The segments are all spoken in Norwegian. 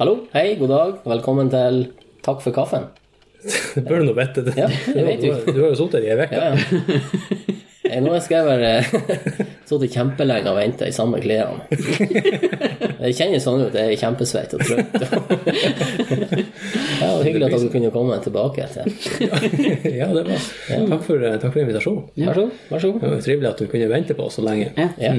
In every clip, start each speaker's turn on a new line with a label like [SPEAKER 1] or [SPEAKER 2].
[SPEAKER 1] Hallo, hei, god dag, velkommen til Takk for kaffen.
[SPEAKER 2] Det bør du nå vite.
[SPEAKER 1] Ja, det vet
[SPEAKER 2] du.
[SPEAKER 1] du.
[SPEAKER 2] har- Du har jo sittet her i ei uke.
[SPEAKER 1] Ja, ja. Eh, Nå har jeg skrevet Sittet kjempelenge og venta i samme klærne. Det kjennes sånn ut. Jeg er kjempesvett og trøtt. Ja, og hyggelig at dere kunne komme tilbake. til
[SPEAKER 2] Ja, det var. Takk for, takk for invitasjonen.
[SPEAKER 1] Vær så god. vær så god.
[SPEAKER 2] Det var jo trivelig at du kunne vente på oss så lenge.
[SPEAKER 3] Ja.
[SPEAKER 1] Ja.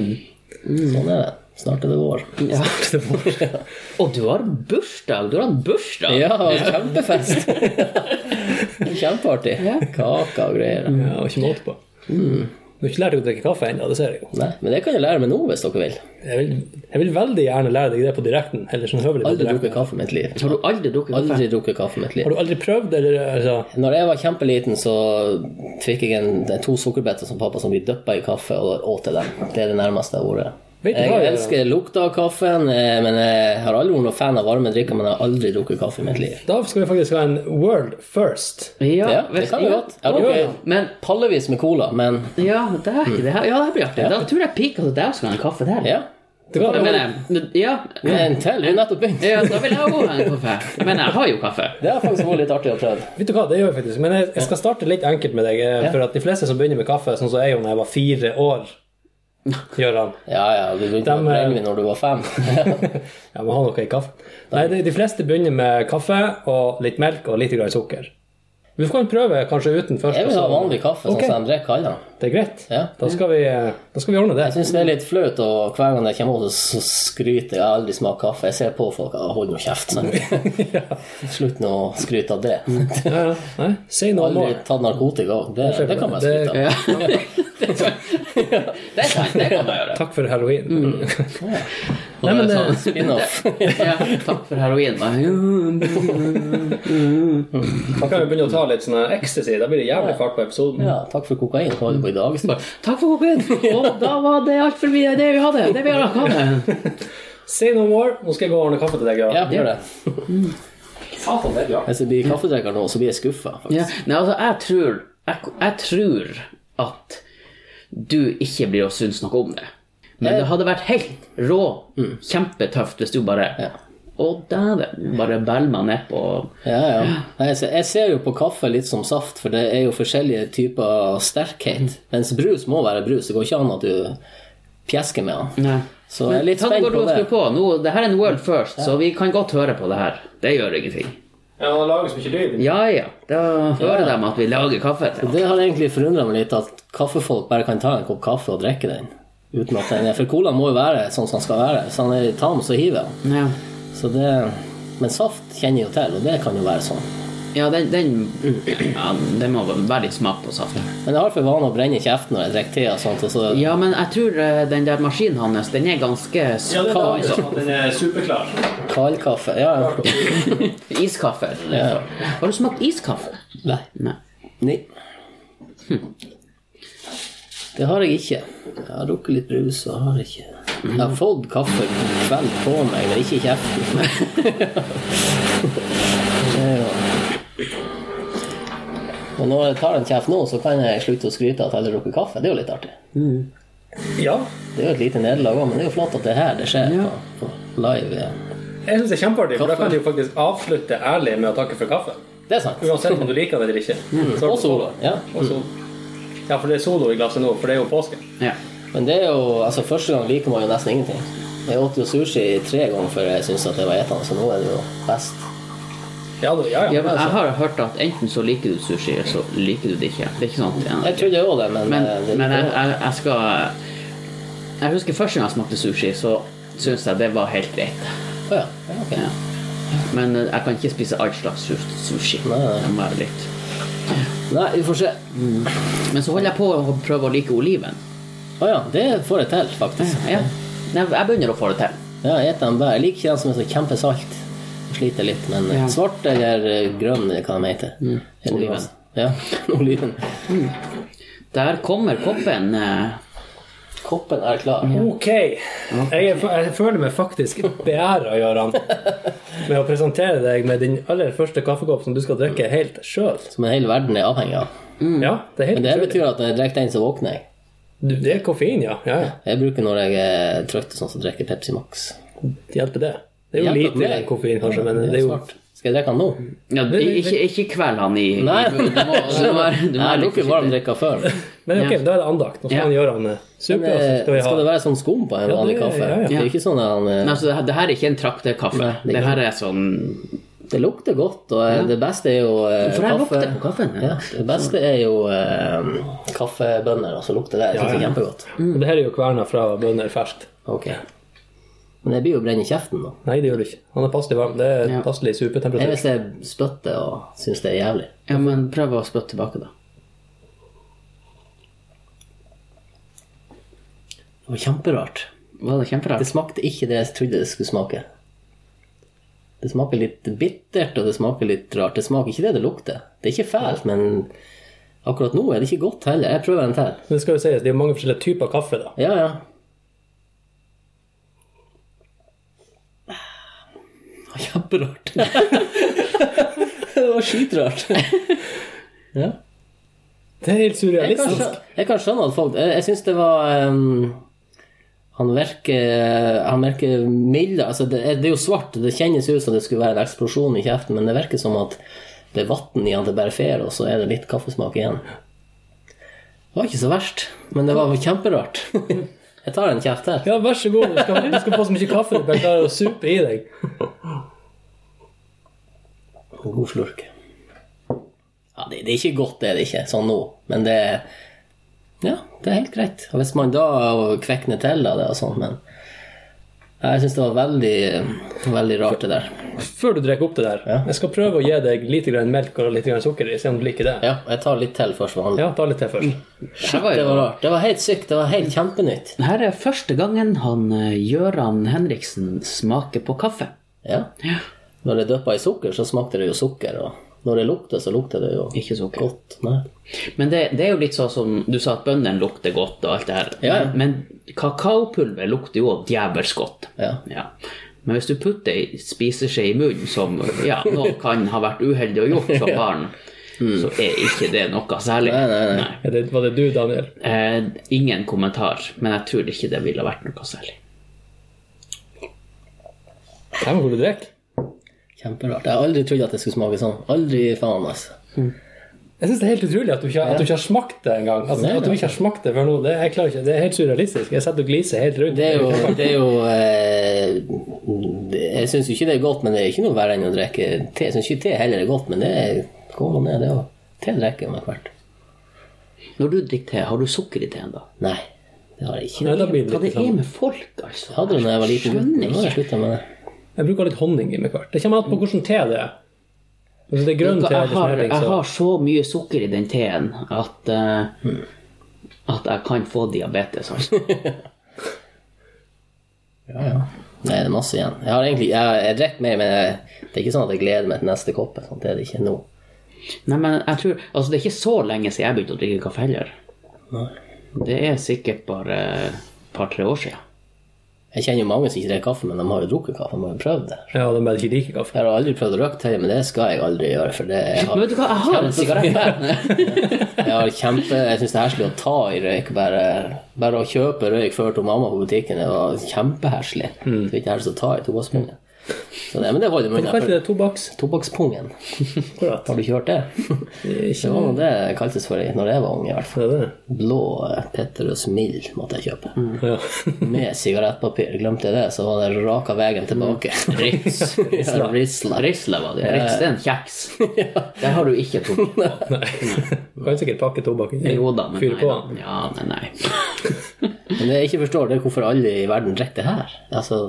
[SPEAKER 1] Sånn er det. Snart er det vår.
[SPEAKER 3] ja.
[SPEAKER 2] Det var-
[SPEAKER 3] Og du har bursdag! Du har hatt bursdag!
[SPEAKER 1] Ja, kjempefest! Kjempeartig. Kake og greier.
[SPEAKER 2] Ja, og ikke måte på.
[SPEAKER 1] Mm.
[SPEAKER 2] Du har ikke lært deg å drikke kaffe ennå, det ser jeg jo.
[SPEAKER 1] Nei, men det kan jeg lære meg nå, hvis dere vil.
[SPEAKER 2] Jeg vil, jeg vil veldig gjerne lære deg det på direkten. Eller sånn høvelig på
[SPEAKER 1] Aldri
[SPEAKER 2] direkten.
[SPEAKER 1] drukket kaffe i mitt liv.
[SPEAKER 3] Har du aldri drukket kaffe?
[SPEAKER 1] Aldri drukket kaffe i mitt liv.
[SPEAKER 2] Har du aldri prøvd, eller altså,
[SPEAKER 1] Når jeg var kjempeliten, så fikk jeg en, to sukkerbeter som pappa som vi dyppa i kaffe og åt til dem. Det er det nærmeste jeg har vært.
[SPEAKER 2] Vet du
[SPEAKER 1] Jeg
[SPEAKER 2] hva, ja.
[SPEAKER 1] elsker lukta av kaffen, eh, men jeg har aldri vært noen fan av varme drikker, men jeg har aldri drukket kaffe i mitt liv.
[SPEAKER 2] Da skal vi faktisk ha en world first.
[SPEAKER 3] Ja,
[SPEAKER 1] Ja, det kan vi godt. Jeg har
[SPEAKER 2] Ja,
[SPEAKER 1] drukket
[SPEAKER 2] ja.
[SPEAKER 3] Men
[SPEAKER 1] pallevis med cola, men
[SPEAKER 3] ja, det er ikke det her. Ja, det her blir artig. Da tror jeg pika til deg skal ha en kaffe der.
[SPEAKER 1] ja.
[SPEAKER 2] Det kan,
[SPEAKER 3] Jeg
[SPEAKER 2] det
[SPEAKER 3] mener, men- ja,
[SPEAKER 1] En til, vi har nettopp begynt.
[SPEAKER 3] ja, da vil jeg òg ha en kaffe. Men jeg har jo kaffe.
[SPEAKER 1] Det har faktisk vært litt artig å prøve.
[SPEAKER 2] vet du hva, det gjør vi faktisk. Men jeg, jeg skal starte litt enkelt med deg. eh, For at de fleste som begynner med kaffe, sånn som jeg gjorde da jeg var fire år Gjøran.
[SPEAKER 1] Ja, ja, du begynte
[SPEAKER 2] Dem,
[SPEAKER 1] med
[SPEAKER 2] eh,
[SPEAKER 1] brennevin når du var fem.
[SPEAKER 2] Jeg må ha noe i kaffe. Nei, de, de fleste begynner med kaffe og litt melk og litt grann sukker. Du kan prøve kanskje uten først.
[SPEAKER 1] Jeg vil ha
[SPEAKER 2] og så-
[SPEAKER 1] vanlig kaffe, sånn
[SPEAKER 2] Ok.
[SPEAKER 1] som de drikker alle.
[SPEAKER 2] Det er greit.
[SPEAKER 1] Ja.
[SPEAKER 2] Da, skal vi, eh, da skal vi ordne det.
[SPEAKER 1] Jeg syns det er litt flaut, og hver gang jeg kommer ut, så skryter jeg. Jeg har aldri smakt kaffe. Jeg ser på folk og holder nå kjeft. sant? Slutt nå å skryte av det.
[SPEAKER 2] Ja, ja. Nei, say no
[SPEAKER 1] Aldri
[SPEAKER 2] more.
[SPEAKER 1] tatt narkotika òg. Det, det kan man skryte av.
[SPEAKER 3] Ja. Det er sant, det kan man gjøre.
[SPEAKER 2] Takk for halloween.
[SPEAKER 1] Mm. Nei, men eh, det
[SPEAKER 3] sånn.
[SPEAKER 1] er spin-off.
[SPEAKER 3] Ja, takk for heroin.
[SPEAKER 2] Da kan vi begynne å ta litt sånn ecstasy. Da blir det jævlig fart på episoden.
[SPEAKER 1] Ja, takk for kokain. Hva har du på i dag?
[SPEAKER 3] Takk for kokain. Og da var det alt for mye det vi hadde. Det vi har hatt.
[SPEAKER 2] Say no more. Nå skal jeg gå og ordne kaffe til deg.
[SPEAKER 1] Ja,
[SPEAKER 2] Ja.
[SPEAKER 1] gjør det.
[SPEAKER 2] Satan, det er bra.
[SPEAKER 1] Hvis jeg blir kaffedrikker nå, så blir jeg skuffa.
[SPEAKER 3] Ja. Nei, altså, jeg tror, jeg, jeg tror at du ikke blir å synes noe om det. Men det hadde vært helt rå, kjempetøft hvis du bare
[SPEAKER 1] Mm. Ja.
[SPEAKER 3] Å, dæven. Bare bæller meg nedpå.
[SPEAKER 1] Ja, ja. Nei, Jeg ser- jeg ser jo på kaffe litt som saft, for det er jo forskjellige typer sterkhet. Mens brus må være brus. Det går ikke an at du pjesker med den.
[SPEAKER 3] Nei.
[SPEAKER 1] Så jeg er litt
[SPEAKER 3] Ta det
[SPEAKER 1] spent
[SPEAKER 3] godt
[SPEAKER 1] på
[SPEAKER 3] og skru
[SPEAKER 1] det.
[SPEAKER 3] på. Nå, det her er en world first, så vi kan godt høre på det her. Det gjør ingenting.
[SPEAKER 2] Ja, det lages mye lyd.
[SPEAKER 3] Ja ja, da hører de at vi lager kaffe. til dem.
[SPEAKER 1] Det har egentlig forundra meg litt at kaffefolk bare kan ta en kopp kaffe og drikke den. Uten at den er, For colaen må jo være sånn som den skal være. Hvis den er tam, så hiver den.
[SPEAKER 3] Ja,
[SPEAKER 1] Så det, men saft kjenner jeg jo til, og det kan jo være sånn.
[SPEAKER 3] ja den, den,
[SPEAKER 1] Mm.
[SPEAKER 3] ja, den må være litt smak på saft.
[SPEAKER 1] Men jeg har for vane å brenne kjeften når jeg drikker te og sånt. Og så,
[SPEAKER 3] Ja, men jeg tror eh, den der maskinen hans, den er ganske
[SPEAKER 2] Ja, det er
[SPEAKER 3] kald.
[SPEAKER 2] laget sånn at Den er superklar.
[SPEAKER 1] Kaldkaffe Ja, ja.
[SPEAKER 3] Iskaffe.
[SPEAKER 1] Ja.
[SPEAKER 3] Har du smakt iskaffe?
[SPEAKER 1] Nei.
[SPEAKER 3] Nei.
[SPEAKER 1] Nei. Det har jeg ikke. Jeg har drukket litt brus og har ikke Jeg har fått kaffe vel på meg, men ikke i kjeften. Det er jo- Og når jeg tar en kjeft nå, så kan jeg slutte å skryte at jeg har drukket kaffe. Det er jo litt artig.
[SPEAKER 2] Ja.
[SPEAKER 1] Det er jo et lite nederlag òg, men det er jo flott at det er her det skjer.
[SPEAKER 3] Ja.
[SPEAKER 1] På, på live. ja.
[SPEAKER 2] Jeg syns det er kjempeartig, for da
[SPEAKER 1] Kaffe.
[SPEAKER 2] kan du jo faktisk avslutte ærlig med å takke for kaffe.
[SPEAKER 1] Det er sant.
[SPEAKER 2] Uansett om du liker det eller ikke. Så har
[SPEAKER 1] Mm. Og
[SPEAKER 2] du
[SPEAKER 1] solo. Ja.
[SPEAKER 2] Og sol. Ja, for det er solo i glasset nå, for det er jo påske.
[SPEAKER 3] Ja.
[SPEAKER 1] Men det er jo, altså første gang liker man jo nesten ingenting. Jeg åt jo sushi tre ganger før jeg syntes at det var etende, så nå er det jo best.
[SPEAKER 2] Ja, du- ja.
[SPEAKER 3] ja,
[SPEAKER 2] ja.
[SPEAKER 3] men jeg har hørt at enten så liker du sushi, eller så liker du det ikke. Det er ikke sant.
[SPEAKER 1] Jeg trodde jo også det, men,
[SPEAKER 3] Men,
[SPEAKER 1] eh, det,
[SPEAKER 3] men jeg, jeg, jeg skal Jeg husker første gang jeg smakte sushi, så syns jeg det var helt greit.
[SPEAKER 1] Å ja. ja, ok.
[SPEAKER 3] Ja. Men eh, jeg kan ikke spise all slags su- sushi.
[SPEAKER 1] Nei, nei.
[SPEAKER 3] Det må være litt.
[SPEAKER 1] Nei, vi får se.
[SPEAKER 3] Men så holder jeg på å prøve å like oliven.
[SPEAKER 1] Å ja, det får jeg til, faktisk.
[SPEAKER 3] Ja. Nei, jeg begynner å få det til.
[SPEAKER 1] Ja, jeg spiser en bær. Jeg liker ikke den som er så kjempesalt. Jeg sliter litt, men eh,
[SPEAKER 3] Ja. Mm.
[SPEAKER 1] svart eller eh, grønn, eller hva de heter. Eller
[SPEAKER 3] Oliven.
[SPEAKER 1] hva- Ja, oliven.
[SPEAKER 3] Der kommer koppen. eh,
[SPEAKER 1] Koppen er klar.
[SPEAKER 2] Ok. Jeg, er, jeg føler meg faktisk beæra, Gøran, med å presentere deg med din aller første kaffekopp som du skal drikke helt sjøl.
[SPEAKER 1] Som en hel verden er avhengig av.
[SPEAKER 2] Ja, det er helt
[SPEAKER 1] Men det
[SPEAKER 2] utrolig.
[SPEAKER 1] betyr at når jeg drikker den, så våkner jeg.
[SPEAKER 2] Du, Det er koffein, ja. ja. ja.
[SPEAKER 1] Jeg bruker når jeg er trøtt, og sånn, så drikker jeg Pepsi Max.
[SPEAKER 2] Det hjelper det. Det er jo
[SPEAKER 1] Hjelper
[SPEAKER 2] lite
[SPEAKER 1] meg.
[SPEAKER 2] koffein, kanskje, men det er jo
[SPEAKER 1] Svart. Skal jeg drikke den nå?
[SPEAKER 3] Ja,
[SPEAKER 2] Men- men-
[SPEAKER 3] ikke, ikke kvel han i i-
[SPEAKER 1] Nei,
[SPEAKER 3] du må- du må være- du
[SPEAKER 1] Nei,
[SPEAKER 3] må være
[SPEAKER 1] jeg
[SPEAKER 3] litt
[SPEAKER 1] lukker
[SPEAKER 3] forsiktig.
[SPEAKER 1] varmdrikka før.
[SPEAKER 2] Men ok, da er det andakt. Nå skal
[SPEAKER 3] Ja.
[SPEAKER 2] man gjøre han eh,
[SPEAKER 1] Men,
[SPEAKER 2] suppe, og så
[SPEAKER 1] eh,
[SPEAKER 2] skal vi ha
[SPEAKER 1] Skal det være sånn skum på en
[SPEAKER 2] Ja,
[SPEAKER 1] vanlig
[SPEAKER 2] det-
[SPEAKER 1] kaffe?
[SPEAKER 2] ja, ja.
[SPEAKER 1] Det er jo ikke sånn at han, eh,
[SPEAKER 3] Nei, altså, det, her- det her er ikke en traktekaffe.
[SPEAKER 1] det
[SPEAKER 3] Det,
[SPEAKER 1] er
[SPEAKER 3] her er sånn
[SPEAKER 1] Det lukter godt, og eh, det beste er jo eh,
[SPEAKER 3] For jeg lukter på kaffen.
[SPEAKER 1] Ja, det beste er jo eh, kaffebønner, altså lukter det. Jeg synes det er kjempegodt.
[SPEAKER 2] Det her er jo kverna fra bønder ferskt.
[SPEAKER 1] Ok. Men det blir jo brenn i kjeften, da.
[SPEAKER 2] Nei, det gjør det ikke. Han er passelig varm. Det er
[SPEAKER 3] Ja.
[SPEAKER 2] passelig
[SPEAKER 1] Det er
[SPEAKER 2] supetemperatur.
[SPEAKER 1] hvis jeg spytter og syns det er jævlig.
[SPEAKER 3] Ja, men prøv å spytte tilbake, da.
[SPEAKER 1] Det var kjemperart.
[SPEAKER 3] Var det
[SPEAKER 1] Det
[SPEAKER 3] kjemperart?
[SPEAKER 1] smakte ikke det jeg trodde det skulle smake. Det smaker litt bittert, og det smaker litt rart. Det smaker ikke det det lukter. Det er ikke fælt, men akkurat nå er det ikke godt heller. Jeg prøver en til.
[SPEAKER 2] Men det skal jo sies, det er jo mange forskjellige typer kaffe, da.
[SPEAKER 1] Ja, ja. Det var Kjemperart. det var skitrart. ja.
[SPEAKER 2] Det er helt
[SPEAKER 1] jeg, kan
[SPEAKER 2] surrealistisk.
[SPEAKER 1] skjønne, jeg kan skjønne at folk Jeg, jeg syns det var ehm, han virker, han virker mildere. Altså det, er- det er jo svart. Det kjennes ut som det skulle være en eksplosjon i kjeften, men det virker som at det er vann i han til bare fer, og så er det litt kaffesmak igjen. Det var ikke så verst, men det var kjemperart. jeg tar en kjeft her.
[SPEAKER 2] Ja, vær så god. Du skal, du skal få så mye kaffe du bare klarer å supe i deg.
[SPEAKER 1] En god slurk. Ja, det, det er ikke godt, det er det ikke, sånn nå, men det Ja, det er helt greit. Og hvis man da kvekner til av det og sånn, men Ja, Jeg syns det var veldig, veldig rart, det der.
[SPEAKER 2] Før du drikker opp det der, jeg skal prøve å gi deg litt grann melk og litt grann sukker i, se om du liker det.
[SPEAKER 1] Ja, jeg tar litt til først. vanlig.
[SPEAKER 2] Ja, ta litt til først.
[SPEAKER 3] Det her var
[SPEAKER 1] Det var
[SPEAKER 3] jo
[SPEAKER 1] rart. Det var helt sykt. Det var helt kjempenytt.
[SPEAKER 3] det her er første gangen han eh, Gøran Henriksen smaker på kaffe.
[SPEAKER 1] Ja. Når det er dyppa i sukker, så smakte det jo sukker, og når det lukter, så lukter det jo
[SPEAKER 3] Ikke sukker.
[SPEAKER 1] godt. Nei.
[SPEAKER 3] Men det, det er jo litt sånn som du sa at bøndene lukter godt og alt det her.
[SPEAKER 1] Ja, ja.
[SPEAKER 3] Men kakaopulver lukter jo djevelsk godt.
[SPEAKER 1] Ja.
[SPEAKER 3] Ja. Men hvis du putter ei spiseskje i munnen, som ja, noen kan ha vært uheldig og gjort som barn, så er ikke det noe særlig.
[SPEAKER 1] Hmm. Nei, nei, nei.
[SPEAKER 2] Ja, det, var det du, Daniel?
[SPEAKER 3] Eh, ingen kommentar, men jeg tror ikke det ville vært noe særlig.
[SPEAKER 2] Nei, men hvor du drikker?
[SPEAKER 1] Kjemperart. Jeg har aldri trodd at det skulle smake sånn. Aldri faen, altså.
[SPEAKER 2] Jeg syns det er helt utrolig at du ikke, at du ikke har smakt det engang. Altså,
[SPEAKER 1] Nei,
[SPEAKER 2] at du ikke har smakt det før nå. Det, jeg klarer ikke, det er helt surrealistisk. Jeg setter og gliser helt rundt.
[SPEAKER 1] Det er jo, det er jo eh, det- Jeg syns jo ikke det er godt, men det er ikke noe verre enn å drikke te. Jeg syns ikke te heller er godt, men det er- går nå ned, det òg. Te drikker jeg meg hvert.
[SPEAKER 3] Når du drikker te, har du sukker i teen da?
[SPEAKER 1] Nei, det har jeg ikke.
[SPEAKER 2] Nei, da blir det
[SPEAKER 3] Hva det
[SPEAKER 2] litt sånn.
[SPEAKER 3] er med folk, altså?
[SPEAKER 1] Jeg hadde det da jeg var liten gutt, men nå har
[SPEAKER 3] Skjønner
[SPEAKER 1] jeg
[SPEAKER 3] ikke.
[SPEAKER 1] slutta med det.
[SPEAKER 2] Jeg bruker litt honning i meg hvert. Det kommer an på hvilken te det er. Hvis det er grønn te
[SPEAKER 3] Jeg
[SPEAKER 2] eller
[SPEAKER 3] har,
[SPEAKER 2] smøring,
[SPEAKER 3] jeg
[SPEAKER 2] så
[SPEAKER 3] har så mye sukker i den teen at, eh,
[SPEAKER 1] Hmm.
[SPEAKER 3] at jeg kan få diabetes. Altså.
[SPEAKER 1] Ja, ja. Nei, det er masse igjen. Jeg har egentlig, jeg, jeg drikker mer, men jeg, det er ikke sånn at jeg gleder meg til neste kopp. Sånn, det er det ikke nå.
[SPEAKER 3] Nei, men jeg tror, altså Det er ikke så lenge siden jeg begynte å drikke kaffe heller. Det er sikkert bare et par-tre år siden.
[SPEAKER 1] Jeg kjenner jo mange som ikke drikker kaffe, men de har jo drukket kaffe. De har jo prøvd det.
[SPEAKER 2] ja, de bare ikke liker kaffe.
[SPEAKER 1] Jeg har aldri prøvd å røyke te, men det skal jeg aldri gjøre. For det jeg har
[SPEAKER 3] Men vet du hva, jeg har en sigarett der!
[SPEAKER 1] Jeg har kjempe, jeg syns det er herselig å ta i røyk. Bare, bare å kjøpe røyk før til mamma på butikken, det var kjempeherselig. Mm. Så ikke herselig å ta i tobakkspungen. Så det, men det holder
[SPEAKER 2] Hva kalte
[SPEAKER 1] munnen.
[SPEAKER 2] det? Tobakks?
[SPEAKER 1] Tobakkspungen.
[SPEAKER 2] Akkurat.
[SPEAKER 1] Har du kjørt det? Det
[SPEAKER 2] Ikke
[SPEAKER 1] var noe det kaltes for i- når jeg var ung, i hvert fall.
[SPEAKER 2] det er det.
[SPEAKER 1] Blå eh, Petterus Mild måtte jeg kjøpe.
[SPEAKER 3] Mm.
[SPEAKER 2] Ja.
[SPEAKER 1] Med sigarettpapir. Glemte jeg det, så var det raka veien tilbake.
[SPEAKER 3] Mm. Ritz.
[SPEAKER 1] Ja, Risla.
[SPEAKER 3] Risla var det. Ritz det er en kjeks. Der har du ikke tobakk.
[SPEAKER 2] Du kan sikkert pakke tobakk inn.
[SPEAKER 3] Jo da, men
[SPEAKER 2] Fyre
[SPEAKER 3] nei.
[SPEAKER 2] på
[SPEAKER 3] Da.
[SPEAKER 2] den.
[SPEAKER 3] Ja, nei, nei.
[SPEAKER 1] Men det jeg ikke forstår, det er hvorfor alle i verden drikker det her. Altså,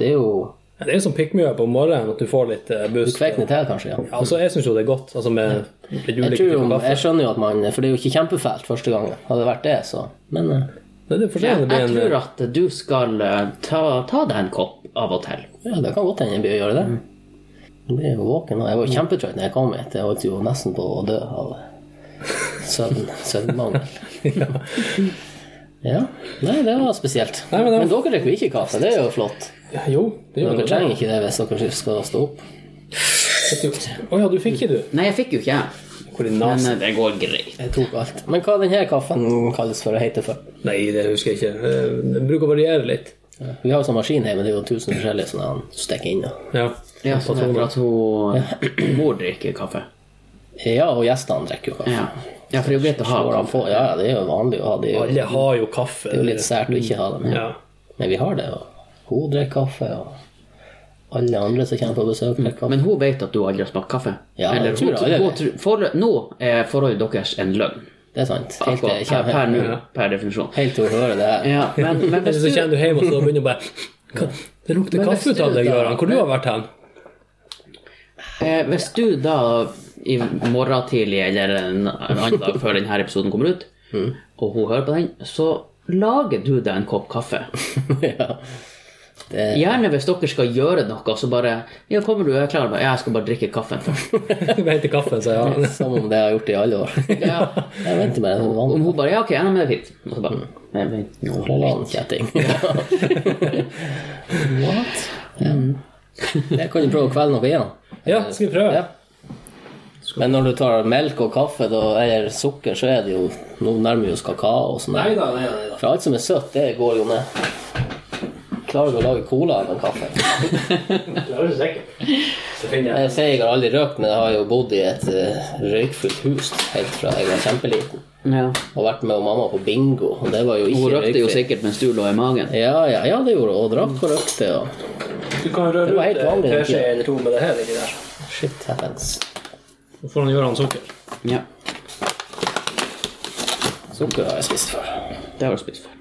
[SPEAKER 1] det er jo
[SPEAKER 2] Ja, Det er jo som pikkmjø på morgenen, at du får litt eh, boost.
[SPEAKER 1] Kvekk ned til, kanskje. ja.
[SPEAKER 2] Altså, jeg syns jo det er godt, altså med litt
[SPEAKER 1] Jeg,
[SPEAKER 2] ulike
[SPEAKER 1] tror jo,
[SPEAKER 2] typer kaffe.
[SPEAKER 1] jeg skjønner jo at man For det er jo ikke kjempefælt første gangen. Hadde det vært det, så Men eh,
[SPEAKER 2] Nei, Det er
[SPEAKER 3] Jeg,
[SPEAKER 2] forskjellig.
[SPEAKER 3] jeg
[SPEAKER 2] det blir en,
[SPEAKER 3] tror
[SPEAKER 2] eh,
[SPEAKER 3] at du skal eh, ta, ta deg en kopp av og til.
[SPEAKER 1] ja, det kan godt hende jeg blir å gjøre det. Nå blir jeg jo våken, og jeg var jo kjempetrøtt når jeg kom hit. Jeg holdt jo nesten på å dø av søvn, søvnmangel. Ja. Nei, det var spesielt.
[SPEAKER 2] Nei, men
[SPEAKER 1] men,
[SPEAKER 2] det var-
[SPEAKER 1] dere drikker jo ikke kaffe, det er jo flott.
[SPEAKER 2] eh, jo, det gjør
[SPEAKER 1] Dere
[SPEAKER 2] det.
[SPEAKER 1] trenger ikke det hvis dere skal stå opp.
[SPEAKER 2] Å ja, du fikk ikke, du.
[SPEAKER 3] Nei, jeg fikk jo ikke jeg.
[SPEAKER 2] Hvor din
[SPEAKER 3] Men
[SPEAKER 2] nase
[SPEAKER 3] eh, det går greit.
[SPEAKER 1] Jeg tok alt. Men hva denne kaffen kalles for å hete for?
[SPEAKER 2] Nei, det husker jeg ikke. Eh, Det bruker å variere litt.
[SPEAKER 1] Vi har jo sånn maskin her, men det er jo tusen forskjellige sånne han stikker inn. og-
[SPEAKER 2] Ja.
[SPEAKER 3] Ja, sånn er det, for at hun mor drikker kaffe.
[SPEAKER 1] Ja, og gjestene drikker jo kaffe.
[SPEAKER 3] Ja. ja, for det er jo greit å ha
[SPEAKER 1] Får han
[SPEAKER 3] kaffe.
[SPEAKER 1] få- Ja, det er jo vanlig å ha det. er jo-
[SPEAKER 2] Alle har jo kaffe.
[SPEAKER 1] Det er jo litt sånn. sært å ikke ha det, men,
[SPEAKER 2] Ja.
[SPEAKER 1] men vi har det. Og hun drikker kaffe, og alle andre som kommer på besøk, drikker kaffe.
[SPEAKER 3] Men hun vet at du aldri har smakt kaffe.
[SPEAKER 1] Ja, det
[SPEAKER 3] Eller,
[SPEAKER 1] tror
[SPEAKER 3] hun,
[SPEAKER 1] jeg aldri.
[SPEAKER 3] hun, tror- for, nå er forholdet deres en løgn.
[SPEAKER 1] Det er sant. Helt,
[SPEAKER 3] Akkurat, per, per,
[SPEAKER 1] helt,
[SPEAKER 3] nå, per definisjon.
[SPEAKER 1] helt til hun hører det her.
[SPEAKER 3] Ja, men, men
[SPEAKER 2] Eller
[SPEAKER 3] hvis
[SPEAKER 2] så
[SPEAKER 3] du
[SPEAKER 2] kommer du hjem, og så begynner du bare «Hva? Det lukter
[SPEAKER 1] Men hvis
[SPEAKER 2] kaffe ut av
[SPEAKER 1] du
[SPEAKER 2] deg,
[SPEAKER 1] da-
[SPEAKER 2] Gøran. Hvor du har vært hen?
[SPEAKER 3] Eh, hvis du da i morgen tidlig eller en en annen dag før denne episoden kommer ut,
[SPEAKER 1] Mm.
[SPEAKER 3] og hun hører på den, så lager du deg en kopp kaffe.
[SPEAKER 1] ja. Det,
[SPEAKER 3] Gjerne hvis dere skal gjøre noe, så bare Ja, kommer du? Jeg er klar. Bare, Ja, jeg skal bare drikke kaffen først.
[SPEAKER 2] Du må hente kaffe, sa jeg.
[SPEAKER 1] som om det har gjort det i alle år.
[SPEAKER 3] Ja.
[SPEAKER 1] Jeg venter med det.
[SPEAKER 3] Om hun bare Ja, ok, ja, men det er fint. Og så bare
[SPEAKER 1] Mm.
[SPEAKER 3] «Nei, vent nå».
[SPEAKER 1] Kjetting. What?
[SPEAKER 3] Mm.
[SPEAKER 1] Ja. Det kan du prøve kvelden opp igjen.
[SPEAKER 2] Ja, skal vi prøve?
[SPEAKER 1] Ja. Men når du tar melk og kaffe da, eller sukker, så er det jo Nå nærmer vi oss kakao og sånn. der.
[SPEAKER 2] da, nei da.
[SPEAKER 1] For alt som er søtt, det går jo ned. Klarer du å lage cola av en kaffe?
[SPEAKER 2] Det er du sikker Så finner
[SPEAKER 1] Jeg sier jeg har aldri røkt, men jeg har jo bodd i et eh, røykfullt hus helt fra jeg var kjempeliten.
[SPEAKER 3] Ja.
[SPEAKER 1] Og vært med mamma på bingo, og det var jo ikke
[SPEAKER 3] Hun røkte jo
[SPEAKER 1] røykfritt.
[SPEAKER 3] sikkert mens du lå i magen.
[SPEAKER 1] Ja, ja, ja, det gjorde hun. Og drakk og røkte og
[SPEAKER 2] Du kan røre
[SPEAKER 1] Det var helt
[SPEAKER 2] ut eh,
[SPEAKER 1] vanlig,
[SPEAKER 2] tre
[SPEAKER 1] ikke?
[SPEAKER 2] skjeer eller to med det her inni der.
[SPEAKER 1] Shit happens.
[SPEAKER 2] Så får han gjøre han sukker.
[SPEAKER 3] Ja,
[SPEAKER 1] Sukker har jeg spist før.
[SPEAKER 3] det har du spist før.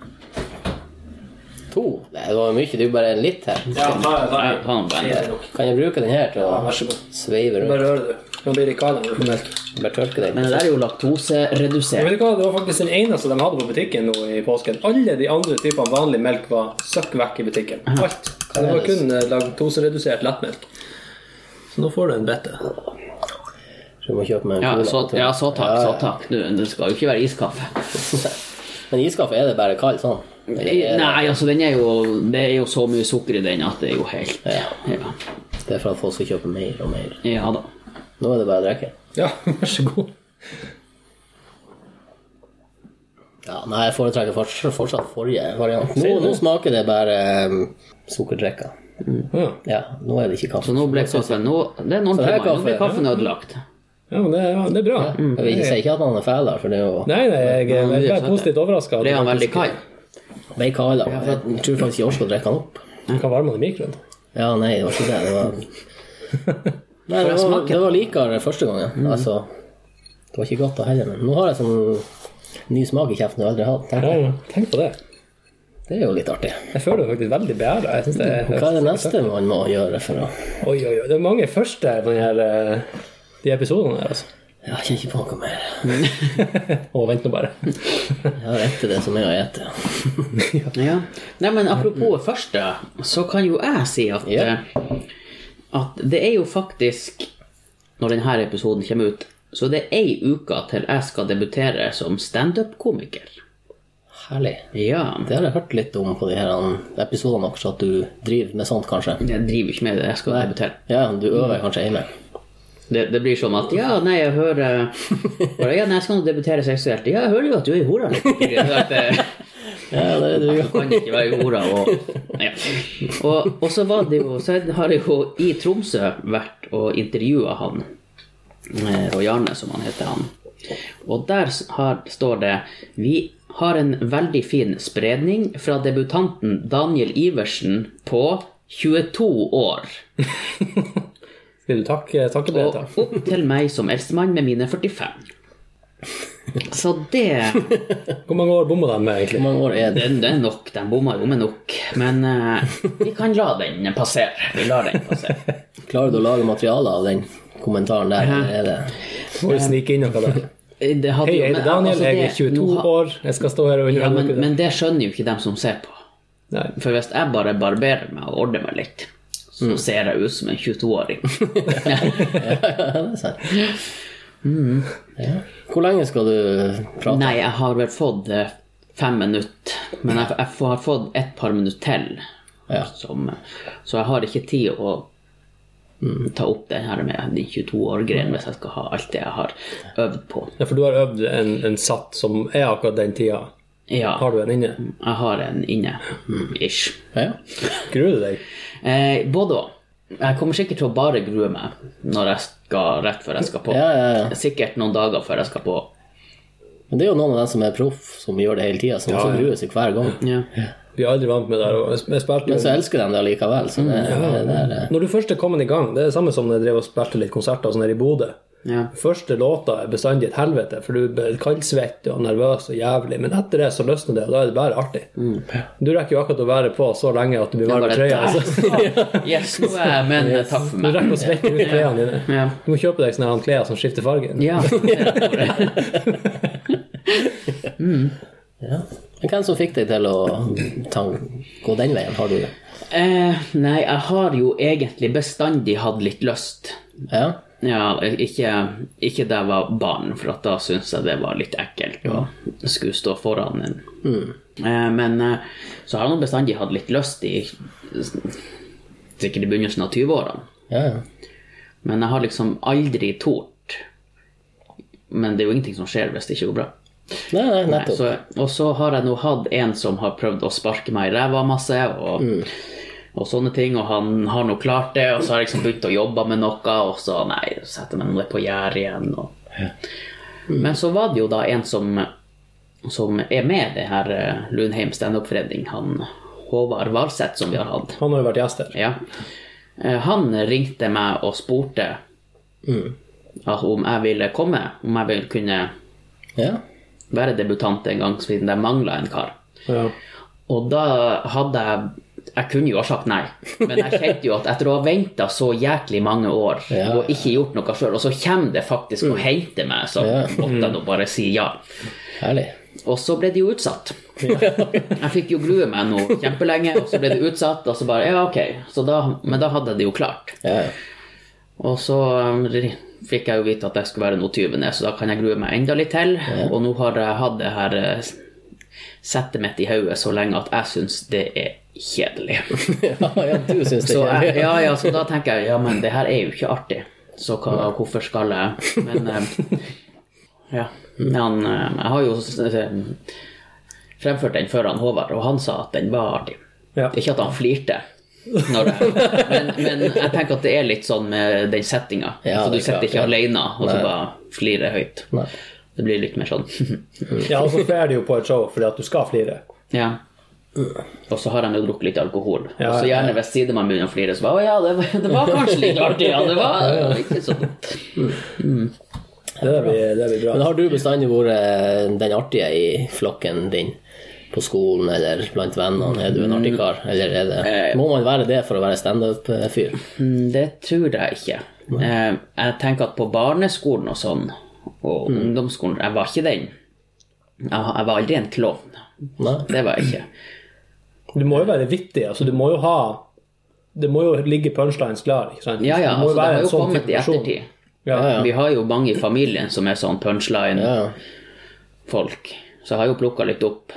[SPEAKER 1] To? Nei, det var mye. Det er jo bare litt her.
[SPEAKER 2] Ja, ta
[SPEAKER 3] Ja, ta den på en.
[SPEAKER 1] Kan jeg bruke den her til å
[SPEAKER 2] Vær så god.
[SPEAKER 1] sveive rundt?
[SPEAKER 2] Bare rør det, du. Nå blir det ikke av når du får melk.
[SPEAKER 1] Bare tørke den?
[SPEAKER 3] Men det der er jo laktoseredusert.
[SPEAKER 2] Vet du hva, Det var faktisk den eneste de hadde på butikken nå i påsken. Alle de andre typene vanlig melk var søkk vekk i butikken. Alt. Det var kun eh, laktoseredusert lettmelk. Så nå får du en bete.
[SPEAKER 1] Så du må kjøpe meg en
[SPEAKER 3] Ja,
[SPEAKER 1] cola.
[SPEAKER 3] så,
[SPEAKER 1] tror jeg.
[SPEAKER 3] ja, så takk.
[SPEAKER 1] Ja,
[SPEAKER 3] Så
[SPEAKER 1] ja.
[SPEAKER 3] takk. Du, det skal jo ikke være iskaffe.
[SPEAKER 1] Men iskaffe, er det bare kald sånn? Det er,
[SPEAKER 3] Nei, altså den er jo Det er jo så mye sukker i den at det er jo helt
[SPEAKER 1] Ja.
[SPEAKER 3] Ja,
[SPEAKER 1] det er for at folk skal kjøpe mer og mer.
[SPEAKER 3] ja da.
[SPEAKER 1] Nå er det bare å drikke.
[SPEAKER 2] Ja, vær så god.
[SPEAKER 1] Ja, nei, jeg foretrekker fortsatt, fortsatt forrige variant. Nå, nå smaker det bare um, sukkerdrikker.
[SPEAKER 2] Ja,
[SPEAKER 1] Ja, nå er det ikke kaffe.
[SPEAKER 3] Så nå ble kaffen nå, Det er noen
[SPEAKER 1] Så det er
[SPEAKER 3] timer. Nå ble
[SPEAKER 1] kaffe.
[SPEAKER 3] kaffen ødelagt.
[SPEAKER 2] ja men det, ja, det er bra.
[SPEAKER 1] Jeg vil ikke si ikke at han er fælere, for det er jo
[SPEAKER 2] Nei, nei, jeg er
[SPEAKER 3] Ja, det er
[SPEAKER 2] bare
[SPEAKER 3] sant,
[SPEAKER 2] positivt overraska.
[SPEAKER 3] Ble han veldig kald?
[SPEAKER 1] Ble kald av. Jeg tror faktisk jeg orker å drikke den opp.
[SPEAKER 2] Du kan varme den i mikroen.
[SPEAKER 1] Ja, nei, det var ikke det. Det var, nei, det var, det var likere første gangen. Altså, det var ikke godt da heller, men nå har jeg sånn ny smak i kjeften jeg aldri har hatt.
[SPEAKER 2] Ja,
[SPEAKER 1] Tenk,
[SPEAKER 2] ja. Tenk på det.
[SPEAKER 1] Det er jo litt artig.
[SPEAKER 2] Jeg føler meg faktisk veldig beæra. Jeg synes det er
[SPEAKER 1] Hva er det neste man må gjøre for å
[SPEAKER 2] Oi, oi, oi. Det er mange første på den her, eh, de episodene her, altså.
[SPEAKER 1] Ja, Jeg kjenner ikke på noe mer.
[SPEAKER 2] Å, vent nå bare.
[SPEAKER 1] Jeg har rett til det som er å ete.
[SPEAKER 3] Ja. Nei, men apropos første, så kan jo jeg si at
[SPEAKER 1] Ja.
[SPEAKER 3] At det er jo faktisk Når denne episoden kommer ut, så det er ei uke til jeg skal debutere som standup-komiker.
[SPEAKER 1] Herlig.
[SPEAKER 3] Ja.
[SPEAKER 1] Det har jeg hørt litt om på de her um, episodene deres, at du driver med sånt, kanskje.
[SPEAKER 3] Jeg driver ikke med det. Jeg skal debutere.
[SPEAKER 1] Ja, du øver kanskje hjemme.
[SPEAKER 3] Det, det blir sånn at Ja, nei, jeg hører bare, Ja, nei, jeg skal nå debutere seksuelt. Ja, jeg hører jo at du er i hora. Du eh,
[SPEAKER 1] Ja, det er du jo.
[SPEAKER 3] kan ikke være i hora. Og, ja. og, og så var det jo Så har jeg jo i Tromsø vært og intervjua han eh, og Jarne, som han heter, han. Og der s- har, står det Vi har en veldig fin spredning fra debutanten Daniel Iversen på 22 år.
[SPEAKER 2] Vil du takke, takke det? da?
[SPEAKER 3] Og opp til meg som eldstemann med mine 45. Så det
[SPEAKER 2] Hvor mange år bomma de med, egentlig?
[SPEAKER 1] Hvor mange år er det?
[SPEAKER 3] Det, det er nok. De bomma jo med nok. Men eh, vi kan la den passere. Vi lar den passere.
[SPEAKER 1] Klarer du å lage materiale av den kommentaren der? eller Er det?
[SPEAKER 2] Må jo snike inn noe der.
[SPEAKER 3] Det hadde
[SPEAKER 2] Hei,
[SPEAKER 3] jo-
[SPEAKER 2] jeg
[SPEAKER 3] men,
[SPEAKER 2] heter Daniel,
[SPEAKER 3] altså,
[SPEAKER 2] jeg er
[SPEAKER 3] det-
[SPEAKER 2] 22
[SPEAKER 3] nå ha-
[SPEAKER 2] år, jeg skal stå her og
[SPEAKER 3] Ja, men,
[SPEAKER 2] underholde dere.
[SPEAKER 3] men det skjønner jo ikke dem som ser på.
[SPEAKER 2] Nei.
[SPEAKER 3] For hvis jeg bare barberer meg og ordner meg litt, så
[SPEAKER 2] Mm.
[SPEAKER 3] ser jeg ut som en 22-åring.
[SPEAKER 1] Ja, det er sant. Ja. Hvor lenge skal du prate?
[SPEAKER 3] Nei, jeg har vel fått eh, fem minutter. Men jeg, jeg har fått et par minutter til.
[SPEAKER 1] Ja.
[SPEAKER 3] Som, så jeg har ikke tid å mm, ta opp det her med de 22 år-greien hvis jeg skal ha alt det jeg har øvd på.
[SPEAKER 2] Ja, for du har øvd en, en satt som er akkurat den tida.
[SPEAKER 3] Ja,
[SPEAKER 2] Har du en inne?
[SPEAKER 3] jeg har en inne. Mm, ish.
[SPEAKER 1] Ja,
[SPEAKER 2] Gruer du deg?
[SPEAKER 3] Eh, både og. Jeg kommer sikkert til å bare grue meg når jeg skal, rett før jeg skal på.
[SPEAKER 1] ja, ja, ja.
[SPEAKER 3] Sikkert noen dager før jeg skal på.
[SPEAKER 1] Men det er jo noen av dem som er proff, som gjør det hele tida, som også
[SPEAKER 2] ja.
[SPEAKER 1] gruer seg hver gang.
[SPEAKER 3] Ja.
[SPEAKER 2] Blir aldri vant med det her. og jeg spilte
[SPEAKER 1] Men
[SPEAKER 2] jo-
[SPEAKER 1] så elsker de det allikevel, så det,
[SPEAKER 3] Mm,
[SPEAKER 1] det der eh,
[SPEAKER 2] Når du først er kommet i gang, det er det samme som når jeg drev og spilte litt konserter og sånn her i Bodø.
[SPEAKER 3] Ja.
[SPEAKER 2] Første låta er bestandig et helvete, for du blir kaldsvett og nervøs og jævlig. Men etter det så løsner det, og da er det bare artig. Du rekker jo akkurat å være på så lenge at du blir varm
[SPEAKER 3] Mm. bare
[SPEAKER 2] i trøya. altså.
[SPEAKER 3] Yes, nå er jeg men eh, takk for
[SPEAKER 2] Du
[SPEAKER 3] meg.
[SPEAKER 2] rekker å svette ut klærne dine.
[SPEAKER 3] Ja.
[SPEAKER 2] Du må kjøpe deg sånne her klær som skifter farge.
[SPEAKER 3] Ja.
[SPEAKER 1] eh, ja. Men hvem som fikk deg til å ta, gå den veien, har du det?
[SPEAKER 3] Eh, nei, jeg har jo egentlig bestandig hatt litt lyst.
[SPEAKER 1] Ja?
[SPEAKER 3] Ja, ikke, ikke da jeg var barn, for at da syntes jeg det var litt ekkelt å skulle stå foran en. Eh, Men eh, så har jeg nå bestandig hatt litt lyst i sikkert i begynnelsen av 20-årene.
[SPEAKER 1] Ja, ja.
[SPEAKER 3] Men jeg har liksom aldri tort. Men det er jo ingenting som skjer hvis det ikke går bra.
[SPEAKER 1] Nei, nei,
[SPEAKER 3] Nei,
[SPEAKER 1] nettopp.
[SPEAKER 3] så, og så har jeg nå hatt en som har prøvd å sparke meg i ræva masse, og, og sånne ting, og han har nå klart det, og så har jeg liksom begynt å jobbe med noe, og så nei, så setter jeg meg nå litt på gjerdet igjen. Og. Men så var det jo da en som, som er med i det her eh, Lundheim standup-forening, han Håvard Varseth som vi har hatt.
[SPEAKER 2] Han har jo vært gjest her.
[SPEAKER 3] Ja. Eh, Han ringte meg og spurte at om jeg ville komme, om jeg ville kunne
[SPEAKER 1] Ja.
[SPEAKER 3] være debutant en gang siden jeg mangla en kar.
[SPEAKER 2] Ja.
[SPEAKER 3] Og da hadde jeg Jeg kunne jo ha sagt nei, men jeg kjente jo at etter å ha venta så jæklig mange år
[SPEAKER 1] Ja. Mm.
[SPEAKER 3] og ikke gjort noe sjøl, og så kommer det faktisk og henter meg, så
[SPEAKER 1] Ja.
[SPEAKER 3] måtte jeg nå bare si ja.
[SPEAKER 1] Herlig.
[SPEAKER 3] Og så ble det jo utsatt. Jeg fikk jo grue meg nå kjempelenge, og så ble det utsatt, og så bare Ja, ok. Så da, men da hadde jeg det jo klart.
[SPEAKER 1] Ja, ja.
[SPEAKER 3] Og så um, ri- fikk jeg jo vite at jeg skulle være nå 20. så da kan jeg grue meg enda litt til. Og nå har jeg hatt det her eh, s- settet mitt i hodet så lenge at jeg syns det er kjedelig.
[SPEAKER 1] ja, ja, du syns det
[SPEAKER 3] Så,
[SPEAKER 1] er
[SPEAKER 3] jeg,
[SPEAKER 1] gøy.
[SPEAKER 3] ja, ja, så da tenker jeg ja, men det her er jo ikke artig, så hva, hvorfor skal jeg Men eh, ja. Han, eh, jeg har jo s- s- fremført den før han Håvard, og han sa at den var artig.
[SPEAKER 2] Ja.
[SPEAKER 3] Ikke at han flirte. Når det, men, men jeg tenker at det er litt sånn med den settinga.
[SPEAKER 1] Ja,
[SPEAKER 3] så
[SPEAKER 1] det er
[SPEAKER 3] du
[SPEAKER 1] klart,
[SPEAKER 3] sitter ikke
[SPEAKER 1] ja.
[SPEAKER 3] alene og så bare flirer høyt.
[SPEAKER 1] Nei. Mm.
[SPEAKER 3] Det blir litt mer sånn
[SPEAKER 2] ja, og så fler du jo på et show fordi at du skal flire.
[SPEAKER 3] Ja. Og så har han jo drukket litt alkohol.
[SPEAKER 2] Ja,
[SPEAKER 3] og så gjerne ved sidemannen begynner å flire, så bare Å ja, det var, det var kanskje litt artig, ja. Det var ikke så dumt.
[SPEAKER 2] Det der blir, det blir
[SPEAKER 1] Men
[SPEAKER 2] bra.
[SPEAKER 1] har du bestandig vært eh, den artige i flokken din? På skolen eller blant vennene? Er du en artig kar? Eller er det,
[SPEAKER 3] Eh.
[SPEAKER 1] må man være det for å være standup-fyr?
[SPEAKER 3] Mm, Det tror jeg ikke. Eh, Jeg tenker at på barneskolen og sånn, og ungdomsskolen, jeg var ikke den. Jeg jeg var aldri en klovn.
[SPEAKER 1] Nei?
[SPEAKER 3] Det var jeg ikke.
[SPEAKER 2] Du må jo være vittig. altså Du må jo ha Det må jo ligge punchlines klar. Ikke sant?
[SPEAKER 3] Ja, ja,
[SPEAKER 2] du må
[SPEAKER 3] altså, det har
[SPEAKER 2] en
[SPEAKER 3] jo
[SPEAKER 2] sånn
[SPEAKER 3] kommet
[SPEAKER 2] type
[SPEAKER 3] i
[SPEAKER 2] person.
[SPEAKER 3] ettertid.
[SPEAKER 2] Ja,
[SPEAKER 1] Ja, ja.
[SPEAKER 3] Vi har jo mange i familien som er sånn
[SPEAKER 1] Ja,
[SPEAKER 3] punchline-folk.
[SPEAKER 1] ja.
[SPEAKER 3] Så jeg har jo plukka litt opp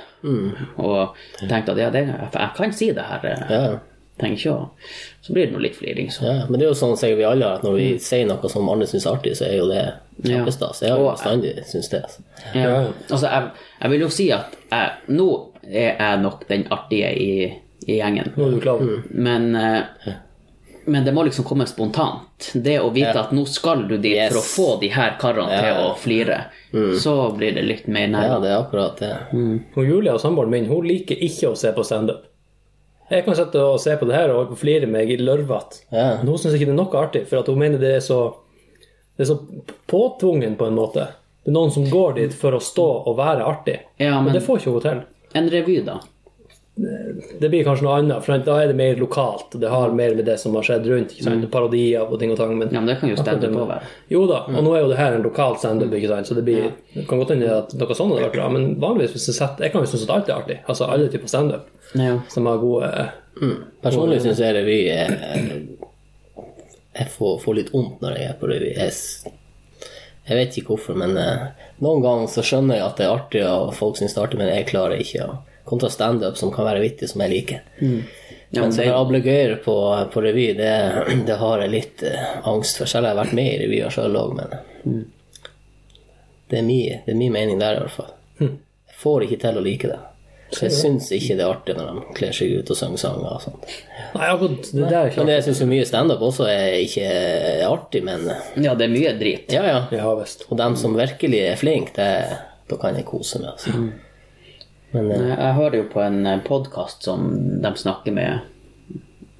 [SPEAKER 3] og tenkt at ja, det, jeg kan si det her. eh,
[SPEAKER 1] Ja, ja.
[SPEAKER 3] Trenger ikke å Så blir det nå litt fliring, så.
[SPEAKER 1] Ja, men det er jo sånn sier vi alle at når vi sier noe som andre syns er artig, så er jo det
[SPEAKER 3] Mm. Ja.
[SPEAKER 1] kjempestas. Jeg har jo
[SPEAKER 3] Og-
[SPEAKER 1] bestandig syntes det. Altså.
[SPEAKER 3] Ja. Altså, jeg, jeg vil jo si at jeg, nå er jeg nok den artige i, i gjengen.
[SPEAKER 2] Nå er du klar.
[SPEAKER 3] Men, eh, men det må liksom komme spontant. Det å vite at nå skal du dit for å
[SPEAKER 1] Yes.
[SPEAKER 3] få de her karene til
[SPEAKER 1] Ja.
[SPEAKER 3] å flire, så blir det litt
[SPEAKER 1] Ja,
[SPEAKER 3] mer nærmere.
[SPEAKER 1] det er akkurat det.
[SPEAKER 3] Mm.
[SPEAKER 2] Og Julia, samboeren min, hun liker ikke å se på standup. Jeg kan sitte og se på det her og holde på å flire meg i lørvete.
[SPEAKER 1] Ja.
[SPEAKER 2] Men hun syns ikke det er noe artig, for at hun mener det er så Det er så påtvungen, på en måte. Det er noen som går dit for å stå og være artig.
[SPEAKER 3] Ja,
[SPEAKER 2] men...
[SPEAKER 3] men-
[SPEAKER 2] det får ikke hun til.
[SPEAKER 3] En revy, da.
[SPEAKER 2] Det blir kanskje noe annet, for da er det mer lokalt. Det har mer med det som har skjedd rundt. Ikke sant? Parodier og ting og tang. Men
[SPEAKER 3] Mm. Ja, men det Mm. kan jo
[SPEAKER 2] Akkurat
[SPEAKER 3] standup
[SPEAKER 2] det.
[SPEAKER 3] òg være.
[SPEAKER 2] Jo da, og nå er jo det her en lokal standup, ikke sant, så det blir Det kan godt hende at noe sånt hadde vært bra, men vanligvis hvis jeg setter Jeg kan jo synes at alt er artig. Altså alle typer standup
[SPEAKER 3] Ja.
[SPEAKER 2] som har gode
[SPEAKER 1] Mm. Personlig syns jeg revy er eh, Jeg får, får litt vondt når jeg er på revy. Jeg, s- jeg vet ikke hvorfor, men eh, noen ganger så skjønner jeg at det er artig, og folk syns det er artig, men jeg klarer ikke å Kontra standup, som kan være vittig, som jeg liker.
[SPEAKER 3] Mm. Ja,
[SPEAKER 1] men
[SPEAKER 3] men
[SPEAKER 1] så
[SPEAKER 3] det,
[SPEAKER 1] det... ablegøyer på, på revy, det, det har jeg litt eh, angst for. Selv har jeg vært med i revyer sjøl òg, men det er, min, det er min mening der, i hvert fall. Jeg får ikke til å like Hm. det. Så jeg syns ikke det er artig når de kler seg ut og synger sanger og sånt.
[SPEAKER 2] Nei, akkurat det der er ikke
[SPEAKER 1] Men jeg syns jo mye standup også er ikke er artig, men
[SPEAKER 3] Ja, det er mye drit.
[SPEAKER 1] ja, ja.
[SPEAKER 2] Ja visst.
[SPEAKER 1] Og dem som virkelig er flinke, det da kan jeg kose meg. Altså. Men eh,
[SPEAKER 3] Jeg hører jo på en podkast som de snakker med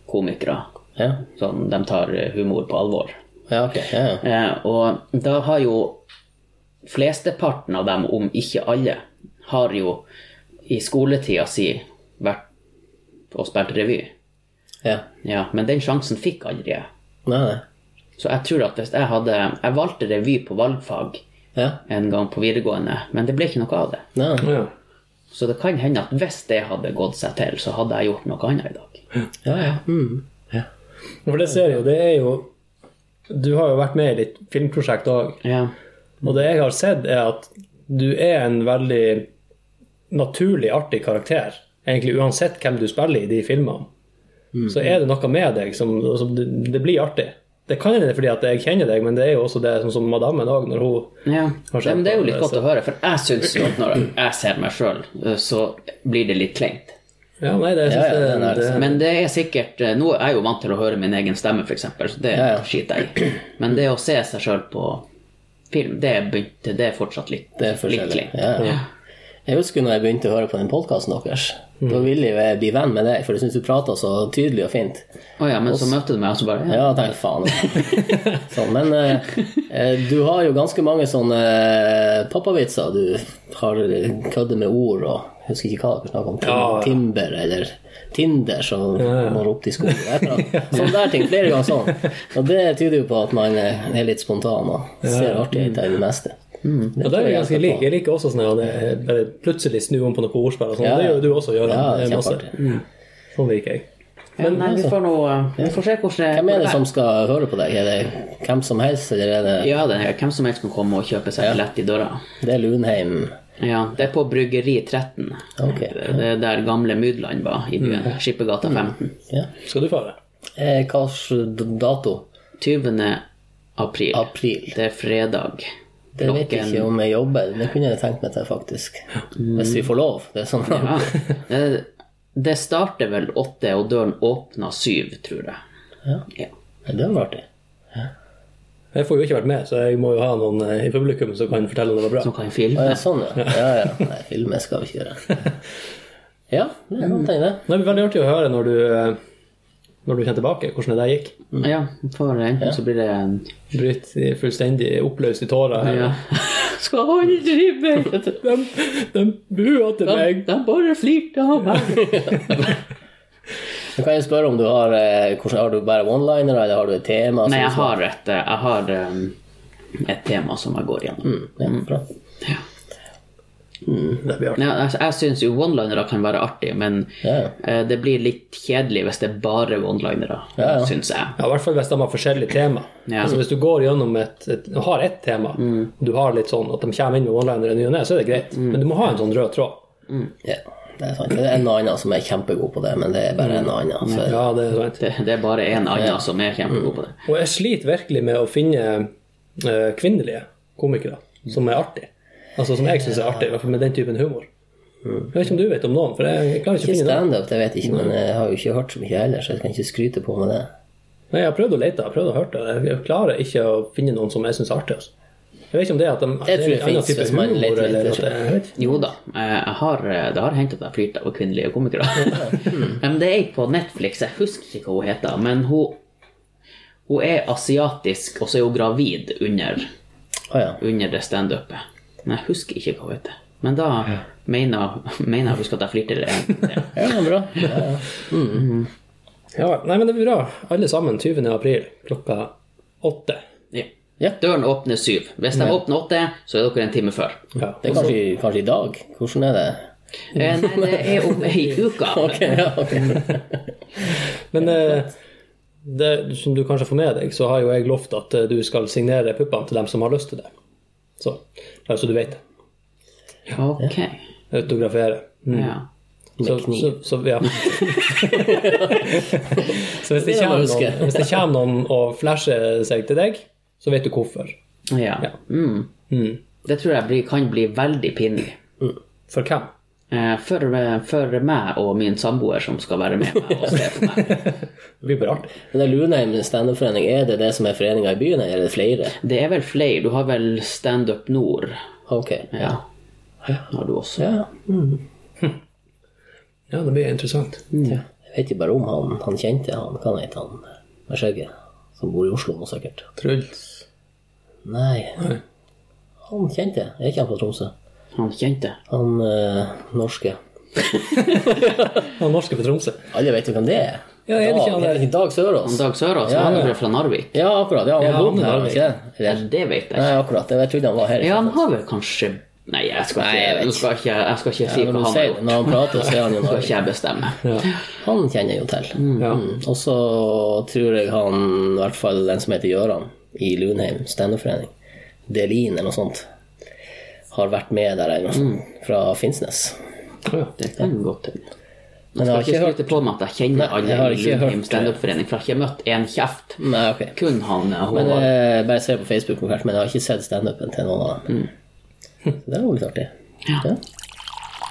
[SPEAKER 3] komikere.
[SPEAKER 1] ja.
[SPEAKER 3] Sånn, de tar humor på alvor.
[SPEAKER 1] ja, ok. Ja, ja.
[SPEAKER 3] Eh, og da har jo flesteparten av dem, om ikke alle, har jo i skoletida si vært og spilt revy.
[SPEAKER 1] ja.
[SPEAKER 3] Ja, men den sjansen fikk aldri jeg.
[SPEAKER 1] Nei, nei.
[SPEAKER 3] Så jeg tror at hvis jeg hadde Jeg valgte revy på valgfag
[SPEAKER 1] Ja.
[SPEAKER 3] en gang på videregående, men det ble ikke noe av det.
[SPEAKER 1] Nei, nei.
[SPEAKER 2] Ja.
[SPEAKER 3] Så det kan hende at hvis det hadde gått seg til, så hadde jeg gjort noe annet i dag.
[SPEAKER 1] Ja, ja. Mm.
[SPEAKER 2] For det ser jeg jo, det er jo Du har jo vært med i litt filmprosjekt òg.
[SPEAKER 3] Ja.
[SPEAKER 2] Og det jeg har sett, er at du er en veldig naturlig artig karakter. Egentlig uansett hvem du spiller i de filmene. Så er det noe med deg som, som det, det blir artig. Det kan hende fordi at jeg kjenner deg, men det er jo også det sånn som madammen òg, når hun
[SPEAKER 3] Ja.
[SPEAKER 2] Kanskje
[SPEAKER 3] Nei, men det er jo litt
[SPEAKER 2] jeg
[SPEAKER 3] godt
[SPEAKER 2] ser-
[SPEAKER 3] å høre, for jeg syns jo at når jeg ser meg sjøl, så blir det litt kleint.
[SPEAKER 2] Ja, nei, det synes
[SPEAKER 1] Ja, ja,
[SPEAKER 2] jeg
[SPEAKER 1] den er
[SPEAKER 2] det,
[SPEAKER 3] Men det er sikkert eh, Nå er jeg jo vant til å høre min egen stemme, f.eks., så det
[SPEAKER 1] Ja, ja.
[SPEAKER 3] skiter jeg i. Men det å se seg sjøl på film, det er, begynt, det er fortsatt litt,
[SPEAKER 1] Det er
[SPEAKER 3] litt
[SPEAKER 1] forskjellig.
[SPEAKER 3] kleint.
[SPEAKER 1] Ja, ja. Jeg husker når jeg begynte å høre på den podkasten deres. Da ville jo jeg bli venn med deg, for jeg syns du prata så tydelig og fint.
[SPEAKER 3] Å ja, men så møtte du meg, og så bare ja.
[SPEAKER 1] Ja, jeg tenkte faen. Sånn, men eh, eh, du har jo ganske mange sånne eh, pappavitser. Du har eh, kødder med ord og jeg husker ikke hva dere snakker om. Tim
[SPEAKER 2] Ja, ja.
[SPEAKER 1] Timber eller Tinder som må rope til skolen. et eller annet. Sånne der ting. Flere ganger sånn. Og det tyder jo på at man eh, er litt spontan og ser artigheter i det meste.
[SPEAKER 2] Mm. Ja, det er vi ganske like. Jeg liker også sånn at jeg bare plutselig snur om på noe ordspill og sånn.
[SPEAKER 1] Ja, ja.
[SPEAKER 2] Det gjør jo du også, Gøran.
[SPEAKER 1] Ja, det er
[SPEAKER 2] Det er masse.
[SPEAKER 1] kjempeartig.
[SPEAKER 2] Sånn liker jeg.
[SPEAKER 3] Nei, vi får, nå, eh, vi får se hvordan
[SPEAKER 1] Hvem er det som skal høre på deg? Er det hvem som helst, eller er det,
[SPEAKER 3] Ja, det er hvem som helst kan komme og kjøpe seg billett i døra.
[SPEAKER 1] det er Lunheim?
[SPEAKER 3] Ja, det er på Bryggeri 13.
[SPEAKER 1] Ok. Mm.
[SPEAKER 3] Det er der gamle Mydland var i byen. Skippergata 15.
[SPEAKER 1] Ja.
[SPEAKER 2] Skal du fare?
[SPEAKER 1] Eh, Hva slags dato?
[SPEAKER 3] 20. april.
[SPEAKER 1] April.
[SPEAKER 3] Det er fredag.
[SPEAKER 1] Det vet jeg ikke om jeg jobber. Det kunne jeg tenkt meg til, faktisk. Hvis vi får lov. Det er sånn.
[SPEAKER 3] Ja. Eh, Det starter vel åtte, og døren åpner syv, tror jeg.
[SPEAKER 1] Ja.
[SPEAKER 3] Ja.
[SPEAKER 1] Det var artig.
[SPEAKER 2] Jeg får jo ikke vært med, så jeg må jo ha noen eh, i publikum som kan fortelle om det var bra.
[SPEAKER 3] Som kan
[SPEAKER 1] Å,
[SPEAKER 3] filme.
[SPEAKER 1] ja, sånn, ja. ja, ja. Nei, filme skal vi ikke gjøre. Ja, det er noe tegn, det.
[SPEAKER 2] Det blir veldig artig å høre når du, eh, når du kommer tilbake, hvordan det der gikk.
[SPEAKER 3] Mm. Ja, for enten så blir det en
[SPEAKER 2] Bryt i- fullstendig oppløst i tårer.
[SPEAKER 3] ja. Skal aldri mer
[SPEAKER 2] De, de bua til meg!
[SPEAKER 3] De bare flirte av meg.
[SPEAKER 1] Så kan jeg spørre om du har eh, hvordan, Har du bare one-liner, eller har du et tema?
[SPEAKER 3] Nei, jeg har et, eh, jeg har um, et tema som jeg går gjennom.
[SPEAKER 1] Ja, bra.
[SPEAKER 2] Det blir artig.
[SPEAKER 3] Ja, jeg jeg syns jo one-linere kan være artig, men
[SPEAKER 1] Ja.
[SPEAKER 3] eh, det blir litt kjedelig hvis det er bare one-linere,
[SPEAKER 1] Ja, ja.
[SPEAKER 3] syns jeg.
[SPEAKER 2] Ja, I hvert fall hvis de har forskjellige tema.
[SPEAKER 3] Ja.
[SPEAKER 2] Altså Hvis du går gjennom et, et du har ett tema, du har litt sånn at de kommer inn med one-liner i ny og ne, så er det greit. Men du må ha en sånn rød tråd.
[SPEAKER 1] Ja, det er sant. Det er en og annen som er kjempegod på det, men det er bare en og
[SPEAKER 3] Mm.
[SPEAKER 1] annen. Så
[SPEAKER 2] Ja, det er sant.
[SPEAKER 3] Det, det er bare en annen som er kjempegod på det.
[SPEAKER 2] Og jeg sliter virkelig med å finne eh, kvinnelige komikere som er artig. Altså som jeg syns er artig, i hvert fall med den typen humor.
[SPEAKER 1] Mm.
[SPEAKER 2] Jeg vet ikke om du vet om noen, for jeg, jeg klarer ikke å
[SPEAKER 1] ikke
[SPEAKER 2] finne noen.
[SPEAKER 1] standup, det vet jeg ikke, men eh, jeg har jo ikke hørt så mye heller, så jeg kan ikke skryte på med det.
[SPEAKER 2] Nei, jeg har prøvd å lete, jeg har prøvd å høre det. Jeg klarer ikke å finne noen som jeg syns er artig. Altså. Jeg vet ikke om det er at de det
[SPEAKER 1] tror
[SPEAKER 2] er en
[SPEAKER 1] det
[SPEAKER 2] annen
[SPEAKER 1] finnes
[SPEAKER 2] type
[SPEAKER 1] hvis man
[SPEAKER 2] humor
[SPEAKER 1] leter
[SPEAKER 2] eller
[SPEAKER 1] etter
[SPEAKER 2] at det, jeg vet ikke.
[SPEAKER 3] Jo da, eh, jeg har, eh, det har hendt at jeg flirte av kvinnelige komikere. Men det er på Netflix, jeg husker ikke hva hun heter. Men hun, hun er asiatisk, og så er hun gravid under,
[SPEAKER 1] Å ja.
[SPEAKER 3] under det standupet. Men jeg husker ikke hva hun heter. Men da mener, mener jeg å huske at jeg flirte. eller- ja.
[SPEAKER 1] ja, bra. Ja, ja.
[SPEAKER 2] Ja, nei, men det blir bra. Alle sammen 20. april klokka åtte.
[SPEAKER 1] Mm.
[SPEAKER 3] Ja.
[SPEAKER 1] Ja.
[SPEAKER 3] Døren åpner syv. Hvis de åpner åtte, så er dere en time før.
[SPEAKER 2] Ja.
[SPEAKER 1] Det er kanskje, kanskje i dag? Hvordan er det?
[SPEAKER 3] Eh, Nei, det er om ei uke.
[SPEAKER 1] Ok, ja, ok.
[SPEAKER 2] Men eh, det som du kanskje får med deg, så har jo jeg lovt at eh, du skal signere puppene til dem som har lyst til det. Så, bare så du vet det.
[SPEAKER 3] Ok.
[SPEAKER 2] Autografere. Mm.
[SPEAKER 3] Ja.
[SPEAKER 2] Så, så, så, ja. så hvis det,
[SPEAKER 1] Det må
[SPEAKER 2] kommer
[SPEAKER 1] jeg huske.
[SPEAKER 2] noen, hvis det kommer noen og flasher seg til deg, så vet du hvorfor.
[SPEAKER 3] ja. Mm.
[SPEAKER 2] Mm.
[SPEAKER 3] Det tror jeg blir, kan bli veldig pinlig.
[SPEAKER 2] For hvem?
[SPEAKER 3] Eh, For, for meg og min samboer som skal være med meg og se på meg.
[SPEAKER 2] Det blir bare artig.
[SPEAKER 1] Men det er Lunheim standup-forening, er det det som er foreninga i byen, eller er det flere?
[SPEAKER 3] Det er vel flere. Du har vel Stand Up Nord.
[SPEAKER 1] Ok.
[SPEAKER 3] Ja. Har du også.
[SPEAKER 1] Ja.
[SPEAKER 2] Ja, det blir interessant.
[SPEAKER 1] ja. Jeg vet jo bare om han, han kjente han, hva han het han med skjegget, som bor i Oslo nå sikkert.
[SPEAKER 2] Truls.
[SPEAKER 1] Nei. Han kjente jeg. Er ikke han fra Tromsø?
[SPEAKER 3] Han kjente.
[SPEAKER 1] Han eh, norske.
[SPEAKER 2] Han norske fra Tromsø.
[SPEAKER 1] Alle vet jo hvem det er.
[SPEAKER 2] Ja, er det ikke
[SPEAKER 1] Dag,
[SPEAKER 2] han
[SPEAKER 1] er
[SPEAKER 2] der?
[SPEAKER 1] det ikke Dag Sørås?
[SPEAKER 3] Dag Sørås,
[SPEAKER 1] Ja,
[SPEAKER 3] han
[SPEAKER 1] ja.
[SPEAKER 3] er vel fra Narvik?
[SPEAKER 1] Ja, akkurat. Ja, han
[SPEAKER 2] Ja,
[SPEAKER 1] ja, bodde
[SPEAKER 2] han er
[SPEAKER 1] her, var ikke det?
[SPEAKER 3] Ja,
[SPEAKER 1] Eller-
[SPEAKER 3] det vet jeg ikke.
[SPEAKER 1] Nei, akkurat. Jeg trodde han var her.
[SPEAKER 3] Ja, han har vel kanskje Nei, jeg skal ikke,
[SPEAKER 1] Nei, jeg vet
[SPEAKER 3] nå skal ikke, jeg skal ikke si
[SPEAKER 1] Ja, når,
[SPEAKER 3] hva
[SPEAKER 1] du
[SPEAKER 3] han har
[SPEAKER 1] sier, det,
[SPEAKER 3] gjort.
[SPEAKER 1] når han prater, så er han jo
[SPEAKER 3] Skal
[SPEAKER 1] Norge.
[SPEAKER 3] ikke jeg bestemme.
[SPEAKER 1] Han kjenner jeg jo til.
[SPEAKER 2] Ja.
[SPEAKER 1] Mm. Og så tror jeg han, i hvert fall den som heter Gøran i Lunheim standup-forening, Delin eller noe sånt, har vært med der eller noe sånt,
[SPEAKER 3] Mm.
[SPEAKER 1] fra Finnsnes.
[SPEAKER 2] Ja.
[SPEAKER 3] Det kan godt hende.
[SPEAKER 1] Men jeg
[SPEAKER 3] Jeg skal
[SPEAKER 1] har
[SPEAKER 3] ikke
[SPEAKER 1] ikke hørt
[SPEAKER 3] skryte på meg at jeg kjenner
[SPEAKER 1] Nei, jeg har
[SPEAKER 3] alle i
[SPEAKER 1] ikke hørt
[SPEAKER 3] Lundheim
[SPEAKER 1] det.
[SPEAKER 3] standup-forening, for jeg har ikke møtt en kjeft.
[SPEAKER 1] Nei, ok.
[SPEAKER 3] Kun han eh,
[SPEAKER 1] Men
[SPEAKER 3] Håvard.
[SPEAKER 1] eh, bare ser på Facebook, kanskje, men jeg har ikke sett standupen til noen av dem. Så det var litt artig.
[SPEAKER 3] Mm. Ja.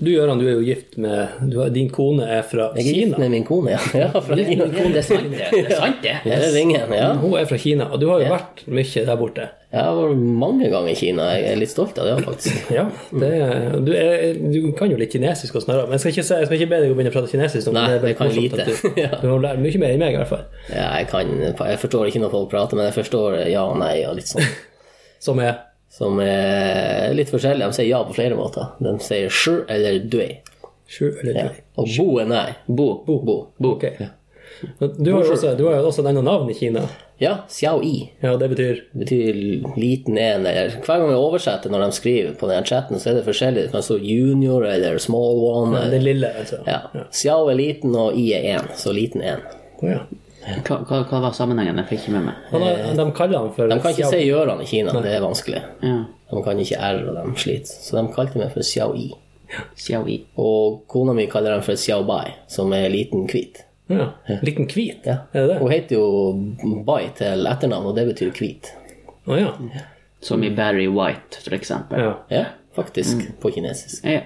[SPEAKER 2] Du Gøran, du er jo gift med du, har- Din kone er fra
[SPEAKER 1] Jeg er gift
[SPEAKER 2] Kina.
[SPEAKER 1] med min kone, ja. ja fra
[SPEAKER 3] Det
[SPEAKER 1] Kina.
[SPEAKER 3] det er Mm. sant, det. Det er sant, det.
[SPEAKER 1] Her er ringen, ja.
[SPEAKER 2] Hun er fra Kina, og du har jo vært mye der borte.
[SPEAKER 1] Jeg har vært mange ganger i Kina. Jeg er litt stolt av det, faktisk.
[SPEAKER 2] Ja,
[SPEAKER 1] Mm.
[SPEAKER 2] det, er- du, er, du kan jo litt kinesisk og sånn, her, men jeg skal, ikke, si- jeg skal ikke be deg å begynne å prate kinesisk. om
[SPEAKER 1] Nei,
[SPEAKER 2] er bare
[SPEAKER 1] det kan jeg
[SPEAKER 2] morsomt at
[SPEAKER 1] lite.
[SPEAKER 2] Du, du har lært mye mer enn meg, i hvert fall.
[SPEAKER 1] Ja, jeg, kan, jeg forstår ikke når folk prater, men jeg forstår eh, ja og nei og litt sånn.
[SPEAKER 2] Som er
[SPEAKER 1] Som er litt forskjellig. De sier ja på flere måter. De sier sju eller dui.
[SPEAKER 2] sju eller
[SPEAKER 1] Ja.
[SPEAKER 2] tre.
[SPEAKER 1] Og bo er nei.
[SPEAKER 3] Bo.
[SPEAKER 1] Bo. bo.
[SPEAKER 2] Ok. Men Du har jo også, du har jo også denne navn i Kina,
[SPEAKER 1] Ja, xiao i.
[SPEAKER 2] ja, og det betyr
[SPEAKER 1] Det betyr liten en, eller Hver gang jeg oversetter når de skriver på den chatten, så er det forskjellig. Det kan stå junior eller small one. Eller,
[SPEAKER 2] den lille, altså.
[SPEAKER 1] ja. Xiao er liten, og i er én. Så liten en.
[SPEAKER 2] Å, ja.
[SPEAKER 3] Hva, hva, hva var sammenhengen? Jeg fikk ikke med meg.
[SPEAKER 2] Han har, de kaller han for
[SPEAKER 1] Eh, De kan ikke
[SPEAKER 2] Xiao-
[SPEAKER 1] si Gjøran i Kina, det er vanskelig.
[SPEAKER 3] Ja.
[SPEAKER 1] De kan ikke R, og de sliter. Så de kalte meg for xiao i.
[SPEAKER 3] Xiaoyi.
[SPEAKER 1] Og kona mi kaller dem for Xiao Bai, som er liten hvit.
[SPEAKER 2] ja. Liten hvit,
[SPEAKER 1] Ja.
[SPEAKER 2] er det det?
[SPEAKER 1] Hun heter jo Bai til etternavn, og det betyr hvit.
[SPEAKER 2] Å ja.
[SPEAKER 3] Som i Barry White, for eksempel.
[SPEAKER 2] ja.
[SPEAKER 1] Mm. Ja, faktisk, på kinesisk.
[SPEAKER 3] Ja.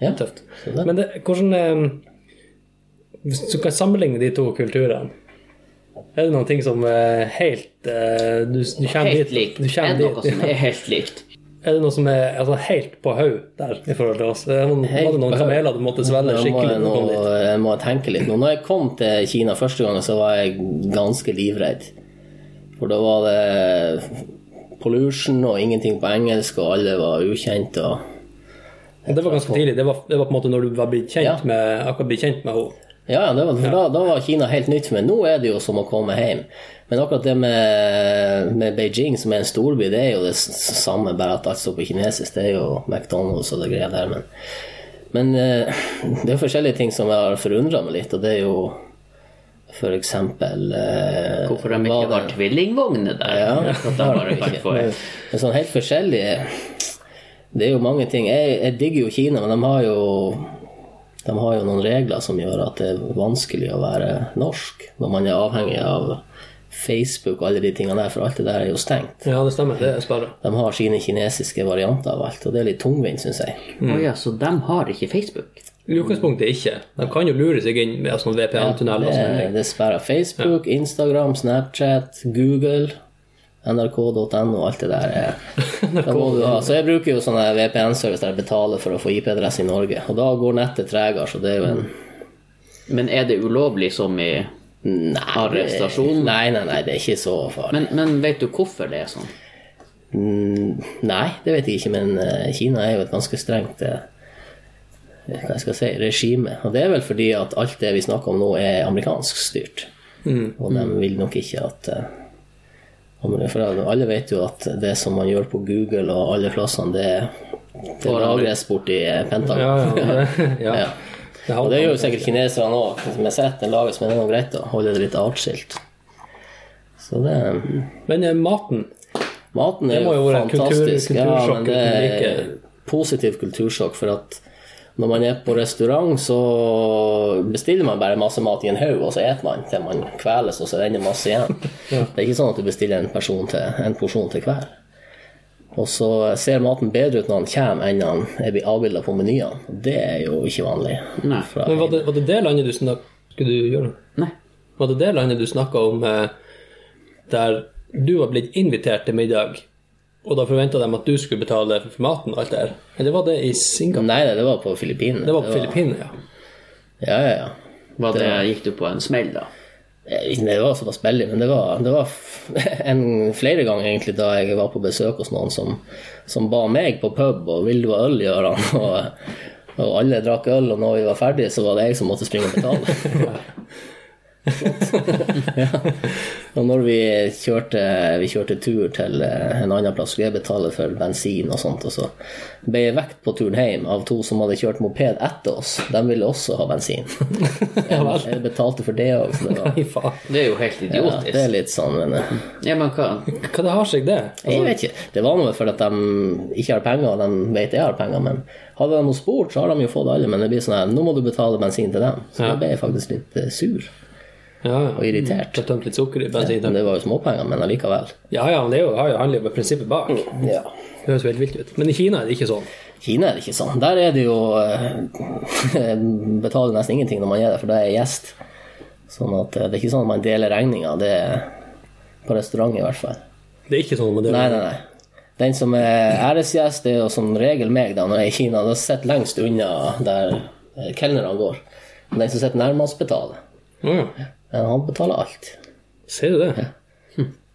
[SPEAKER 1] Ja.
[SPEAKER 2] Mm. Tøft.
[SPEAKER 1] Så det-
[SPEAKER 2] Men det, hvordan eh, Hvis du kan sammenligne de to kulturene Er det noen ting som er helt eh, Du, du kommer dit,
[SPEAKER 3] Helt likt.
[SPEAKER 2] du
[SPEAKER 3] Er
[SPEAKER 2] kommer
[SPEAKER 3] det noe
[SPEAKER 2] dit
[SPEAKER 3] som er helt likt?
[SPEAKER 2] Er det noe som er altså, helt på haug der i forhold til oss? Er det noen,
[SPEAKER 1] Helt
[SPEAKER 2] var
[SPEAKER 1] på
[SPEAKER 2] det noen
[SPEAKER 1] haug.
[SPEAKER 2] kameler du måtte
[SPEAKER 1] Nå
[SPEAKER 2] svelge
[SPEAKER 1] må
[SPEAKER 2] skikkelig?
[SPEAKER 1] jeg,
[SPEAKER 2] når du kom dit?
[SPEAKER 1] nå, jeg må tenke litt nå. Når jeg kom til Kina første gang, så var jeg ganske livredd. For da var det pollution og ingenting på engelsk, og alle var ukjent og
[SPEAKER 2] Det var ganske tidlig. Det var, det var på en måte når du var blitt kjent
[SPEAKER 1] Ja.
[SPEAKER 2] med, akkurat blitt kjent med henne.
[SPEAKER 1] Ja, ja, det var, for Da, da var Kina helt nytt for meg. Nå er det jo som å komme hjem. Men akkurat det med, med Beijing, som er en storby, det er jo det s- s- samme, bare at alt står på kinesisk. Det er jo McDonald's og det greia der, men Men eh, det er forskjellige ting som jeg har forundra meg litt, og det er jo for eksempel eh,
[SPEAKER 3] Hvorfor de
[SPEAKER 1] hva
[SPEAKER 3] ikke
[SPEAKER 1] det-
[SPEAKER 3] har tvillingvogner der?
[SPEAKER 1] ja,
[SPEAKER 3] At de bare kan få
[SPEAKER 1] Men sånn helt forskjellig Det er jo mange ting. Jeg, jeg digger jo Kina, men de har jo de har jo noen regler som gjør at det er vanskelig å være norsk når man er avhengig av Facebook og alle de tingene der, for alt det der er jo stengt.
[SPEAKER 2] Ja, det stemmer. Det er sperra.
[SPEAKER 1] De har sine kinesiske varianter av alt, og det er litt tungvint, syns jeg.
[SPEAKER 3] Å ja, så de har ikke Facebook?
[SPEAKER 2] I utgangspunktet ikke. De kan jo lure seg inn med sånn VPN-tunnel og sånne
[SPEAKER 1] Det,
[SPEAKER 2] ting.
[SPEAKER 1] det sperrer Facebook, Instagram, Snapchat, Google, nrk.no, alt det der er Da må du ha. Så jeg bruker jo sånn her VPN-service der jeg betaler for å få IP-adresse i Norge. Og da går nettet tregere, så det er jo en
[SPEAKER 3] Men er det ulovlig som i arrestasjon?
[SPEAKER 1] Nei, nei, nei, det er ikke så farlig.
[SPEAKER 3] Men, men vet du hvorfor det er sånn?
[SPEAKER 1] Mm, Nei, det vet jeg ikke, men eh, Kina er jo et ganske strengt eh, hva skal jeg si, regime. Og det er vel fordi at alt det vi snakker om nå, er amerikansk styrt.
[SPEAKER 2] Mm,
[SPEAKER 1] Og de vil nok ikke at eh, amer- For alle vet jo at det som man gjør på Google og alle plassene, det, det lagres borti eh, Pentagon.
[SPEAKER 2] Ja, ja, det, ja.
[SPEAKER 1] Ja.
[SPEAKER 2] Det
[SPEAKER 1] Og
[SPEAKER 2] har-
[SPEAKER 1] det gjør jo sikkert kineserne òg. Som jeg sett, det lages med noe greit å holde det litt atskilt. Så det mm.
[SPEAKER 2] Men eh, maten
[SPEAKER 1] Maten er
[SPEAKER 2] Det må
[SPEAKER 1] jo
[SPEAKER 2] jo være et
[SPEAKER 1] fantastisk.
[SPEAKER 2] kultur-
[SPEAKER 1] ja, men
[SPEAKER 2] kultursjokk
[SPEAKER 1] det
[SPEAKER 2] uten
[SPEAKER 1] er
[SPEAKER 2] like.
[SPEAKER 1] positiv kultursjokk, for at når man er på restaurant, så bestiller man bare masse mat i en haug, og så eter man til man kveles, og så renner masse igjen. Det er ikke sånn at du bestiller en, person til, en porsjon til hver. Og så ser maten bedre ut når han kommer, enn han er blitt avbilda på menyene. Det er jo ikke vanlig.
[SPEAKER 3] Nei.
[SPEAKER 1] Fra-
[SPEAKER 2] Men var det, var det det landet du snakka Skulle du gjøre det?
[SPEAKER 3] Nei.
[SPEAKER 2] Var det det landet du snakka om eh, der du var blitt invitert til middag, og da forventa de at du skulle betale for maten og alt det der? Eller var det i Singapore?
[SPEAKER 1] Nei, nei, det var på Filippinene.
[SPEAKER 2] Det var på Filippinene, ja.
[SPEAKER 1] Ja, ja, ja.
[SPEAKER 3] Var det, gikk du på en smell,
[SPEAKER 1] Jeg
[SPEAKER 3] da?
[SPEAKER 1] vet Eh, ikke, Det var såpass billig, men det var, det var f- en, flere ganger egentlig da jeg var på besøk hos noen som, som ba meg på pub og 'vil du ha øl', Gøran? Og, og alle drakk øl, og når vi var ferdige, så var det jeg som måtte springe og betale. Flott. ja. Og når vi kjørte, vi kjørte tur til eh, en annen plass, skulle jeg betale for bensin og sånt, og så ble jeg vekt på turen hjem av to som hadde kjørt moped etter oss. De ville også ha bensin. Jeg betalte for det òg, så det var
[SPEAKER 2] Nei, faen.
[SPEAKER 3] Det er jo helt
[SPEAKER 1] ja,
[SPEAKER 3] idiotisk.
[SPEAKER 1] det er litt sånn, men eh, altså,
[SPEAKER 3] Ja, men hva?
[SPEAKER 2] Hva det har seg, det?
[SPEAKER 1] jeg vet ikke. Det var noe fordi at de ikke har penger, og de vet jeg har penger, men hadde de noe spurt, så har de jo fått alle, men det blir sånn her, nå må du betale bensin til dem. Så da ble jeg faktisk litt eh, sur
[SPEAKER 2] Ja,
[SPEAKER 1] og
[SPEAKER 2] ja.
[SPEAKER 1] irritert.
[SPEAKER 2] Du har tømt litt sukker i bensinen.
[SPEAKER 1] Men Mm. det var jo småpenger, men allikevel.
[SPEAKER 2] Ja, ja, men det er jo- har jo handler jo om prinsippet bak. Det
[SPEAKER 1] Ja.
[SPEAKER 2] høres jo helt vilt ut. Men i Kina er det ikke sånn.
[SPEAKER 1] Kina er det ikke sånn. Der er det jo eh, Betaler nesten ingenting når man er der, for da er jeg gjest. Sånn at eh, det er ikke sånn at man deler regninga. Det er på restaurant, i hvert fall.
[SPEAKER 2] Det er ikke sånn med det.
[SPEAKER 1] Nei, nei, nei. Den som er æresgjest, det er jo som regel meg, da, når jeg er i Kina. Da sitter lengst unna der eh, kelnerne går. Men den som sitter nærmest, betaler.
[SPEAKER 2] Ja,
[SPEAKER 1] Men han betaler alt.
[SPEAKER 2] ser du det?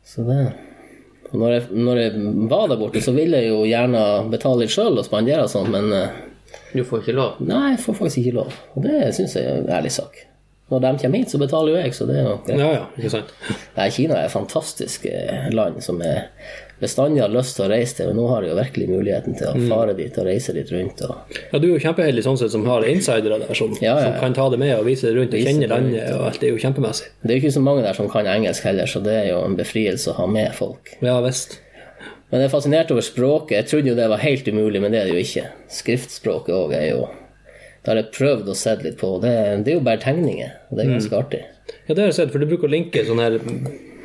[SPEAKER 1] Så det Og når jeg, når jeg var der borte, så ville jeg jo gjerne betale litt sjøl og spandere og sånn, men eh,
[SPEAKER 3] Du får ikke lov.
[SPEAKER 1] nei, jeg får faktisk ikke lov. Og det syns jeg er en ærlig sak. Når de kommer hit, så betaler jo jeg, så det er jo greit.
[SPEAKER 2] Ja, ja, ikke sant.
[SPEAKER 1] Nei, Kina er et fantastisk eh, land som jeg bestandig har lyst til å reise til. Og nå har jeg jo virkelig muligheten til å fare dit og reise litt rundt. Og...
[SPEAKER 2] Ja, Du er jo kjempeheldig sånn sett som har insidere der som,
[SPEAKER 1] Ja, ja, ja.
[SPEAKER 2] som kan ta det med og vise det rundt og kjenne
[SPEAKER 1] det
[SPEAKER 2] landet og alt. Det er jo kjempemessig.
[SPEAKER 1] Det er jo ikke så mange der som kan engelsk heller, så det er jo en befrielse å ha med folk.
[SPEAKER 2] Ja visst.
[SPEAKER 1] Men jeg er fascinert over språket. Jeg trodde jo det var helt umulig, men det er det jo ikke. Skriftspråket òg er jo Det har jeg prøvd og sett litt på. Det, det er jo bare tegninger, og det er ganske artig.
[SPEAKER 2] Ja, det har jeg sett, for du bruker å linke sånne her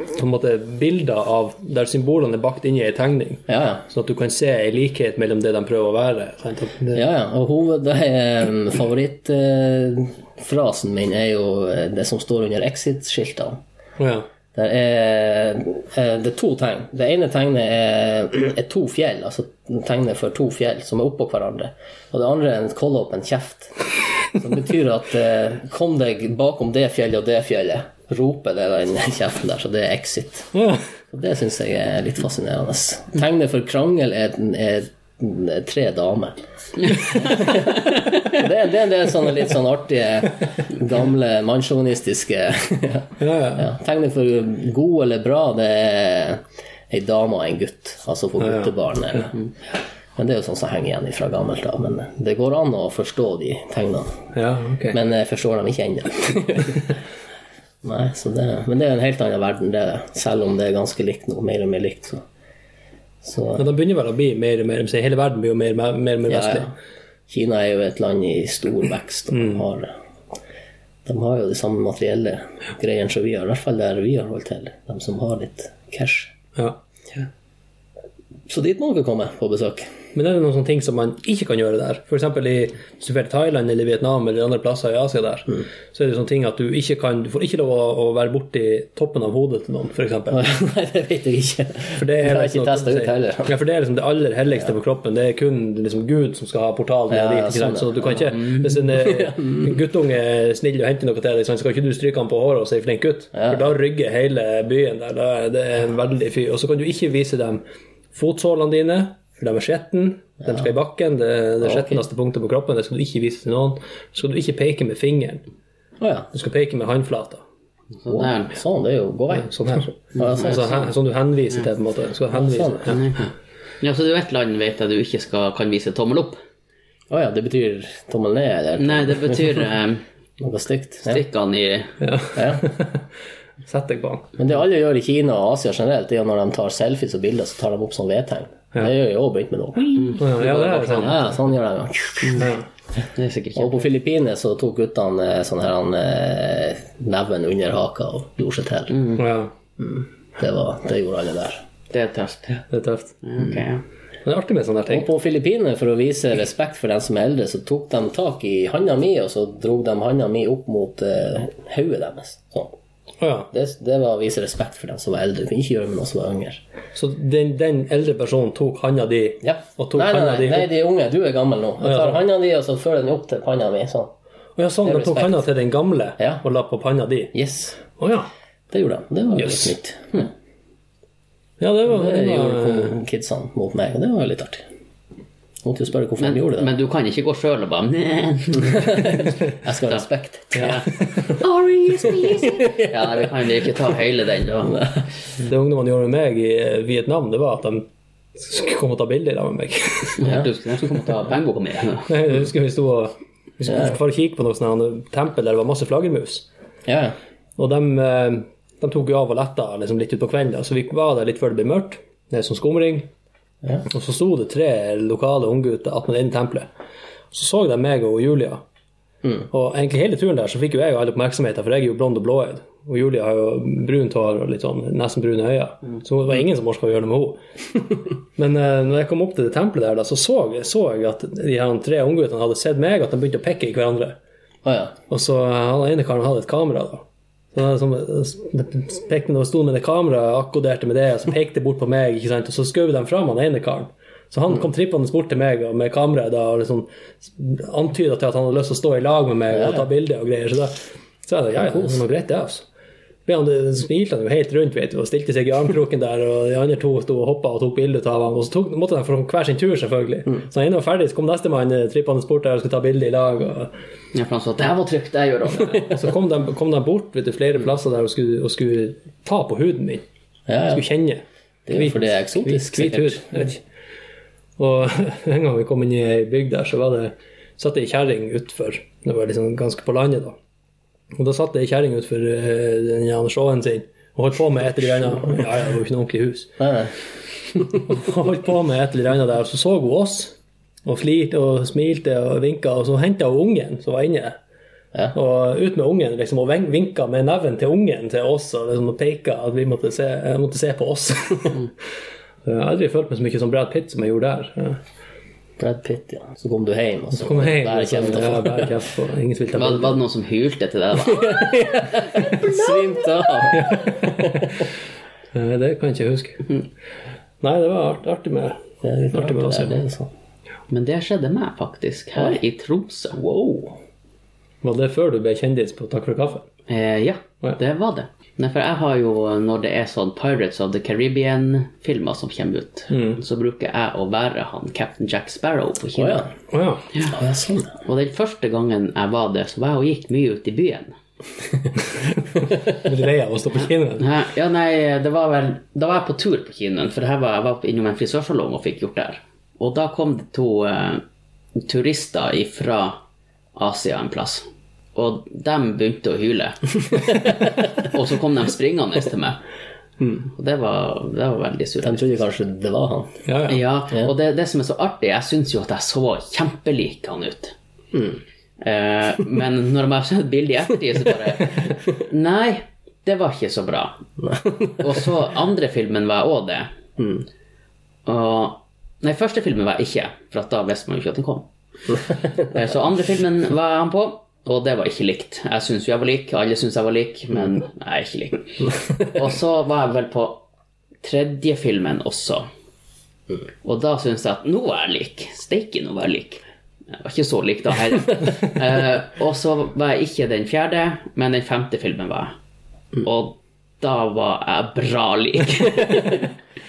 [SPEAKER 2] på en måte bilder av der symbolene er bakt inn i ei tegning,
[SPEAKER 1] Ja, ja.
[SPEAKER 2] sånn at du kan se ei likhet mellom det de prøver å være. sant? At det-
[SPEAKER 1] Ja, ja. Og hoved, det er, eh, favorittfrasen min er jo eh, det som står under exit-skiltene.
[SPEAKER 2] Ja.
[SPEAKER 1] Der er, eh, det er to tegn. Det ene tegnet er, er to fjell, altså tegnet for to fjell som er oppå hverandre. Og det andre er en kollåpen kjeft. Som betyr at eh, kom deg bakom det fjellet og det fjellet. Roper det den kjeften der, så det er exit.
[SPEAKER 2] ja.
[SPEAKER 1] Og det syns jeg er litt fascinerende. Tegnet for krangel er, er, er tre damer. det, er- det er en del sånne litt sånn artige, gamle, mannssjåvinistiske
[SPEAKER 2] ja, ja.
[SPEAKER 1] ja, tegnet for god eller bra, det er ei dame og en gutt. Altså for guttebarn. eller- Men det er jo sånn som henger igjen fra gammelt av. Men det går an å forstå de tegnene.
[SPEAKER 2] Ja, ok.
[SPEAKER 1] Men jeg forstår dem ikke ennå. Nei, så det, men det er en helt annen verden, det er det. Selv om det er ganske likt nå. Mer og mer likt, så. så eh,
[SPEAKER 2] Ja, de begynner vel å bli mer og mer de sier Hele verden blir jo mer og mer, mer
[SPEAKER 1] Ja,
[SPEAKER 2] vestlig.
[SPEAKER 1] ja. Kina er jo et land i stor vekst. Og de, har, de har jo de samme materielle greiene som vi har, i hvert fall der vi har holdt til. De som har litt cash.
[SPEAKER 2] Ja.
[SPEAKER 1] Så dit må dere komme på besøk.
[SPEAKER 2] Men er det noen sånne ting som man ikke kan gjøre der? F.eks. hvis du drar til Thailand eller Vietnam eller andre plasser i Asia der,
[SPEAKER 1] Mm.
[SPEAKER 2] så er det sånne ting at du ikke kan Du får ikke lov å, å være borti toppen av hodet til noen, f.eks.
[SPEAKER 1] Nei, det vet jeg ikke.
[SPEAKER 2] For det
[SPEAKER 1] Jeg
[SPEAKER 2] er,
[SPEAKER 1] har
[SPEAKER 2] liksom
[SPEAKER 1] ikke
[SPEAKER 2] noe-
[SPEAKER 1] testet ut heller.
[SPEAKER 2] Ja, for det er liksom det aller helligste for kroppen. Det er kun liksom Gud som skal ha portal ned
[SPEAKER 1] Ja,
[SPEAKER 2] dit.
[SPEAKER 1] ja,
[SPEAKER 2] Ikke sant?
[SPEAKER 1] sånn,
[SPEAKER 2] Så du kan ikke, hvis en eh, guttunge er snill og henter noe til deg, sant, så kan ikke du stryke han på håret og si 'flink gutt'. For da rygger hele byen der. Da er det en veldig fyr. Og så kan du ikke vise dem fotsålene dine, for de er skjetne. De skal i bakken. Det er det skjetneste punktet på kroppen. Det skal du ikke vise til noen. Så skal du ikke peke med fingeren.
[SPEAKER 1] Å ja.
[SPEAKER 2] Du skal peke med håndflata.
[SPEAKER 3] Sånn er den.
[SPEAKER 1] Sånn, det er jo god vei.
[SPEAKER 2] Sånn her.
[SPEAKER 1] Ja, sånn,
[SPEAKER 2] Altså, hen- sånn du henviser til, på en måte. Du skal henvise.
[SPEAKER 1] Sånn.
[SPEAKER 2] Ja.
[SPEAKER 3] Ja, så det er jo ett land vet jeg du ikke skal, kan vise tommel opp.
[SPEAKER 1] Å ja, det betyr tommel ned eller
[SPEAKER 3] Nei, det betyr eh,
[SPEAKER 1] noe stygt. Ja.
[SPEAKER 3] stikkene i
[SPEAKER 1] Ja.
[SPEAKER 2] Sett deg på han.
[SPEAKER 1] Men det alle gjør i Kina og Asia generelt, det er jo når de tar selfies og bilder, så tar de opp sånn vedtegn. Det gjør jeg òg begynt med nå.
[SPEAKER 2] Ja, ja, det er sant.
[SPEAKER 1] Ja, sånn gjør de. ja.
[SPEAKER 3] Det er sikkert
[SPEAKER 1] Og
[SPEAKER 3] ikke
[SPEAKER 1] på Filippinene så tok guttene eh, sånn her han, eh,
[SPEAKER 2] Mm.
[SPEAKER 1] neven under haka og gjorde seg til.
[SPEAKER 2] Ja.
[SPEAKER 1] Det, var, det gjorde alle der.
[SPEAKER 3] Det er tøft. Ja,
[SPEAKER 2] Det er tøft.
[SPEAKER 3] Ok, ja.
[SPEAKER 2] Men det er artig med sånne her ting.
[SPEAKER 1] Og på Filippinene, for å vise respekt for dem som er eldre, så tok de tak i handa mi, og så drog de handa mi opp mot eh, hodet deres. Sånn.
[SPEAKER 2] Å ja.
[SPEAKER 1] Det, det var å vise respekt for dem som var eldre. Du kunne ikke gjøre det med noen som var yngre.
[SPEAKER 2] Så den, den eldre personen tok handa di
[SPEAKER 1] Ja.
[SPEAKER 2] og tok
[SPEAKER 1] nei, nei,
[SPEAKER 2] handa
[SPEAKER 1] nei,
[SPEAKER 2] di
[SPEAKER 1] nei,
[SPEAKER 2] opp?
[SPEAKER 1] de er unge. Du er gammel nå. Jeg
[SPEAKER 2] Ja.
[SPEAKER 1] tar handa di, og så fører den opp til panna mi. Sånn.
[SPEAKER 2] Å ja, sånn.
[SPEAKER 1] Det er
[SPEAKER 2] Den tok
[SPEAKER 1] respekt.
[SPEAKER 2] handa til den gamle
[SPEAKER 1] Ja.
[SPEAKER 2] og la på panna di?
[SPEAKER 1] Yes.
[SPEAKER 2] Å ja.
[SPEAKER 1] Det gjorde de. Det var
[SPEAKER 2] Yes.
[SPEAKER 1] litt nytt. Hm.
[SPEAKER 2] Ja, det var,
[SPEAKER 1] Det
[SPEAKER 2] det var
[SPEAKER 1] gjorde kom- kidsene mot meg, og det var jo litt artig. Måtte jo spørre hvorfor
[SPEAKER 3] Men,
[SPEAKER 1] de gjorde det.
[SPEAKER 3] men du kan ikke gå sjøl og bare «Nei».
[SPEAKER 1] Jeg skal ha respekt.
[SPEAKER 3] ja. ja, vi kan jo ikke ta hele den, da.
[SPEAKER 2] Det ungdommene gjorde med meg i eh, Vietnam, det var at de skulle komme og ta bilder av meg.
[SPEAKER 3] Du skulle nesten komme og ta pengeboka mi.
[SPEAKER 2] Jeg husker vi sto og vi skulle for å kikke på noe sånt her, en tempel der det var masse flaggermus.
[SPEAKER 1] Ja, ja.
[SPEAKER 2] Og de, eh, de tok jo av og letta liksom, litt utpå kvelden, da. så vi var der litt før det ble mørkt. Det er sånn skumring.
[SPEAKER 1] Ja.
[SPEAKER 2] Og så sto det tre lokale unggutter attmed inn i tempelet. Så så de meg og Julia. Og egentlig hele turen der så fikk jo jeg all oppmerksomheten, for jeg er jo blond og blåøyd. Og Julia har jo brunt hår og litt sånn nesten brune øyne. Så det var ingen som orka å gjøre noe med henne. Men eh, når jeg kom opp til det tempelet der, da, så så, så jeg at de her tre ungguttene hadde sett meg, at de begynte å pekke i hverandre.
[SPEAKER 1] Å ja.
[SPEAKER 2] Og så eh, han ene karen hadde et kamera, da. Så han som, eh, pekte og sto med det kameraet, akkoderte med det, og så pekte bort på meg, ikke sant? og så skjøv de fram han ene karen. Så han kom trippende bort til meg og med kameraet da, og liksom antyda til at han hadde lyst til å stå i lag med meg og ta bilder og greier. Så da så jeg, sa, ja, ja, det er noe greit, det, altså. Men han det smilte han jo helt rundt vet du, og stilte seg i armkroken der, og de andre to sto og hoppa og tok bilde av ham. Og så tok, måtte de få hver sin tur, selvfølgelig. Så da han ene var ferdig, så kom nestemann eh, trippende bort der og skulle ta bilde i lag. og
[SPEAKER 3] Ja, for han sa 'det her var trygt, jeg gjør det'.
[SPEAKER 2] og så kom de, kom de bort vet du, flere plasser der og skulle, og skulle ta på huden min.
[SPEAKER 1] ja, ja.
[SPEAKER 2] Skulle kjenne.
[SPEAKER 1] Det er jo fordi det er eksotisk,
[SPEAKER 2] hvit, hvit hud.
[SPEAKER 1] sikkert.
[SPEAKER 2] jeg vet ikke. Og en gang vi kom inn i ei bygd der, så var det, satt det ei kjerring utfor. Det var liksom ganske på landet, da. Og da satt det ei kjerring utfor eh, den her sjåen sin og holdt på med et eller annet. Ja, ja, det var jo ikke noe ordentlig hus.
[SPEAKER 1] Nei, nei.
[SPEAKER 2] Og holdt på med et eller annet der, og så så hun oss. Og flirte og smilte og vinka, og så henta hun ungen som var inne.
[SPEAKER 1] Ja.
[SPEAKER 2] Og ut med ungen, liksom, og vink- vinka med neven til ungen til oss og liksom, og peka at vi måtte se, eh, måtte se på oss. jeg har aldri følt meg så mye som Brad Pitt som jeg gjorde der. Ja.
[SPEAKER 1] Brad Pitt, ja. Så kom du hjem, og så
[SPEAKER 2] Så kom jeg hjem,
[SPEAKER 1] bare
[SPEAKER 2] liksom,
[SPEAKER 1] kjeft
[SPEAKER 2] ja,
[SPEAKER 1] og
[SPEAKER 2] bare kjeft, og ingen spilte
[SPEAKER 3] Var, var det noen som hylte til deg? da?
[SPEAKER 1] svimte av.
[SPEAKER 2] Eh, Det kan jeg ikke huske. Nei, det var art- artig med
[SPEAKER 1] Mm. Det er litt
[SPEAKER 2] Artig
[SPEAKER 1] artig
[SPEAKER 2] med
[SPEAKER 1] med
[SPEAKER 2] oss, ja.
[SPEAKER 1] det. er sånn.
[SPEAKER 3] Men det skjedde meg, faktisk, her i Tromsø. Wow.
[SPEAKER 2] Var det før du ble kjendis på Takk for kaffen?
[SPEAKER 3] Eh, ja,
[SPEAKER 2] Ja.
[SPEAKER 3] det var det. Nei, for jeg har jo, når det er sånn Pirates of the Caribbean-filmer som kommer ut, så bruker jeg å være han Captain Jack Sparrow på
[SPEAKER 1] Å
[SPEAKER 3] kino.
[SPEAKER 1] ja.
[SPEAKER 2] Å ja.
[SPEAKER 1] Å, ja, sånn. ja.
[SPEAKER 3] Og den første gangen jeg var det, så var jeg og gikk mye ut i byen.
[SPEAKER 2] Er du lei av å stå på kinoen?
[SPEAKER 3] Nei, Ja, nei, det var vel Da var jeg på tur på kinoen, for her var jeg var innom en frisørsalong og fikk gjort det her. Og da kom det to eh, turister ifra Asia en plass. Og de begynte å hyle. og så kom de springende til meg. Og det var, det var veldig
[SPEAKER 1] De
[SPEAKER 3] surrealistisk.
[SPEAKER 1] trodde kanskje det var han.
[SPEAKER 2] Ja, ja.
[SPEAKER 3] Ja, og det, det som er så artig, jeg syns jo at jeg så kjempelik han ut. Mm. Eh, men når man har sett bildet i ettertid, så bare Nei, det var ikke så bra. og så andre filmen var jeg òg det. Og Nei, første filmen var jeg ikke, for at da visste man jo ikke at den kom. Eh, så andre filmen var jeg han på, og det var ikke likt. Jeg syns jo jeg var lik, alle syns jeg var lik, men jeg er ikke lik. Og så var jeg vel på tredje filmen også. Og da syns jeg at nå var jeg lik. Steike, nå var jeg lik. Jeg var ikke så lik da heller. Eh, og så var jeg ikke den fjerde, men den femte filmen var
[SPEAKER 1] Mm.
[SPEAKER 3] jeg. Og da var jeg bra lik.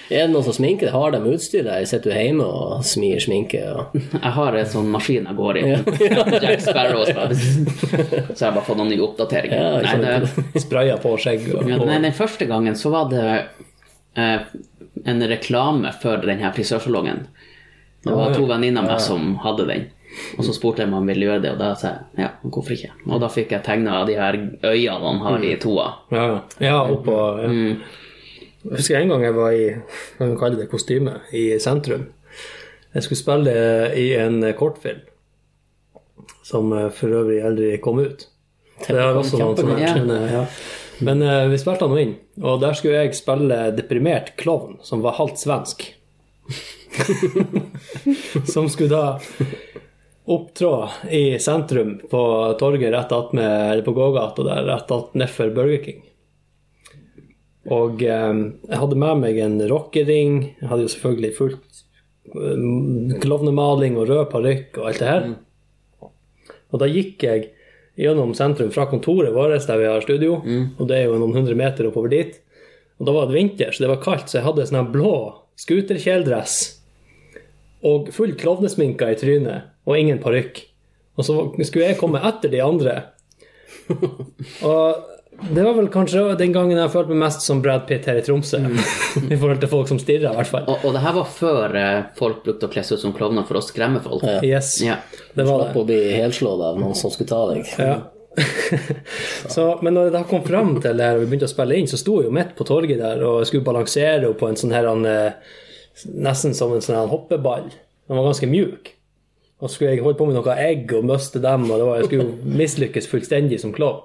[SPEAKER 1] Er det noen som sminker? Har de utstyr der? Sitter du hjemme og smir sminke? Og...
[SPEAKER 3] Jeg har en sånn maskin jeg går i. Jack Sparrow. og Så bare- så har jeg bare fått noen nye oppdateringer.
[SPEAKER 1] Ja, ikke
[SPEAKER 3] Nei, det,
[SPEAKER 2] Spraya på skjegg og,
[SPEAKER 3] Ja,
[SPEAKER 2] og
[SPEAKER 3] Nei, den første gangen så var det eh, en reklame for den her frisørsalongen. Det var to venninner av meg som hadde den. Og så spurte jeg om han ville gjøre det, og da sa jeg ja, hvorfor ikke? Og da fikk jeg tegna de her øynene han har i toa.
[SPEAKER 2] Ja, ja. ja oppå ja. Jeg husker en gang jeg var i hva man kaller det, kostyme i sentrum. Jeg skulle spille i en kortfilm eh, som for øvrig aldri kom ut. Det er også noen som har
[SPEAKER 3] Ja.
[SPEAKER 2] skjønner, ja. Men eh, vi spilte han nå inn, og der skulle jeg spille deprimert klovn som var halvt svensk. som skulle da opptrå i sentrum på torget rett attmed, eller på gågata der, rett att nedfor Burger King. Og eh, jeg hadde med meg en rockering. Jeg hadde jo selvfølgelig fullt eh, klovnemaling og rød parykk og alt det her.
[SPEAKER 3] Mm.
[SPEAKER 2] Og da gikk jeg gjennom sentrum fra kontoret vårt der vi har studio,
[SPEAKER 3] Mm.
[SPEAKER 2] og det er jo noen hundre meter oppover dit. Og da var det vinter, så det var kaldt, så jeg hadde sånn her blå skuterkjeledress og full klovnesminka i trynet og ingen parykk. Og så skulle jeg komme etter de andre. Og det var vel kanskje den gangen jeg følte meg mest som Brad Pitt her i Tromsø.
[SPEAKER 3] Mm.
[SPEAKER 2] I forhold til folk som stirrer, i hvert fall.
[SPEAKER 3] Og, og det her var før eh, folk brukte å kle seg ut som klovner for å skremme folk. Ja.
[SPEAKER 2] Yes, det var det.
[SPEAKER 1] Slapp å bli helslått av noen som skulle ta deg.
[SPEAKER 2] Ja. så, men når jeg da kom fram til det her og vi begynte å spille inn, så sto jeg jo midt på torget der og skulle balansere henne på en sånn her han, eh, Nesten som en sånn her hoppeball. Den var ganske mjuk. Og så skulle jeg holde på med noe egg og miste dem, og det var, jeg skulle jo mislykkes fullstendig som klovn.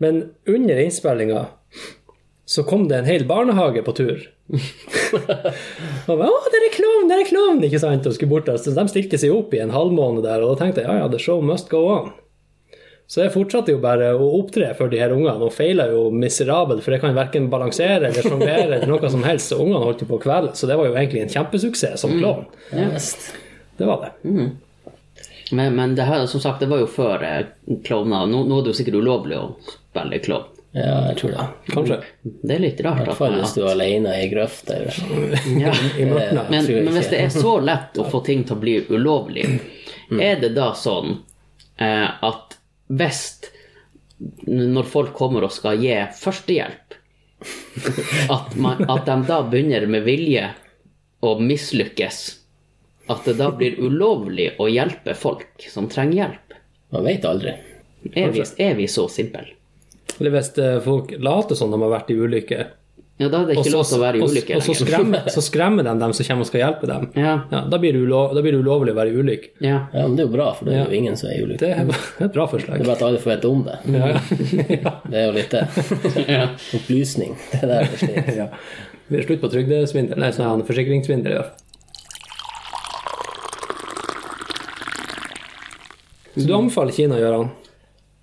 [SPEAKER 2] Men under innspillinga så kom det en hel barnehage på tur. Og bare, Å, der er klovn, der er klovn! Ikke sant? Og skulle bort der. Så de stilte seg opp i en halvmåned der, og da tenkte jeg ja, ja, the show must go on. Så jeg fortsatte jo bare å opptre for de her ungene, og feila jo miserabelt, for jeg kan verken balansere eller sjonglere eller noe som helst, og ungene holdt jo på å kvele, så det var jo egentlig en kjempesuksess
[SPEAKER 3] Mm.
[SPEAKER 2] som klovn.
[SPEAKER 1] Ja, visst.
[SPEAKER 2] Det var det.
[SPEAKER 3] Men, men det her, som sagt, det var jo før eh, klovner. Nå, nå er det jo sikkert ulovlig å spille klovn.
[SPEAKER 1] ja, jeg tror det.
[SPEAKER 2] Kanskje.
[SPEAKER 3] Det er litt rart.
[SPEAKER 1] I hvert
[SPEAKER 3] At,
[SPEAKER 1] fall hvis
[SPEAKER 3] at,
[SPEAKER 1] du er alene i grøfta. eller- sånn.
[SPEAKER 3] ja. Eh,
[SPEAKER 2] I mørket.
[SPEAKER 3] men,
[SPEAKER 1] tror jeg
[SPEAKER 3] men hvis
[SPEAKER 1] ikke.
[SPEAKER 3] det er så lett å få ting til å bli ulovlig,
[SPEAKER 2] Mm.
[SPEAKER 3] er det da sånn eh, at hvis når folk kommer og skal gi førstehjelp, at, man, at de da begynner med vilje å mislykkes, at det da blir ulovlig å hjelpe folk som trenger hjelp?
[SPEAKER 1] Man vet aldri.
[SPEAKER 3] Er vi,
[SPEAKER 2] Altså-
[SPEAKER 3] er vi så simple?
[SPEAKER 2] Eller hvis eh, folk later som de har vært i ulykke,
[SPEAKER 3] Ja, da er det
[SPEAKER 2] og
[SPEAKER 3] ikke
[SPEAKER 2] så,
[SPEAKER 3] lov til å være i
[SPEAKER 2] og,
[SPEAKER 3] ulykke
[SPEAKER 2] og så,
[SPEAKER 3] lenger.
[SPEAKER 2] skremmer, så skremmer de dem som kommer og skal hjelpe dem.
[SPEAKER 3] Ja,
[SPEAKER 2] Ja, da, blir det ulo- da blir det ulovlig å være i ulykke.
[SPEAKER 3] ja.
[SPEAKER 1] Ja, men det er jo bra, for det er jo ingen som er i ulykke.
[SPEAKER 2] Det er et bra
[SPEAKER 1] Det er
[SPEAKER 2] forslag.
[SPEAKER 1] bare at alle får vite om det.
[SPEAKER 2] Ja, ja.
[SPEAKER 1] Det er jo litt det. Opplysning. Det er der det sliter.
[SPEAKER 2] ja. Det er slutt på trygdesvindel. Nei, sånn her, forsikringssvindel. i hvert fall. Så du anbefaler Kina, Gøran?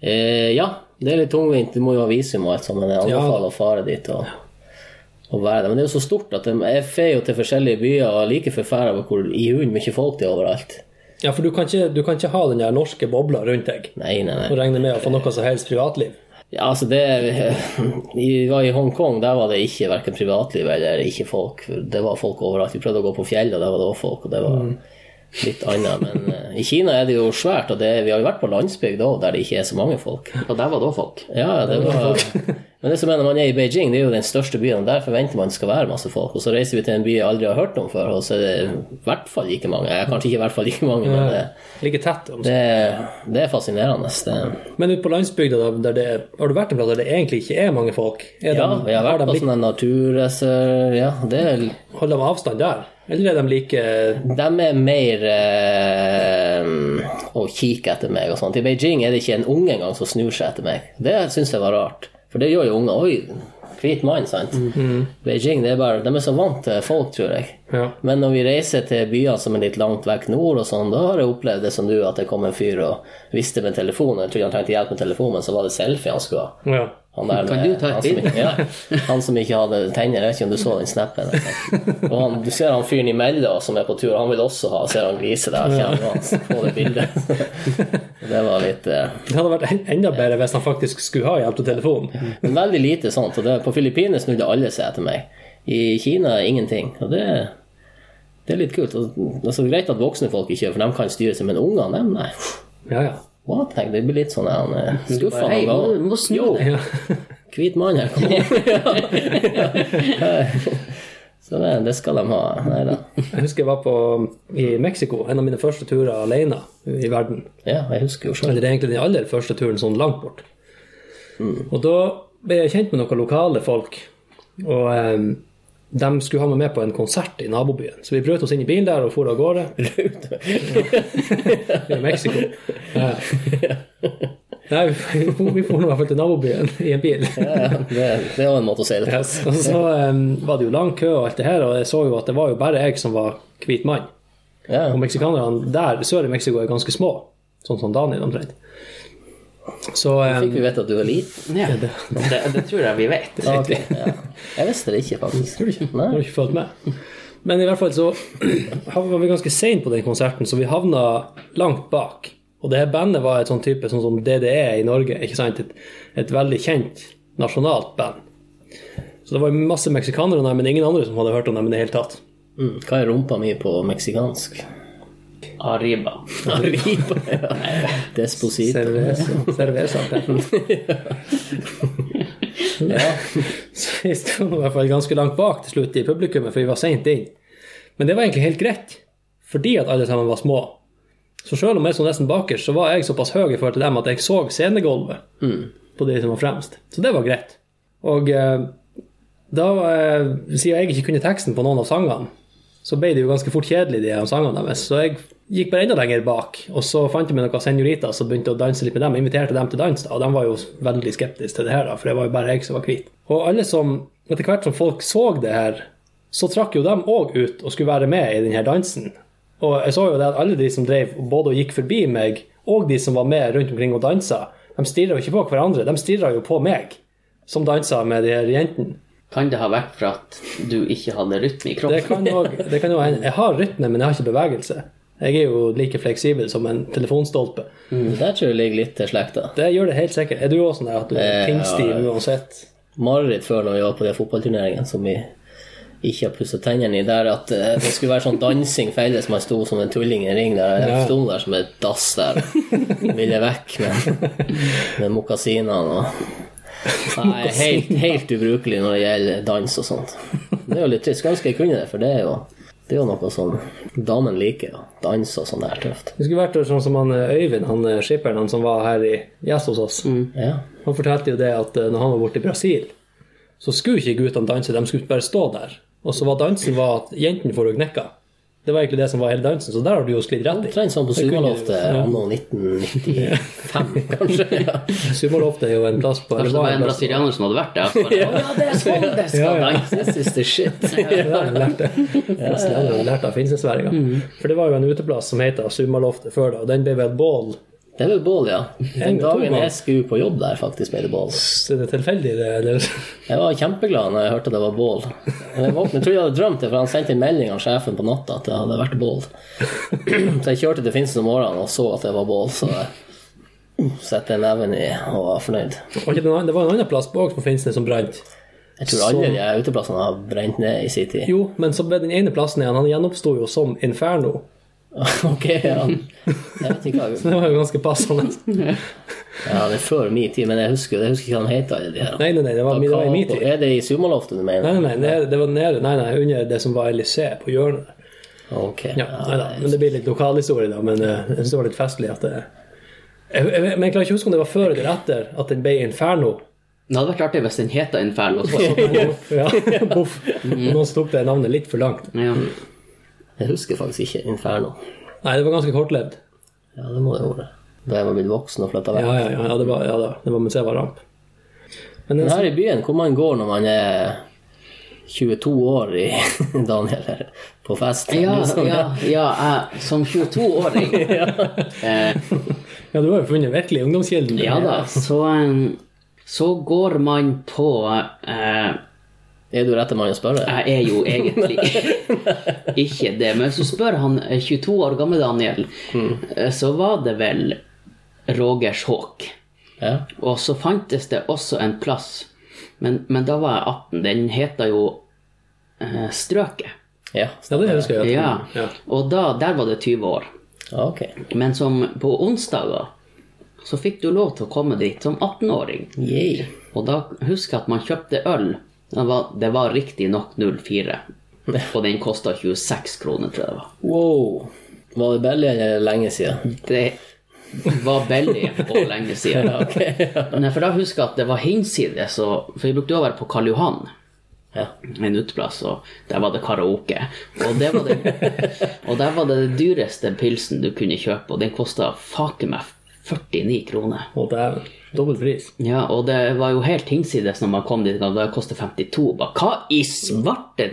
[SPEAKER 1] Eh, ja, det er litt tungvint. Du må jo ha visum og alt sånt, men jeg anbefaler å fare dit og, og være der. Men det er jo så stort at jeg jeg fer jo til forskjellige byer og er like forferda over hvor i hunden mye folk det er overalt.
[SPEAKER 2] Ja, for du kan, ikke, du kan ikke ha den der norske bobla rundt deg
[SPEAKER 1] Nei, nei,
[SPEAKER 2] og
[SPEAKER 1] nei.
[SPEAKER 2] regne med å få noe som helst privatliv.
[SPEAKER 1] Ja, altså det Vi var i Hongkong, der var det ikke hverken privatliv eller ikke folk. Det var folk overalt. Vi prøvde å gå på fjellet, og der var det også folk. Og det
[SPEAKER 3] Mm.
[SPEAKER 1] var litt annet. Men eh, i Kina er det jo svært, og det, vi har jo vært på landsbygd òg, der det ikke er så mange folk.
[SPEAKER 3] Og der var det òg folk.
[SPEAKER 1] Ja, det var Men det som er når man er i Beijing, det er jo den største byen, og der forventer man det skal være masse folk. Og så reiser vi til en by jeg aldri har hørt om før, og så er det i hvert fall like mange. Ja, Kanskje ikke i hvert fall like mange, men det,
[SPEAKER 2] Ligger tett om seg.
[SPEAKER 1] det, det er fascinerende. Det,
[SPEAKER 2] Men ute på landsbygda, da, der det, har du vært en plass der det egentlig ikke er mange folk? Er
[SPEAKER 1] ja,
[SPEAKER 2] de,
[SPEAKER 1] vi har vært på
[SPEAKER 2] de
[SPEAKER 1] sånn-
[SPEAKER 2] lik,
[SPEAKER 1] sånne naturreser... Ja, det er
[SPEAKER 2] holder de avstand der? Eller er de like
[SPEAKER 1] De er mer eh, å kikke etter meg og sånt. I Beijing er det ikke en unge engang som snur seg etter meg. Det syns jeg var rart. For det gjør jo unger. Oi, hvit mann, sant? Beijing, det er bare, de er så vant til folk, tror jeg.
[SPEAKER 2] ja.
[SPEAKER 1] Men når vi reiser til byer som er litt langt vekk nord, og sånn, da har jeg opplevd det som du, at det kom en fyr og visste med telefonen. Jeg trodde han trengte hjelp med telefonen, men så var det selfie han skulle ha.
[SPEAKER 2] ja.
[SPEAKER 1] Han der
[SPEAKER 3] Kan
[SPEAKER 1] med-
[SPEAKER 3] du ta et
[SPEAKER 1] han som-
[SPEAKER 3] bilde?
[SPEAKER 1] Ja, han som ikke hadde tenner. Jeg vet ikke om du så den snappen. Og han, du ser han fyren imellom som er på tur, han vil også ha. Ser han gliser der, kjenner han på det bildet. Det var litt eh,
[SPEAKER 2] Det hadde vært en- enda bedre hvis han faktisk skulle ha hjelp til telefonen.
[SPEAKER 1] Men veldig lite sånt. Og det, på Filippinene snudde alle seg etter meg. I Kina ingenting. Og det, det er litt kult. Og, altså, greit at voksne folk ikke gjør for de kan styre seg, men ungene, dem, nei.
[SPEAKER 2] Ja, ja.
[SPEAKER 1] What? Tenk, det blir litt sånn ja, han, eh, skuffende.
[SPEAKER 3] Hei,
[SPEAKER 1] og gal.
[SPEAKER 3] må, må snu
[SPEAKER 1] Jo,
[SPEAKER 3] deg.
[SPEAKER 2] Ja.
[SPEAKER 1] hvit mann her, kom igjen. Så det, det skal de ha. Nei da.
[SPEAKER 2] Jeg husker jeg var på, i Mexico, en av mine første turer alene i verden.
[SPEAKER 1] Ja, jeg husker jo sjøl.
[SPEAKER 2] Eller det er egentlig den aller første turen sånn langt bort. Og da ble jeg kjent med noen lokale folk. Og em, de skulle ha meg med på en konsert i nabobyen. Så vi brøt oss inn i bilen der og for av gårde. I Mexico. Eh, Nei, vi for- vi for nå i hvert fall til nabobyen i en bil.
[SPEAKER 1] Ja, ja, det, det var en måte å si det på.
[SPEAKER 2] Yes. Og så eh, var det jo lang kø og alt det her, og jeg så jo at det var jo bare jeg som var hvit mann.
[SPEAKER 1] Ja.
[SPEAKER 2] Og meksikanerne der sør i Mexico er ganske små, sånn som Daniel omtrent. Så eh,
[SPEAKER 1] Fikk vi vite at du var liten?
[SPEAKER 3] Ja, det, det tror jeg vi vet.
[SPEAKER 2] ja, ok.
[SPEAKER 1] Ja. Jeg visste det ikke, faktisk.
[SPEAKER 2] Tror du ikke?
[SPEAKER 1] Nei.
[SPEAKER 2] Har du ikke fulgt med? Men i hvert fall så var vi ganske sent på den konserten, så vi havna langt bak. Og det her bandet var et sånn type sånn som DDE i Norge, ikke sant? Et, et veldig kjent nasjonalt band. Så det var masse meksikanere der, men ingen andre som hadde hørt om dem i det hele tatt.
[SPEAKER 1] Mm. Hva er rumpa mi på meksikansk?
[SPEAKER 3] Arriba.
[SPEAKER 1] Arriba, ja. Desposito.
[SPEAKER 2] Cerveza. Cerveza ja. Så vi sto i hvert fall ganske langt bak til slutt i publikummet, for vi var seint inn. Men det var egentlig helt greit, fordi at alle sammen var små. Så selv om jeg sto nesten bakerst, så var jeg såpass høy i forhold til dem at jeg så scenegulvet på de som var fremst. Så det var greit. Og eh, da, eh, siden jeg ikke kunne teksten på noen av sangene, så ble det jo ganske fort kjedelig, de her sangene deres. Så jeg gikk bare enda lenger bak, og så fant jeg meg noen senoritas og begynte å danse litt med dem. Inviterte dem til dans, da, og de var jo veldig skeptiske til det her, da, for det var jo bare jeg som var hvit. Og alle som, etter hvert som folk så det her, så trakk jo dem òg ut og skulle være med i den her dansen. Og jeg så jo det at alle de som drev både og gikk forbi meg, og de som var med rundt omkring og dansa, de stirra jo ikke på hverandre, de stirra jo på meg, som dansa med de her jentene.
[SPEAKER 3] Kan det ha vært for at du ikke hadde rytme
[SPEAKER 2] Det
[SPEAKER 3] i kroppen?
[SPEAKER 2] kan også- det kan jo hende. Jeg har rytme, men jeg har ikke bevegelse. Jeg er jo like fleksibel som en telefonstolpe.
[SPEAKER 1] Mm. Der tror jeg ligger litt til slekta.
[SPEAKER 2] Det gjør det helt sikkert. Er du også sånn der at du er pinnstiv uansett?
[SPEAKER 1] mareritt før når vi var på de fotballturneringene som vi ikke har pussa tennene i, der at eh, det skulle være sånn dansing felles. Man sto som en tulling i en ring der. Jeg sto der som et dass der. Ville vekk med, med mokasinene og Nei, helt, helt ubrukelig når det gjelder dans og sånt. Det er jo litt trist. Skulle ønske jeg kunne det, for det er jo, det er jo noe sånn damen liker. å Danse og sånn der tøft.
[SPEAKER 2] Det skulle vært sånn som han eh, Øyvind, han eh, skipperen han som var her i gjest hos oss.
[SPEAKER 1] Ja.
[SPEAKER 2] Han fortalte jo det at eh, når han var borte i Brasil, så skulle ikke guttene danse, de skulle bare stå der. Og så var dansen var at jentene får jo knekka. Det var egentlig det som var hele dansen, så der har du jo sklidd rett i.
[SPEAKER 1] Omtrent sånn på
[SPEAKER 2] kunne-
[SPEAKER 1] Sumaloftet
[SPEAKER 2] ja.
[SPEAKER 1] anno 1995, kanskje. Ja.
[SPEAKER 2] Sumaloftet er jo en plass på
[SPEAKER 3] Kanskje det var en
[SPEAKER 2] plass-
[SPEAKER 3] brasilianer som hadde vært der? så bare, «Å, Ja, det er sånn det
[SPEAKER 2] Ja,
[SPEAKER 3] skal
[SPEAKER 2] ja.
[SPEAKER 3] danses!
[SPEAKER 1] This is the shit.
[SPEAKER 2] Det har jeg lært det. Forresten, jeg har lært av finnsesværinga. For det var jo en uteplass som het Sumaloftet før da, og den ble vel bål.
[SPEAKER 1] Det er vel bål, ja. Den
[SPEAKER 2] med to
[SPEAKER 1] dagen
[SPEAKER 2] bål.
[SPEAKER 1] jeg skulle på jobb der, faktisk, ble det bål.
[SPEAKER 2] Så er det tilfeldig, det? Eller?
[SPEAKER 1] Jeg var kjempeglad når jeg hørte det var bål. Jeg våknet, jeg tror jeg hadde drømt det, for han sendte en melding av sjefen på natta at det hadde vært bål. Så jeg kjørte til Finsen om morgenen og så at det var bål, så jeg satte neven i og var fornøyd.
[SPEAKER 2] Og ikke den andre- Det var en annen plass på- også på Finnsnes som brant.
[SPEAKER 1] Jeg tror alle
[SPEAKER 2] Sånn.
[SPEAKER 1] de her uteplassene har brent ned i sin tid.
[SPEAKER 2] Jo, men så ble den ene plassen igjen, han gjenoppsto jo som Inferno.
[SPEAKER 1] Ok, ja. Jeg vet ikke hva
[SPEAKER 2] Det var jo ganske passende.
[SPEAKER 1] Ja, det er før min tid, men jeg husker, jeg husker ikke hva han heter, alle de her.
[SPEAKER 2] Nei, nei, nei, det var, det var i min tid.
[SPEAKER 1] Er det i Sumaloftet du
[SPEAKER 2] Nei,
[SPEAKER 1] mener?
[SPEAKER 2] nei, nei, nede- det var nede, nei, nei, under det som var Elysée, på hjørnet.
[SPEAKER 1] Ok.
[SPEAKER 2] Ja, nei da, men det blir litt lokalhistorie, da. Men eh, jeg synes det var litt festlig at det jeg, jeg, Men jeg klarer ikke å huske om det var før eller etter at den ble Inferno.
[SPEAKER 3] Det hadde vært artig hvis den het Inferno. så var det sånn.
[SPEAKER 2] Ja, boff.
[SPEAKER 3] Mm.
[SPEAKER 2] Noen tok det navnet litt for langt.
[SPEAKER 3] Ja.
[SPEAKER 1] Jeg husker faktisk ikke Inferno.
[SPEAKER 2] Nei, det var ganske kortlevd.
[SPEAKER 1] Ja, det må det være. Da jeg var blitt voksen og flytta vekk.
[SPEAKER 2] Ja, ja, ja, ja, det var, ja, da. det var mens jeg var ramp. Men eh,
[SPEAKER 1] Men
[SPEAKER 2] det,
[SPEAKER 1] her i byen, hvor man går når man er 22 år i Daniel, eller på fest
[SPEAKER 3] Ja,
[SPEAKER 1] liksom.
[SPEAKER 3] ja, ja, jeg som 22-åring eh,
[SPEAKER 2] ja, du har jo funnet virkelig ungdomskilden.
[SPEAKER 3] Ja da, så, eh, så går man på eh,
[SPEAKER 1] Er du rette mann å spørre?
[SPEAKER 3] Jeg er jo egentlig ikke det, men så spør han eh, 22 år gamle Daniel, eh, så var det vel Rogers Hawk.
[SPEAKER 1] Ja.
[SPEAKER 3] Og så fantes det også en plass, men, men da var jeg 18. Den heter jo eh, Strøket.
[SPEAKER 1] Ja,
[SPEAKER 2] Ja, det husker jeg. at-
[SPEAKER 3] Ja.
[SPEAKER 2] Ja.
[SPEAKER 3] Og da, der var det 20 år.
[SPEAKER 1] Ja, ok.
[SPEAKER 3] Men som på onsdager så fikk du lov til å komme dit som 18-åring.
[SPEAKER 1] Yay.
[SPEAKER 3] Og da husker jeg at man kjøpte øl. Det var, det var riktignok 04. Og den kosta 26 kroner, tror jeg det var.
[SPEAKER 1] Wow. Var det billig eller lenge siden?
[SPEAKER 2] Mm.
[SPEAKER 3] Det var billig og lenge siden. Nei, for da husker jeg at det var hinsides, og- for vi brukte å være på Karl Johan.
[SPEAKER 1] Ja.
[SPEAKER 3] en uteplass, og der var det karaoke. Og, det var det, og der var det den dyreste pilsen du kunne kjøpe, og den kosta faken meg 49 kroner.
[SPEAKER 2] Og dæven. Dobbel pris.
[SPEAKER 3] Ja, og det var jo helt hinsides når man kom dit, og det kostet 52. Bare, hva i svarte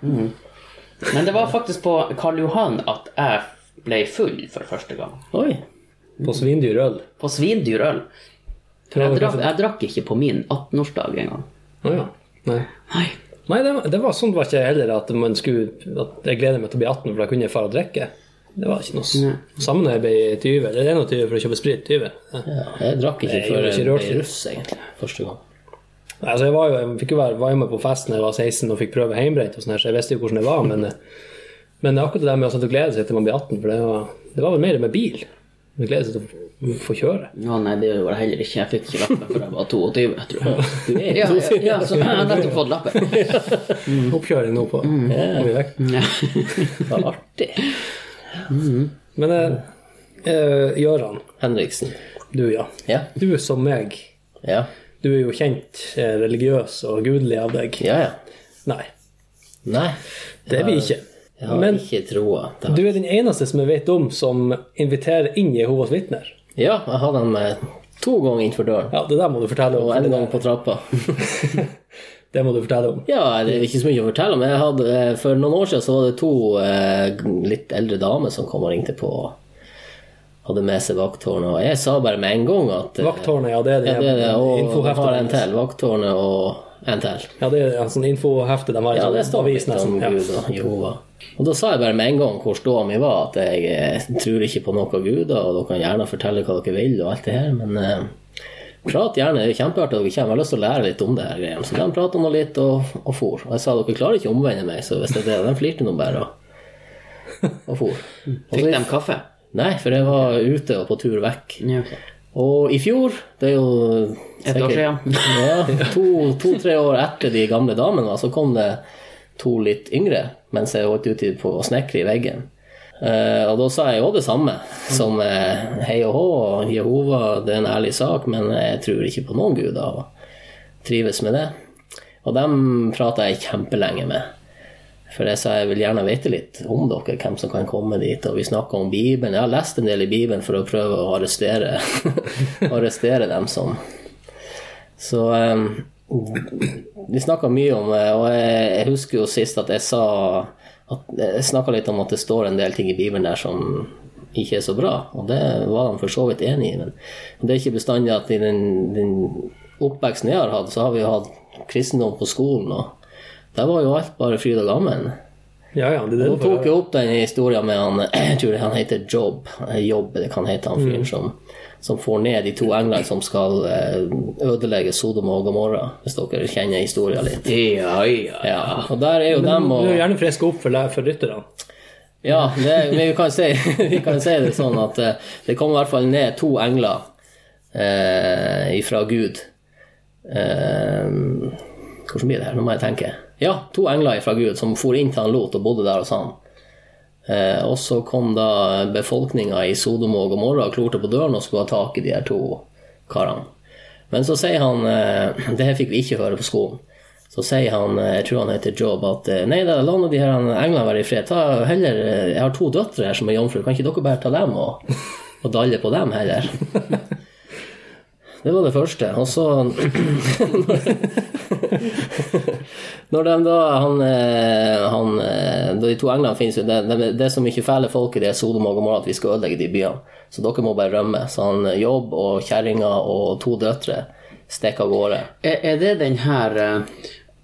[SPEAKER 3] Mm. Men det var faktisk på Karl Johan at jeg ble full for første gang.
[SPEAKER 1] Oi.
[SPEAKER 2] På svindyrøl.
[SPEAKER 3] På svindyrøl. For jeg drakk, jeg drakk ikke på min 18-årsdag engang.
[SPEAKER 2] Å ja. Nei.
[SPEAKER 3] Nei.
[SPEAKER 2] Nei, det var, det var sånn var ikke jeg heller at, man skulle, at jeg gleder meg til å bli 18, for da kunne jeg fare og drikke. Det var ikke noe s- Samme når jeg ble 20. Eller 21 for å kjøpe sprit. 20. Ja.
[SPEAKER 1] Ja, jeg drakk ikke
[SPEAKER 2] jeg
[SPEAKER 1] før
[SPEAKER 2] gjorde ikke
[SPEAKER 1] jeg ble
[SPEAKER 2] rørt.
[SPEAKER 1] russ, egentlig. Første gang.
[SPEAKER 2] Altså, jeg var jo, jeg fikk jo være, var jo med på festen da jeg var 16 og fikk prøve heimbrent, og sånn her, så jeg visste jo hvordan det var. Men, men akkurat det der med å sette og glede seg til man blir 18, for det var, det var vel mer med bil. Man gleder seg til å få kjøre.
[SPEAKER 3] Ja, nei, det gjorde jeg heller ikke. Jeg fikk ikke lappen før jeg var 22, tror jeg. Ja, ja, ja, så jeg har nettopp fått lappen.
[SPEAKER 2] Mm. Oppkjøring nå på på mye vekt.
[SPEAKER 3] Ja.
[SPEAKER 1] Det var artig.
[SPEAKER 2] Men eh, eh, Gøran,
[SPEAKER 1] Henriksen.
[SPEAKER 2] du ja.
[SPEAKER 1] Ja.
[SPEAKER 2] Du som meg,
[SPEAKER 1] Ja.
[SPEAKER 2] du er jo kjent eh, religiøs og gudelig av deg.
[SPEAKER 1] Ja, ja.
[SPEAKER 2] Nei,
[SPEAKER 1] Nei.
[SPEAKER 2] det er vi ikke.
[SPEAKER 1] Jeg har
[SPEAKER 2] Men
[SPEAKER 1] ikke troa. da.
[SPEAKER 2] du er den eneste som jeg vet om som inviterer inn Jehovas vitner.
[SPEAKER 1] Ja, jeg hadde han eh, to ganger innenfor døren.
[SPEAKER 2] Ja, det der må du fortelle om.
[SPEAKER 1] Og
[SPEAKER 2] for
[SPEAKER 1] en
[SPEAKER 2] det
[SPEAKER 1] gang
[SPEAKER 2] der-
[SPEAKER 1] på trappa.
[SPEAKER 2] Det må du fortelle om.
[SPEAKER 1] Ja, det er ikke så mye å fortelle om. Jeg hadde, eh, for noen år siden så var det to eh, litt eldre damer som kom og ringte på og hadde med seg vakttårnet. Og jeg sa bare med en gang at eh,
[SPEAKER 2] Vakttårnet, eh, ja, det er det.
[SPEAKER 1] ja, det er det, og
[SPEAKER 2] infoheftet
[SPEAKER 1] har en
[SPEAKER 2] deres.
[SPEAKER 1] til. Vakttårnet og en til.
[SPEAKER 2] Ja, det er en sånn infohefte de har i
[SPEAKER 1] Ja,
[SPEAKER 2] sånn
[SPEAKER 1] det står
[SPEAKER 2] avis
[SPEAKER 1] litt om
[SPEAKER 2] nesten. Ja.
[SPEAKER 1] Gud og Jehova. Og da sa jeg bare med en gang hvor ståa mi var, at jeg eh, tror ikke på noe guder, og dere kan gjerne fortelle hva dere vil og alt det her, men eh, prat gjerne. Det er kjempeartig at dere kommer. Jeg har lyst til å lære litt om det her greiene. Så de prata nå litt og, og for. Og jeg sa dere klarer ikke å omvende meg, så hvis det er det De flirte nå bare og, og for. Og
[SPEAKER 3] Fikk
[SPEAKER 1] så,
[SPEAKER 3] de kaffe?
[SPEAKER 1] nei, for jeg var ute og på tur vekk.
[SPEAKER 3] Ja.
[SPEAKER 1] Og i fjor, det er jo
[SPEAKER 3] Et år
[SPEAKER 1] sikkert- ja, To-tre år etter de gamle damene, var, så kom det to litt yngre mens jeg holdt ute på å snekre i veggen. Eh, og da sa jeg jo det samme, som eh, hei og hå, og Jehova, det er en ærlig sak, men jeg tror ikke på noen guder, og trives med det. Og dem prata jeg kjempelenge med. For jeg sa jeg vil gjerne vite litt om dere, hvem som kan komme dit. Og vi snakka om Bibelen. Jeg har lest en del i Bibelen for å prøve å arrestere, arrestere dem som Så em, vi snakka mye om det, og jeg, jeg husker jo sist at jeg sa at Jeg snakka litt om at det står en del ting i Bibelen der som ikke er så bra, og det var de for så vidt enig i, men det er ikke bestandig at i den, den oppveksten jeg har hatt, så har vi jo hatt kristendom på skolen, og der var jo alt bare fryd og gammen.
[SPEAKER 2] Ja, ja, det er det
[SPEAKER 1] Nå
[SPEAKER 2] du får
[SPEAKER 1] tok
[SPEAKER 2] høre.
[SPEAKER 1] jeg opp den historien med han Jeg tror han heter Job. eh, Job det kan hete han fyren som, som får ned de to englene som skal eh, ødelegge Sodom og Gomorra, hvis dere kjenner historien litt.
[SPEAKER 3] Ja, ja.
[SPEAKER 1] Ja, og der er jo dem
[SPEAKER 2] Du
[SPEAKER 1] og
[SPEAKER 2] er gjerne frisk opp for, læ- for rytterne.
[SPEAKER 1] Ja, det, men vi kan, si, vi kan si det sånn at eh, det kom i hvert fall ned to engler eh, ifra Gud. Eh, hvordan blir det her? Nå må jeg tenke. Ja, to engler ifra Gud som for inn til han Lot og bodde der hos han. Eh, og så kom da befolkninga i Sodom og Gomorra og klorte på døren og skulle ha tak i de her to karene. Men så sier han eh, Det her fikk vi ikke høre på skolen. Så sier han, eh, jeg tror han heter Job, at eh, nei da, la nå de her englene være i fred. Ta heller, eh, Jeg har to døtre her som er jomfruer, kan ikke dere bare ta dem og, og dalle på dem heller? Det var det første. Og så Når de da han, eh, han eh, Da de to englene finnes jo, det, det, det som ikke fæler folk i det er Sodom og Gomorra, at vi skal ødelegge de byene. Så dere må bare rømme. Så han eh, Jobb og kjerringa og to døtre stikker av gårde.
[SPEAKER 3] Er, er det den her eh,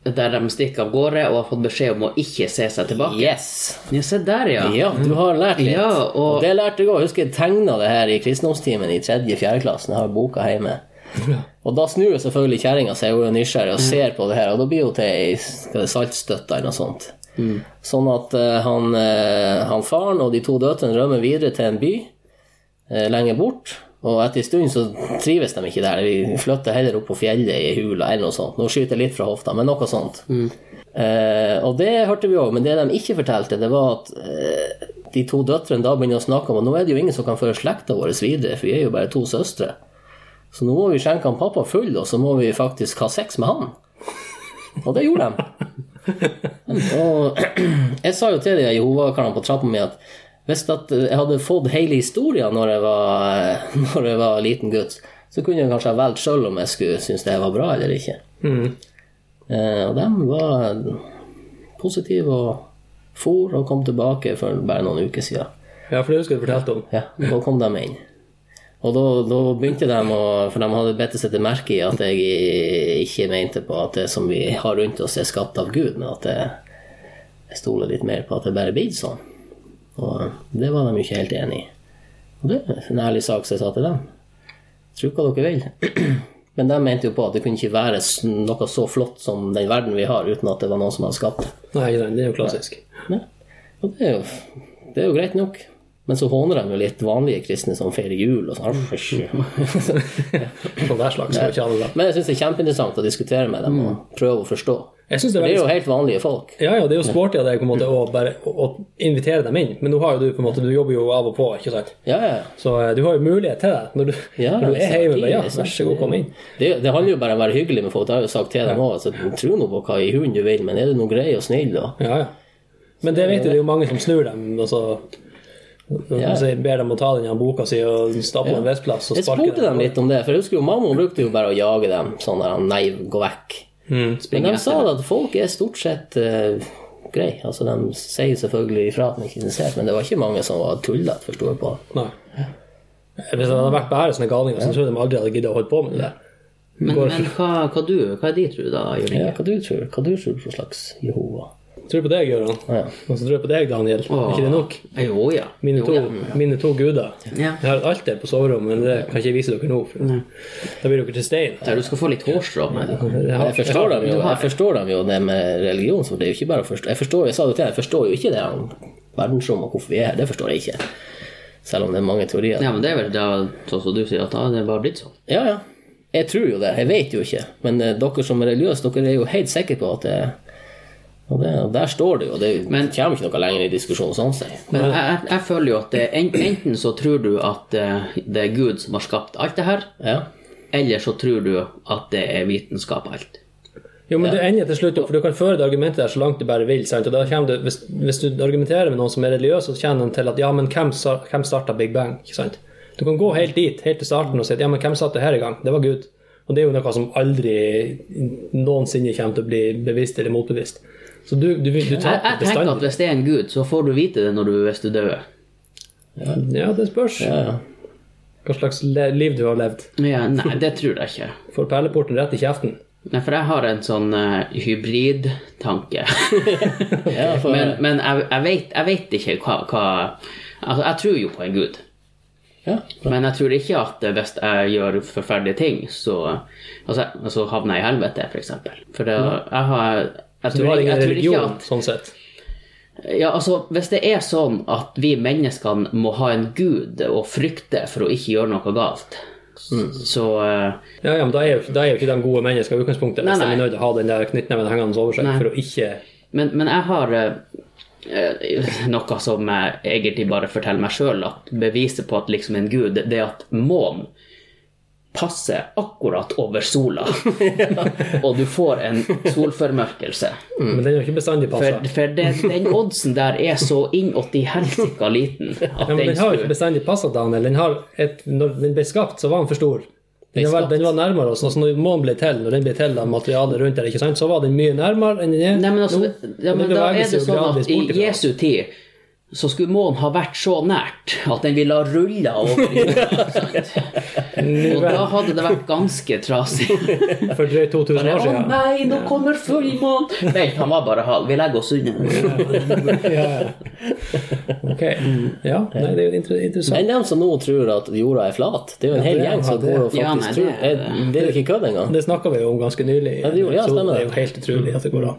[SPEAKER 3] der de stikker av gårde og har fått beskjed om å ikke se seg tilbake?
[SPEAKER 1] Yes!
[SPEAKER 3] Ja, se der, ja.
[SPEAKER 1] Ja, du har lært litt.
[SPEAKER 3] Ja, og-
[SPEAKER 1] og... det lærte jeg òg. Husker jeg tegna det her i kristendomstimen i tredje-fjerde klassen. Jeg har boka hjemme. Og da snur jo selvfølgelig kjerringa seg, hun er jo nysgjerrig og ser på det her, og da blir hun til ei skal det, saltstøtte eller noe sånt. Sånn at eh, han, eh, han faren og de to døtrene rømmer videre til en by eh, lenger bort. Og etter en stund så trives de ikke der. Vi flytter heller opp på fjellet i hula eller noe sånt. Nå skyter jeg litt fra hofta, men noe sånt. Eh, og det hørte vi òg, men det de ikke fortalte, det var at eh, de to døtrene da begynner å snakke om at nå er det jo ingen som kan føre slekta vår videre, for vi er jo bare to søstre. Så nå må vi skjenke han pappa full, og så må vi faktisk ha sex med han. Og det gjorde de. Og jeg sa jo til de Jehova-karene på trappa mi at Hvis at jeg hadde fått hele historien når jeg var, når jeg var liten gutt, så kunne jeg kanskje ha valgt sjøl om jeg skulle synes det var bra eller ikke. Eh, og de var positive og for og kom tilbake for bare noen uker siden.
[SPEAKER 2] Ja, for det husker jeg du fortalte om.
[SPEAKER 1] Ja, da kom de inn. Og da, da begynte de å For de hadde bitt seg til merke i at jeg i- ikke mente på at det som vi har rundt oss, er skapt av Gud, men at jeg, jeg stoler litt mer på at det bare er blitt sånn. Og det var de jo ikke helt enig i. Og det er en ærlig sak som jeg sa til dem. Tro hva dere vil. Men de mente jo på at det kunne ikke være s- noe så flott som den verden vi har, uten at det var noen som hadde skapt det.
[SPEAKER 2] Nei, ikke sant, det er jo klassisk.
[SPEAKER 1] Nei. Og det er, jo, det er jo greit nok. Men så håner de jo litt vanlige kristne som feirer jul og sånn.
[SPEAKER 2] Sånn der slags. som ikke alle da.
[SPEAKER 1] Men jeg syns det er kjempeinteressant å diskutere med dem og prøve å forstå.
[SPEAKER 2] Jeg synes det
[SPEAKER 1] For
[SPEAKER 2] er
[SPEAKER 1] det er
[SPEAKER 2] veldig
[SPEAKER 1] jo helt vanlige folk.
[SPEAKER 2] Ja, ja, det er jo sporty av deg på en måte å bare å, å invitere dem inn, men nå har jo du på en måte, du jobber jo av og på, ikke sant?
[SPEAKER 1] Ja, ja.
[SPEAKER 2] Så eh, du har jo mulighet til det. Når du,
[SPEAKER 1] Ja,
[SPEAKER 2] når du
[SPEAKER 1] hvis det
[SPEAKER 2] er
[SPEAKER 1] er
[SPEAKER 2] hjemme, ja,
[SPEAKER 1] tidlig, så-
[SPEAKER 2] vær så god, kom inn.
[SPEAKER 1] Det, det handler jo bare om å være hyggelig med folk. Det har jeg jo sagt til dem òg. Altså, tro nå på hva i hunden du vil, men er du nå grei og snill, da?
[SPEAKER 2] Ja, ja. Men det vet du, det er jo mange som snur dem, altså. og så
[SPEAKER 1] Ja.
[SPEAKER 2] og så ber dem å ta den her boka si og stappe på en vestplass og
[SPEAKER 1] Jeg
[SPEAKER 2] sparke
[SPEAKER 1] spurte dem litt om det, for jeg husker jo mamma hun brukte jo bare å jage dem sånn der Nei, gå vekk.
[SPEAKER 2] Mm.
[SPEAKER 1] Men de sa da at folk er stort sett uh, greie. Altså, de sier selvfølgelig ifra at de ikke er interessert, men det var ikke mange som var tullete, forsto jeg på.
[SPEAKER 2] Nei. Hvis det hadde vært bare sånne galninger, så tror jeg de aldri hadde giddet å holde på med det der.
[SPEAKER 3] Men, men hva, hva, du, hva er de tro, da, Jørgen?
[SPEAKER 1] Ja, hva du tror Hva du tror for slags Jehova?
[SPEAKER 2] Tror på deg, Gøran.
[SPEAKER 1] Ja.
[SPEAKER 2] Og så tror jeg på deg, Daniel. Er ikke det nok?
[SPEAKER 3] Jo, ja.
[SPEAKER 2] Mine
[SPEAKER 3] Jo,
[SPEAKER 2] to,
[SPEAKER 3] ja.
[SPEAKER 2] mine to guder.
[SPEAKER 3] Ja.
[SPEAKER 2] Jeg har et alter på soverommet, men det kan jeg ikke vise dere nå. For da blir dere til stein.
[SPEAKER 3] Der du skal få litt hårstrå. men-
[SPEAKER 2] Jeg har-
[SPEAKER 1] Jeg forstår, dem jo, jeg forstår dem jo det med religion, så det er jo ikke bare å forstå Jeg forstår, jeg sa det til deg, jeg forstår jo ikke det om verdensrom og hvorfor vi er her, det forstår jeg ikke. Selv om det er mange teorier.
[SPEAKER 3] Ja, men det er vel da, sånn som du sier, at da er det bare blitt sånn.
[SPEAKER 1] Ja, ja. Jeg tror jo det, jeg vet jo ikke. Men eh, dere som er religiøse, dere er jo helt sikre på at det og, det, og der står det jo, det
[SPEAKER 3] Men-
[SPEAKER 1] kommer ikke noe lenger i diskusjonen sånn sett.
[SPEAKER 3] Men jeg, jeg, jeg føler jo at det, en- enten så tror du at eh, det er Gud som har skapt alt det her,
[SPEAKER 1] Ja.
[SPEAKER 3] eller så tror du at det er vitenskap alt.
[SPEAKER 2] Jo, men det ender til slutt, for du kan føre det argumentet der så langt du bare vil. sant? Og da kommer du, hvis, hvis du argumenterer med noen som er religiøs, så kommer de til at ja, men hvem, sa- hvem starta Big Bang? ikke sant? Du kan gå helt dit, helt til starten og si at ja, men hvem satte det her i gang? Det var Gud. Og det er jo noe som aldri noensinne kommer til å bli bevisst eller motbevisst. Så du, du, vil- du
[SPEAKER 3] Jeg,
[SPEAKER 2] taper
[SPEAKER 3] jeg tenker at
[SPEAKER 2] bestandig.
[SPEAKER 3] hvis det er en Gud, så får du vite det når du, hvis du dør.
[SPEAKER 2] Ja, det spørs
[SPEAKER 1] Ja, ja.
[SPEAKER 2] hva slags le- liv du har levd.
[SPEAKER 3] Ja, nei, det tror jeg ikke.
[SPEAKER 2] Får perleporten rett i kjeften.
[SPEAKER 3] Nei, for jeg har en sånn eh, hybridtanke.
[SPEAKER 1] ja for,
[SPEAKER 3] men men jeg, jeg, vet, jeg vet ikke hva, hva Altså, jeg tror jo på en gud.
[SPEAKER 1] ja.
[SPEAKER 3] Men jeg tror ikke at hvis jeg gjør forferdelige ting, så altså, altså havner jeg i helvete, f.eks. For, eksempel. for det, jeg har jeg
[SPEAKER 2] Du
[SPEAKER 3] tror,
[SPEAKER 2] har
[SPEAKER 3] ikke-
[SPEAKER 2] ingen
[SPEAKER 3] jeg tror ikke
[SPEAKER 2] religion,
[SPEAKER 3] at
[SPEAKER 2] sånn sett.
[SPEAKER 3] ja, altså, Hvis det er sånn at vi menneskene må ha en gud og frykte for å ikke gjøre noe galt,
[SPEAKER 2] Mm.
[SPEAKER 3] så eh,
[SPEAKER 2] Ja, ja, men da er, jo- da er jo ikke de gode mennesker i utgangspunktet.
[SPEAKER 3] Nei,
[SPEAKER 2] Hvis de
[SPEAKER 3] nei.
[SPEAKER 2] er nødt til å ha den der knyttneven hengende over seg
[SPEAKER 3] Nei.
[SPEAKER 2] for å ikke
[SPEAKER 3] Men, men jeg har eh, eh, noe som jeg egentlig bare forteller meg sjøl, at beviset på at liksom en gud, det er at månen passer akkurat over sola, og du får en solformørkelse.
[SPEAKER 2] Men den er jo ikke bestandig passa.
[SPEAKER 3] Mm. For, for det, den oddsen der er så innåtti helsika liten at
[SPEAKER 2] Ja, men
[SPEAKER 3] den
[SPEAKER 2] den har jo ikke
[SPEAKER 3] skulle
[SPEAKER 2] bestandig passa, Daniel. Den har et, når den ble skapt, så var den for stor. Den var, den var nærmere oss. Altså, når månen ble til, når den ble til av materialet rundt der, ikke sant, så var den mye nærmere enn den er
[SPEAKER 3] Nei, men altså,
[SPEAKER 2] nå.
[SPEAKER 3] ja,
[SPEAKER 2] Og
[SPEAKER 3] men
[SPEAKER 2] den
[SPEAKER 3] da
[SPEAKER 2] beveger
[SPEAKER 3] er det
[SPEAKER 2] seg jo
[SPEAKER 3] sånn
[SPEAKER 2] gradvis
[SPEAKER 3] at i
[SPEAKER 2] bort ifra.
[SPEAKER 3] Jesu tid så skulle månen ha vært så nært at den ville ha rulla over jorda. sant? Og da hadde det vært ganske trasig.
[SPEAKER 2] For drøyt 2000
[SPEAKER 3] Å
[SPEAKER 2] år siden.
[SPEAKER 3] nei, nå kommer fullmånen! Nei, han var bare halv. Vi legger oss unna.
[SPEAKER 2] Ja, ja. Ok.
[SPEAKER 3] Mm.
[SPEAKER 2] Ja, nei, det er jo inter- interessant.
[SPEAKER 1] Men dem som nå tror at jorda er flat, det er jo en hel
[SPEAKER 2] det er-
[SPEAKER 1] gjeng som
[SPEAKER 2] ja, det-
[SPEAKER 1] går og faktisk
[SPEAKER 3] ja, nei, det-
[SPEAKER 1] tror Eh, Det er jo ikke kødd engang.
[SPEAKER 2] Det snakka vi jo om ganske nylig. i
[SPEAKER 1] Ja, det gjorde- ja,
[SPEAKER 2] en episode.
[SPEAKER 1] stemmer det.
[SPEAKER 2] det er jo helt utrolig at det går an.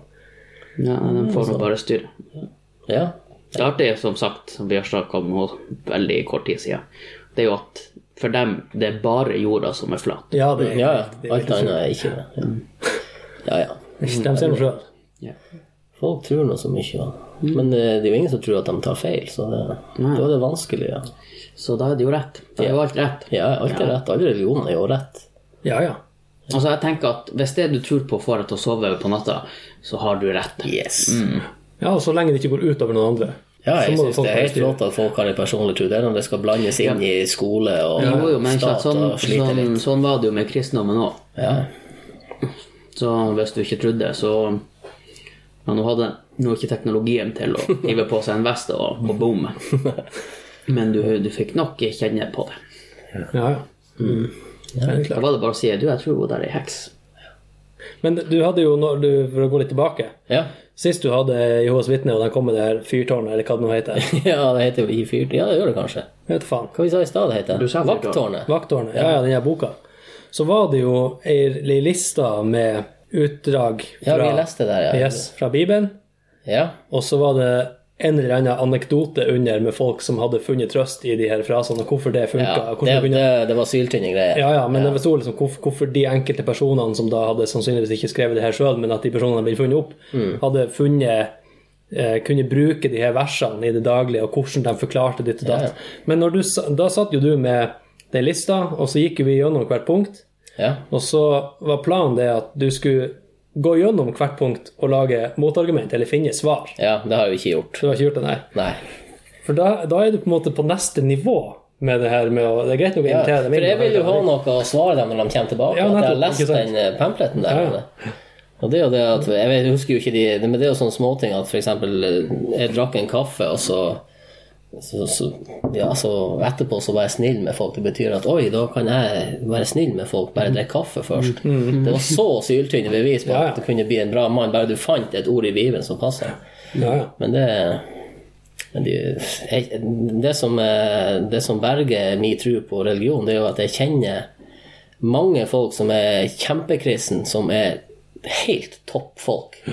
[SPEAKER 3] Ja, den får nå bare styre.
[SPEAKER 1] Ja.
[SPEAKER 3] Det artige, som sagt, som Bjørstad kom med veldig kort tid siden, det er jo at for dem, det er bare jorda som er flat.
[SPEAKER 2] Ja, det er,
[SPEAKER 1] Ja, ja.
[SPEAKER 2] det er
[SPEAKER 1] Alt annet er ikke det. Ja. ja, ja.
[SPEAKER 2] De ser det sjøl.
[SPEAKER 3] Ja.
[SPEAKER 1] Folk tror nå så mye. Ja. Men eh, det er jo ingen som tror at de tar feil, så det, da er det vanskelig. Ja,
[SPEAKER 3] Så da er det jo rett. Da er jo alt rett.
[SPEAKER 1] ja alt er rett. Alle religioner er jo rett.
[SPEAKER 2] Ja, ja.
[SPEAKER 3] Altså, jeg tenker at hvis det du tror på får deg til å sove på natta, så har du rett.
[SPEAKER 1] Yes.
[SPEAKER 2] Ja, og så lenge det ikke går ut over noen andre.
[SPEAKER 1] Ja, jeg
[SPEAKER 2] Så må
[SPEAKER 1] syns
[SPEAKER 2] folk
[SPEAKER 1] det er helt
[SPEAKER 2] styre.
[SPEAKER 1] rått at folk har en personlig tro. Det er når det skal blandes inn i skole og
[SPEAKER 3] Jo, jo, men ikke sant,
[SPEAKER 1] stat
[SPEAKER 3] sånn,
[SPEAKER 1] og sliter
[SPEAKER 3] sånn,
[SPEAKER 1] litt.
[SPEAKER 3] sånn var det jo med kristendommen òg.
[SPEAKER 1] Ja.
[SPEAKER 3] Så hvis du ikke trodde, så Men nå hadde nå er ikke teknologien til å hive på seg en vest og, og bomme. Men du, du fikk nok kjenne på det.
[SPEAKER 2] Ja, ja. Mm.
[SPEAKER 1] Mm.
[SPEAKER 2] Ja, det er
[SPEAKER 3] Da
[SPEAKER 2] klart.
[SPEAKER 3] var det bare å si du, jeg tror hun der er heks.
[SPEAKER 2] Men du hadde jo, når du, for å gå litt tilbake
[SPEAKER 1] Ja.
[SPEAKER 2] Sist du hadhadde Jehovas vitne, og de kom med det her fyrtårnet, eller hva det nå heter.
[SPEAKER 1] ja, det heter jo i fyrt. Ja, det gjør det kanskje.
[SPEAKER 2] Jeg vet faen.
[SPEAKER 1] Hva vi sa i stad det heter?
[SPEAKER 3] Du sa fyrtårn.
[SPEAKER 1] Vakttårnet.
[SPEAKER 2] Vakttårnet. Ja, ja, den her boka. Så var det jo ei ei liste med utdrag
[SPEAKER 1] Ja,
[SPEAKER 2] fra,
[SPEAKER 1] vi leste det der, ja.
[SPEAKER 2] yes, fra Bibelen.
[SPEAKER 1] Ja.
[SPEAKER 2] Og så var det en eller annen anekdote under med folk som hadde funnet trøst i de her frasene, og hvorfor det funka.
[SPEAKER 1] ja.
[SPEAKER 2] og
[SPEAKER 1] Det,
[SPEAKER 2] hvordan det kunne-
[SPEAKER 1] det, det var syltynne greier.
[SPEAKER 2] Ja, ja, men det sto liksom hvorf- hvorfor de enkelte personene som da hadde sannsynligvis ikke skrevet det her sjøl, men at de personene ble funnet opp,
[SPEAKER 1] Mm.
[SPEAKER 2] hadde funnet eh, kunne bruke de her versene i det daglige, og hvordan de forklarte ditt og
[SPEAKER 1] Ja,
[SPEAKER 2] datt. Men når du, sa- da satt jo du med den lista, og så gikk jo vi gjennom hvert punkt.
[SPEAKER 1] Ja.
[SPEAKER 2] Og så var planen det at du skulle gå gjennom hvert punkt og lage motargument, eller finne svar.
[SPEAKER 1] ja. Det har vi ikke gjort.
[SPEAKER 2] Så du har ikke gjort det, nei.
[SPEAKER 1] Nei.
[SPEAKER 2] For da, da er du på en måte på neste nivå med det her med å Det er greit nok å
[SPEAKER 1] Ja.
[SPEAKER 2] invitere dem
[SPEAKER 1] For
[SPEAKER 2] inn.
[SPEAKER 1] jeg vil jo ha noe å svare dem når de kommer tilbake. at
[SPEAKER 2] Ja,
[SPEAKER 1] jeg har
[SPEAKER 2] nettopp,
[SPEAKER 1] lest
[SPEAKER 2] ikke sant?
[SPEAKER 1] den eh, pamphleten der.
[SPEAKER 2] Ja, ja.
[SPEAKER 1] men det- Og det er jo det at Jeg vet, jeg husker jo ikke de det- Men det er jo sånne småting at f.eks. jeg drakk en kaffe, og så så, så, ja, så etterpå så var jeg snill med folk. Det betyr at oi, da kan jeg være snill med folk, bare drikke kaffe først. Det var så syltynne bevis på
[SPEAKER 2] Mm, Ja, ja.
[SPEAKER 1] at du kunne bli en bra mann bare du fant et ord i Bibelen som passer.
[SPEAKER 2] Ja, ja.
[SPEAKER 1] Men det men det, jeg, det, som, eh, det som berger min tro på religion, det er jo at jeg kjenner mange folk som er kjempekristne, som er helt topp folk.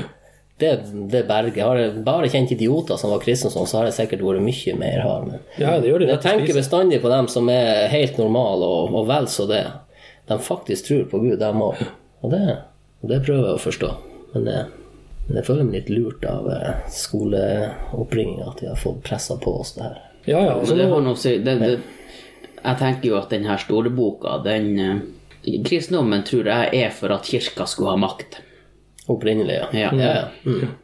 [SPEAKER 1] Det, det berger. Har jeg bare kjent idioter som var kristne sånn, så har jeg sikkert vært mye mer hard. Men
[SPEAKER 2] Ja, det gjør de.
[SPEAKER 1] men jeg
[SPEAKER 2] rett og slett.
[SPEAKER 1] tenker bestandig på dem som er helt normale, og, og vel så det. De faktisk tror på Gud, dem òg. Og det, og det prøver jeg å forstå. Men jeg, men jeg føler meg litt lurt av eh, skoleoppbringinga, at vi har fått pressa på oss det her.
[SPEAKER 2] Ja, ja.
[SPEAKER 3] Så
[SPEAKER 2] Altså,
[SPEAKER 3] det har
[SPEAKER 2] nå,
[SPEAKER 3] noe å si. Det, det, jeg tenker jo at den her store boka, den eh, Kristendommen tror jeg er for at kirka skulle ha makt.
[SPEAKER 1] Opprinnelig, ja.
[SPEAKER 3] Ja.
[SPEAKER 1] ja, ja. Mm.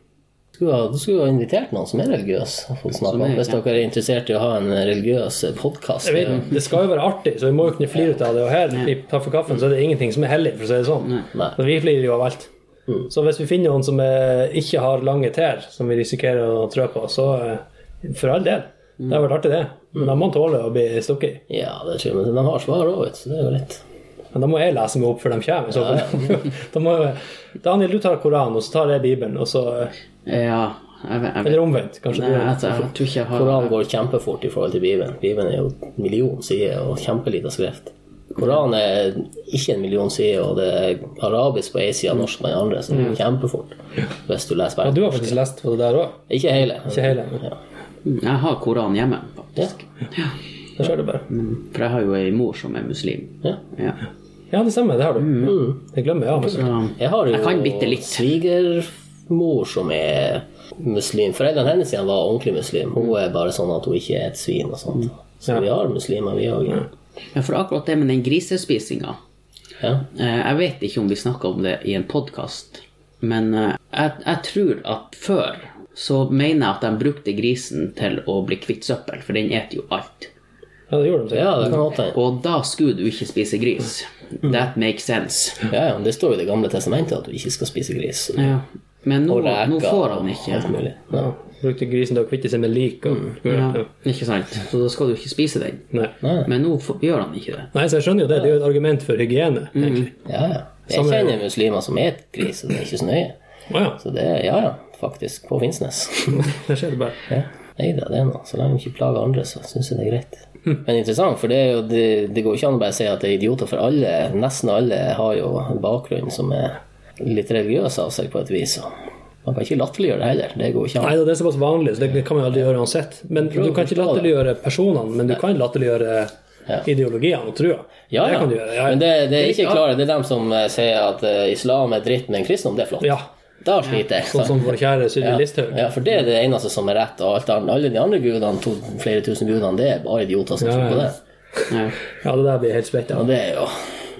[SPEAKER 1] Du skulle, ha, du skulle ha invitert noen som er religiøs, og fått snakke
[SPEAKER 3] Som
[SPEAKER 1] om.
[SPEAKER 3] er-
[SPEAKER 1] Hvis dere er interessert i å ha en religiøs eh, podkast.
[SPEAKER 2] jeg vet, det skal jo være artig, så vi må jo kunne flire ut av det. Og her i Kaffe Kaffen så er det ingenting som er hellig, for å si det sånn.
[SPEAKER 1] Nei.
[SPEAKER 2] Så vi flirer jo av alt. Så hvis vi finner noen som eh, ikke har lange tær, som vi risikerer å trø på, så eh, for all del. Det har vært artig, det. Men da må man tåle å bli stukket i.
[SPEAKER 1] Ja, det tror jeg. Men de har svar òg, vet du. så Det er jo litt
[SPEAKER 2] Men da må jeg lese meg opp før de kommer. i Så fall. da må jeg, Daniel, du tar Koranen, og så tar jeg Bibelen, og så eh,
[SPEAKER 3] Ja, jeg, vet- jeg, vet-
[SPEAKER 2] Eller omvendt, kanskje.
[SPEAKER 3] Nei, altså,
[SPEAKER 2] du-
[SPEAKER 3] jeg, jeg tror ikke jeg har
[SPEAKER 1] Koranen går kjempefort i forhold til Bibelen. Bibelen er jo en million sider og kjempelita skrift. Koranen er ikke en million sider, og det er arabisk på én side og norsk på den andre. Så det går kjempefort hvis du leser
[SPEAKER 2] Ja,
[SPEAKER 1] bare.
[SPEAKER 2] du har faktisk lest på det der òg.
[SPEAKER 1] Ikke hele.
[SPEAKER 2] Ikke hele.
[SPEAKER 1] Ja.
[SPEAKER 3] Mm, Jeg har Koran hjemme, faktisk.
[SPEAKER 2] Da ser du bare.
[SPEAKER 3] Mm, For jeg har jo ei mor som er muslim.
[SPEAKER 1] Ja.
[SPEAKER 3] Ja.
[SPEAKER 2] Ja, det stemmer. Det har du. Det glemmer jeg. Men.
[SPEAKER 3] Så,
[SPEAKER 1] Jeg har jo
[SPEAKER 3] Jeg kan bitte litt.
[SPEAKER 1] svigermor som er muslim. Foreldrene hennes igjen var ordentlig muslim. Hun er bare sånn at hun ikke er et svin og sånt. Så
[SPEAKER 2] Ja.
[SPEAKER 1] vi har muslimer, vi òg.
[SPEAKER 3] ja, for akkurat det med den grisespisinga
[SPEAKER 1] Ja.
[SPEAKER 3] eh, Jeg vet ikke om vi snakka om det i en podkast, men eh, jeg, jeg tror at før så mener jeg at de brukte grisen til å bli kvitt søppel, for den eter jo alt.
[SPEAKER 2] Ja, det gjorde de sikkert.
[SPEAKER 1] ja, det kan godt hende.
[SPEAKER 3] Og da skulle du ikke spise gris.
[SPEAKER 1] Mm.
[SPEAKER 3] That makes sense.
[SPEAKER 1] Ja, ja, det står jo i Det gamle testamentet at du ikke skal spise gris.
[SPEAKER 3] Ja. Men nå,
[SPEAKER 1] Og reker
[SPEAKER 3] nå
[SPEAKER 1] og
[SPEAKER 3] får han ikke
[SPEAKER 1] alt mulig.
[SPEAKER 2] Ja. Brukte grisen til å kvitte seg med lik. Og...
[SPEAKER 1] Mm.
[SPEAKER 3] ja,
[SPEAKER 2] Ja.
[SPEAKER 3] Ikke sant? Så da skal du ikke spise den.
[SPEAKER 2] Nei.
[SPEAKER 3] Men nå får- gjør han ikke det.
[SPEAKER 2] Nei, så jeg skjønner jo det. Det er jo et argument for hygiene.
[SPEAKER 1] Mm.
[SPEAKER 2] egentlig.
[SPEAKER 1] Ja, ja. Jeg
[SPEAKER 2] Samme-
[SPEAKER 1] kjenner muslimer som et gris, og det er ikke så nøye.
[SPEAKER 2] Å ja.
[SPEAKER 1] Så det er ja, ja, faktisk på Finnsnes.
[SPEAKER 2] Det skjer det bare.
[SPEAKER 1] Ja. Nei da, det er noe. Så lenge de ikke plager andre, så syns jeg det er greit. Men interessant, for det, er jo, det, det går jo ikke an å bare si at det er idioter, for alle, nesten alle har jo en bakgrunn som er litt religiøs av seg, på et vis. og Man kan ikke latterliggjøre det heller. Det går ikke
[SPEAKER 2] Nei,
[SPEAKER 1] an.
[SPEAKER 2] det er såpass vanlig, så det kan man jo aldri gjøre uansett. Men du kan ikke latterliggjøre personene, men du kan latterliggjøre ideologiene og trua.
[SPEAKER 1] Ja,
[SPEAKER 2] Det
[SPEAKER 1] ja.
[SPEAKER 2] kan du gjøre. Ja,
[SPEAKER 1] Men det, det er ikke
[SPEAKER 3] Ja.
[SPEAKER 1] klare. Det er dem som eh, sier at eh, islam er dritt, men kristendom, det er flott.
[SPEAKER 2] ja.
[SPEAKER 1] Da sliter jeg.
[SPEAKER 2] Sånn som vår kjære Sylvi Listhaug.
[SPEAKER 1] Ja, for det er det eneste som er rett, og alt annet. alle de andre gudene, to, flere tusen gudene, det er bare idioter som
[SPEAKER 2] Ja,
[SPEAKER 1] tror på
[SPEAKER 2] ja.
[SPEAKER 1] det.
[SPEAKER 3] Ja.
[SPEAKER 2] Ja, det der blir helt splett. Ja.
[SPEAKER 1] Og det er jo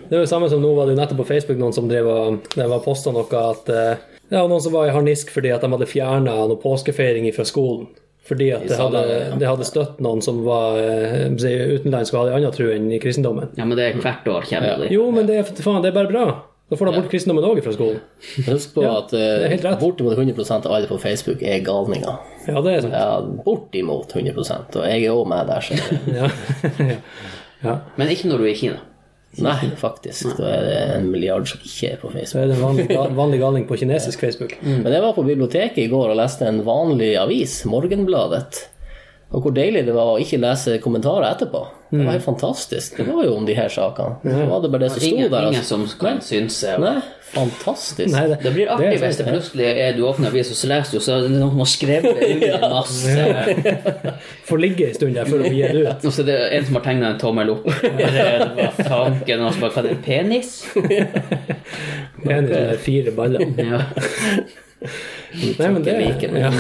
[SPEAKER 2] Det er jo det samme som nå var det jo nettopp på Facebook noen som drev og det var posta noe at eh, det var noen som var i harnisk fordi at de hadde fjerna noe påskefeiring fra skolen. Fordi at
[SPEAKER 1] I
[SPEAKER 2] det hadde,
[SPEAKER 1] samme- ja.
[SPEAKER 2] det hadde støtt noen som var eh, si, utenlandsk og hadde en annen tro enn i kristendommen.
[SPEAKER 3] Ja, men det er hvert år, kjenner du.
[SPEAKER 2] Jo, men det er, faen, det er bare bra. Da får de bort kristendommen òg fra skolen.
[SPEAKER 1] Husk på
[SPEAKER 2] Ja,
[SPEAKER 1] at
[SPEAKER 2] det er helt
[SPEAKER 1] eh,
[SPEAKER 2] rett.
[SPEAKER 1] bortimot 100 av alle på Facebook er galninger.
[SPEAKER 2] Ja, det er sånn. sant.
[SPEAKER 1] Ja, bortimot 100 og jeg er òg med der. Så.
[SPEAKER 2] Ja. ja.
[SPEAKER 3] Men ikke når du er i Kina.
[SPEAKER 1] Nei, faktisk. Da er det en milliard som ikke er på Facebook.
[SPEAKER 2] Så er det en vanlig, ga- vanlig galning på kinesisk Facebook.
[SPEAKER 3] Mm.
[SPEAKER 1] Men jeg var på biblioteket i går og leste en vanlig avis, Morgenbladet. Og hvor deilig det var å ikke lese kommentarer etterpå. Det var helt fantastisk. Det var jo om de her sakene. Så var det bare det som sto
[SPEAKER 3] Ingen,
[SPEAKER 1] der.
[SPEAKER 3] ingen
[SPEAKER 1] Altså.
[SPEAKER 3] som kan synse.
[SPEAKER 1] Nei, fantastisk.
[SPEAKER 2] Nei,
[SPEAKER 3] Det blir
[SPEAKER 2] det
[SPEAKER 3] artig
[SPEAKER 2] er sånn
[SPEAKER 3] hvis
[SPEAKER 2] sant.
[SPEAKER 3] det plutselig er du åpner avisen, så leser du, så er det noen som har skrevet det under masse.
[SPEAKER 2] Får ligge en stund der før å gi det ut.
[SPEAKER 3] Og så er det en som har tegna en tommel opp. Eller hva tanken Noen som bare kaller det en penis.
[SPEAKER 2] En eller fire baller.
[SPEAKER 3] Ja.
[SPEAKER 2] Nei, men det,
[SPEAKER 1] liker det.
[SPEAKER 2] ja.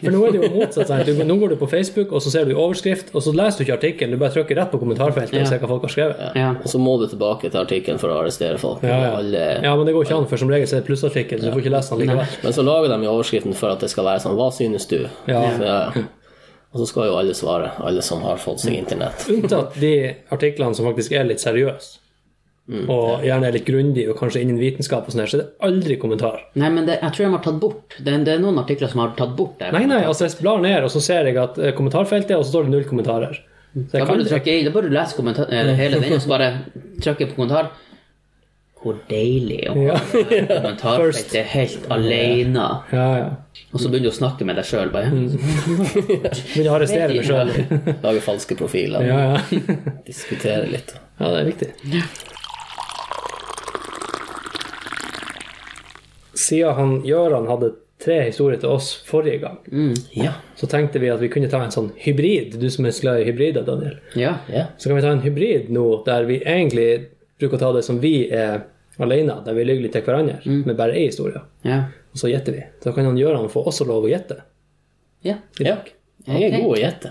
[SPEAKER 2] For nå er det jo motsatt. Sant? Du, nå går du på Facebook, og så ser du overskrift, og så leser du ikke artikkelen. Du bare trykker rett på kommentarfeltet og ser hva folk har skrevet.
[SPEAKER 3] Ja.
[SPEAKER 1] Og så må du tilbake til artikkelen for å arrestere folk.
[SPEAKER 2] Ja, ja.
[SPEAKER 1] Alle...
[SPEAKER 2] ja, men det går ikke an, for som regel så er det plussartikkel, så du får ikke lest den likevel.
[SPEAKER 1] Men så lager de jo overskriften for at det skal være sånn Hva synes du?
[SPEAKER 2] Ja.
[SPEAKER 1] Så, Og så skal jo alle svare, alle som har fått seg internett.
[SPEAKER 2] Unntatt de artiklene som faktisk er litt seriøse,
[SPEAKER 1] Mm.
[SPEAKER 2] og gjerne er litt grundige, og kanskje innen vitenskap og sånn her, så er det aldri kommentar.
[SPEAKER 3] Nei, men det, jeg tror de har tatt bort det, er- det er noen artikler som har tatt bort det.
[SPEAKER 2] Nei, nei, altså jeg blar ned, og så ser jeg at eh, kommentarfeltet, og så står det null kommentarer. Så
[SPEAKER 3] Da
[SPEAKER 2] jeg
[SPEAKER 3] bør
[SPEAKER 2] kan,
[SPEAKER 3] du, trykke, i- da bør du lese kommentar, eh, hele den, og så bare trykke på kommentar. Hvor deilig å ha kommentarfeltet helt alene.
[SPEAKER 2] ja, ja.
[SPEAKER 3] Og så begynner du å snakke med deg sjøl, bare.
[SPEAKER 2] Begynner å arrestere meg sjøl.
[SPEAKER 1] Lager falske profiler,
[SPEAKER 2] Ja, ja.
[SPEAKER 1] diskuterer litt.
[SPEAKER 2] ja, det er viktig. Siden han, Gjøran hadde tre historier til oss forrige gang,
[SPEAKER 1] Ja.
[SPEAKER 2] så tenkte vi at vi kunne ta en sånn hybrid, du som er så glad i hybrider, Daniel.
[SPEAKER 3] Ja.
[SPEAKER 1] ja.
[SPEAKER 2] Så kan vi ta en hybrid nå, der vi egentlig bruker å ta det som vi er alene, der vi ligger litt til hverandre,
[SPEAKER 3] Mm.
[SPEAKER 2] med bare én historie.
[SPEAKER 3] Ja.
[SPEAKER 2] Og så gjetter vi. Da kan han Gjøran få også lov å gjette.
[SPEAKER 3] ja.
[SPEAKER 2] i
[SPEAKER 1] ja.
[SPEAKER 2] dag.
[SPEAKER 1] Jeg er god å gjette.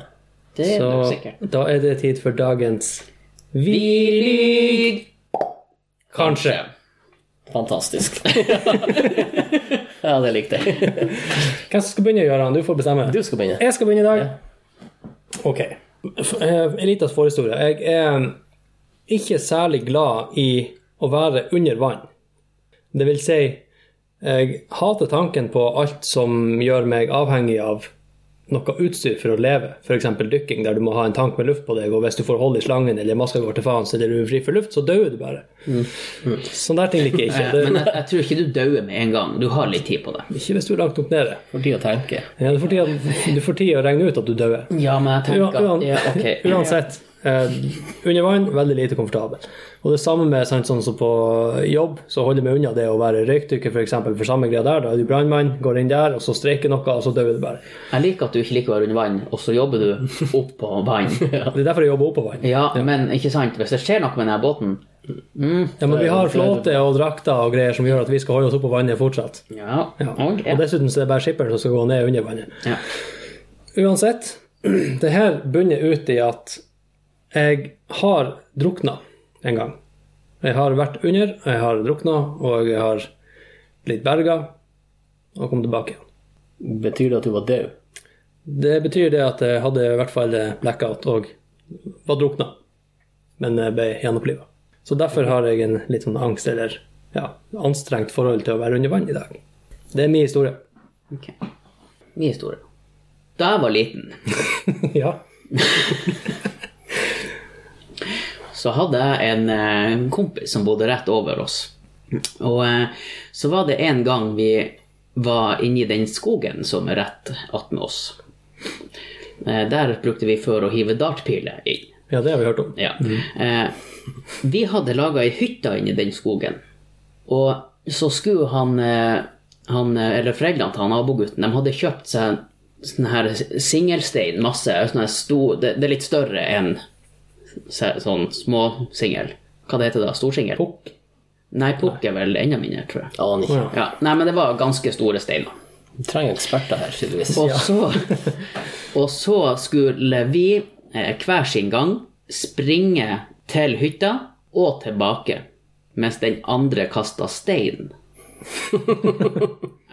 [SPEAKER 3] Det er nok sikkert.
[SPEAKER 2] Så da er det tid for dagens Vi lyg! Kanskje.
[SPEAKER 1] Fantastisk. ja, det likte jeg.
[SPEAKER 2] Hvem som skal begynne, Gøran? Du får bestemme.
[SPEAKER 1] Du skal begynne.
[SPEAKER 2] Jeg skal begynne i dag. Ok. F- eh, En liten forhistorie. Jeg er ikke særlig glad i å være under vann. Det vil si, jeg hater tanken på alt som gjør meg avhengig av noe utstyr for å leve, f.eks. dykking, der du må ha en tank med luft på deg, og hvis du får hold i slangen eller maska går til faens eller du er fri for luft, så dør du bare. Sånne der ting liker jeg ikke.
[SPEAKER 3] Eh, Men
[SPEAKER 2] Det,
[SPEAKER 3] jeg, jeg tror ikke du dauer med en gang. Du har litt tid på det.
[SPEAKER 2] ikke hvis du er langt opp nede.
[SPEAKER 1] For tid å tenke.
[SPEAKER 2] Ja, du får tid- du får tid å regne ut at du dør.
[SPEAKER 3] Ja, men jeg tenker
[SPEAKER 2] Uan- uan-
[SPEAKER 3] ja, ok.
[SPEAKER 2] Uansett. Eh, under vann, veldig lite komfortabel. Og det samme med sant, sånn som på jobb, så holder jeg meg unna det å være røykdykker, f.eks. For, eksempel, for samme greia der. Da er du brannmann, går inn der, og så streiker noe, og så dør du bare.
[SPEAKER 3] Jeg liker at du ikke liker å være under vann, og så jobber du opp på vann.
[SPEAKER 2] Det er derfor jeg jobber oppå vann.
[SPEAKER 3] Ja, men ikke sant, hvis det skjer noe med denne båten
[SPEAKER 2] Ja, men vi har flåte og drakter og greier som gjør at vi skal holde oss oppå vannet fortsatt.
[SPEAKER 3] Ja,
[SPEAKER 2] Ja.
[SPEAKER 3] og
[SPEAKER 2] Og dessuten så er det bare skipperen som skal gå ned under vannet.
[SPEAKER 3] ja.
[SPEAKER 2] Uansett, det her bunner ut i at jeg har drukna en gang. Jeg har vært under, jeg har drukna, og jeg har blitt berga og kom tilbake igjen.
[SPEAKER 1] Betyr det at du var død?
[SPEAKER 2] Det betyr det at jeg hadde i hvert fall blackout og var drukna, men jeg ble gjenoppliva. Så derfor har jeg en litt sånn angst, eller ja, anstrengt forhold til å være under vann i dag. Det er min historie.
[SPEAKER 3] Ok. Min historie. Da jeg var liten,
[SPEAKER 2] ja.
[SPEAKER 3] så hadde jeg en eh, kompis som bodde rett over oss. Og eh, så var det en gang vi var inni den skogen som er rett attmed oss. Eh, Der brukte vi før å hive dartpiler inn.
[SPEAKER 2] ja, det har vi hørt om.
[SPEAKER 3] Ja. Eh, vi hadde laga ei hytte inni den skogen. Og så skulle han, eh, han eh, Eller foreldrene til han nabogutten, de hadde kjøpt seg sånn her singelstein, masse. Sånn her sto- det, det er litt større enn se- sånn småsingel. Hva det heter det? Storsingel?
[SPEAKER 2] Pukk.
[SPEAKER 3] Nei, pukk er vel enda mindre, tror jeg.
[SPEAKER 1] Aner ikke.
[SPEAKER 2] Ja.
[SPEAKER 3] Ja. Nei, men det var ganske store steiner.
[SPEAKER 1] Du trenger eksperter her, tydeligvis.
[SPEAKER 3] Og så, og så skulle vi eh, hver sin gang springe til hytta og tilbake, mens den andre kasta stein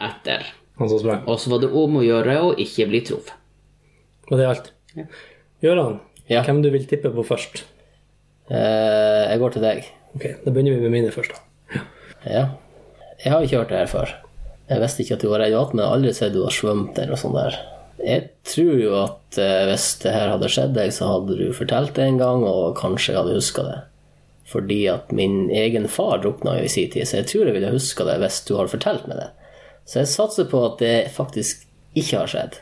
[SPEAKER 3] etter.
[SPEAKER 2] Han som sprang.
[SPEAKER 3] Og så var det om å gjøre å ikke bli truffet.
[SPEAKER 2] Og det er alt.
[SPEAKER 3] Ja.
[SPEAKER 2] Gøran,
[SPEAKER 1] Ja.
[SPEAKER 2] hvem du vil tippe på først?
[SPEAKER 1] Eh, jeg går til deg.
[SPEAKER 2] Ok, Da begynner vi med mine først. da.
[SPEAKER 1] Ja. Jeg har ikke hørt det her før. Jeg visste ikke at du var radiat, men jeg har aldri sett du har svømt eller noe sånt der. Jeg tror jo at eh, hvis det her hadde skjedd deg, så hadde du fortalt det en gang, og kanskje jeg hadde huska det. Fordi at min egen far drukna jo i sin tid, så jeg tror jeg ville huska det hvis du hadde fortalt meg det. Så jeg satser på at det faktisk ikke har skjedd.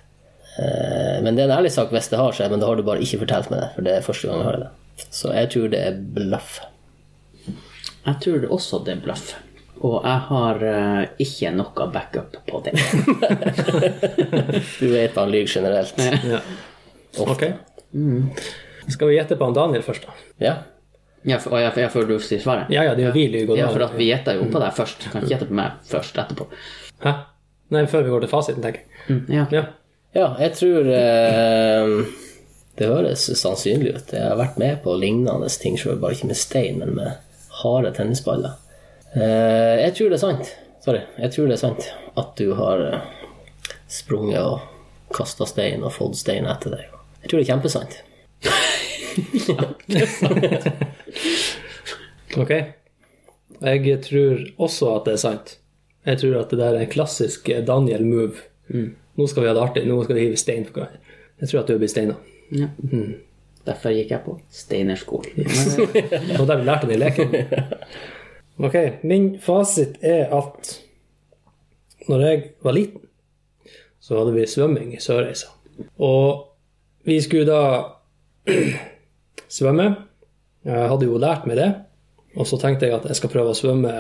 [SPEAKER 1] Eh, Men det er en ærlig sak hvis det har skjedd, men da har du bare ikke fortalt meg det, for det er første gang jeg hører det. Så jeg tror det er blaff.
[SPEAKER 3] Jeg tror også det er bløff. Og jeg har eh, ikke noe backup på det.
[SPEAKER 1] Du vet han lyver generelt.
[SPEAKER 2] Ok? Skal vi gjette på han Daniel først, da?
[SPEAKER 1] Ja.
[SPEAKER 3] Ja, for, og jeg, jeg føler du sier svaret?
[SPEAKER 2] Ja ja, det er jo vi lyver.
[SPEAKER 3] Ja, for at vi gjetta jo på deg først. Du kan ikke gjette på meg først etterpå.
[SPEAKER 2] Hæ? Nei, før vi går til fasiten, tenker jeg.
[SPEAKER 3] Mm, ja.
[SPEAKER 2] Ja.
[SPEAKER 1] Ja, jeg tror eh, Det høres sannsynlig ut. Jeg har vært med på lignende ting sjøl, bare ikke med stein, men med harde tennisballer. Eh, jeg tror det er sant. Sorry. Jeg tror det er sant at du har eh, sprunget og kasta stein og fått stein etter deg. Jeg tror det er kjempesant.
[SPEAKER 2] Ok. Jeg tror også at det er sant. Jeg tror at det der er en klassisk Daniel-move. Nå skal vi ha det artig. Nå skal vi hive stein på hverandre. Jeg tror at du blir steina.
[SPEAKER 3] Ja. Derfor gikk jeg på Steinerskolen.
[SPEAKER 2] Det var der vi lærte det i leken. Ok, min fasit er at når jeg var liten, så hadde vi svømming i Sørreisa. Og vi skulle da svømme. Jeg hadde jo lært meg det. Og så tenkte jeg at jeg skal prøve å svømme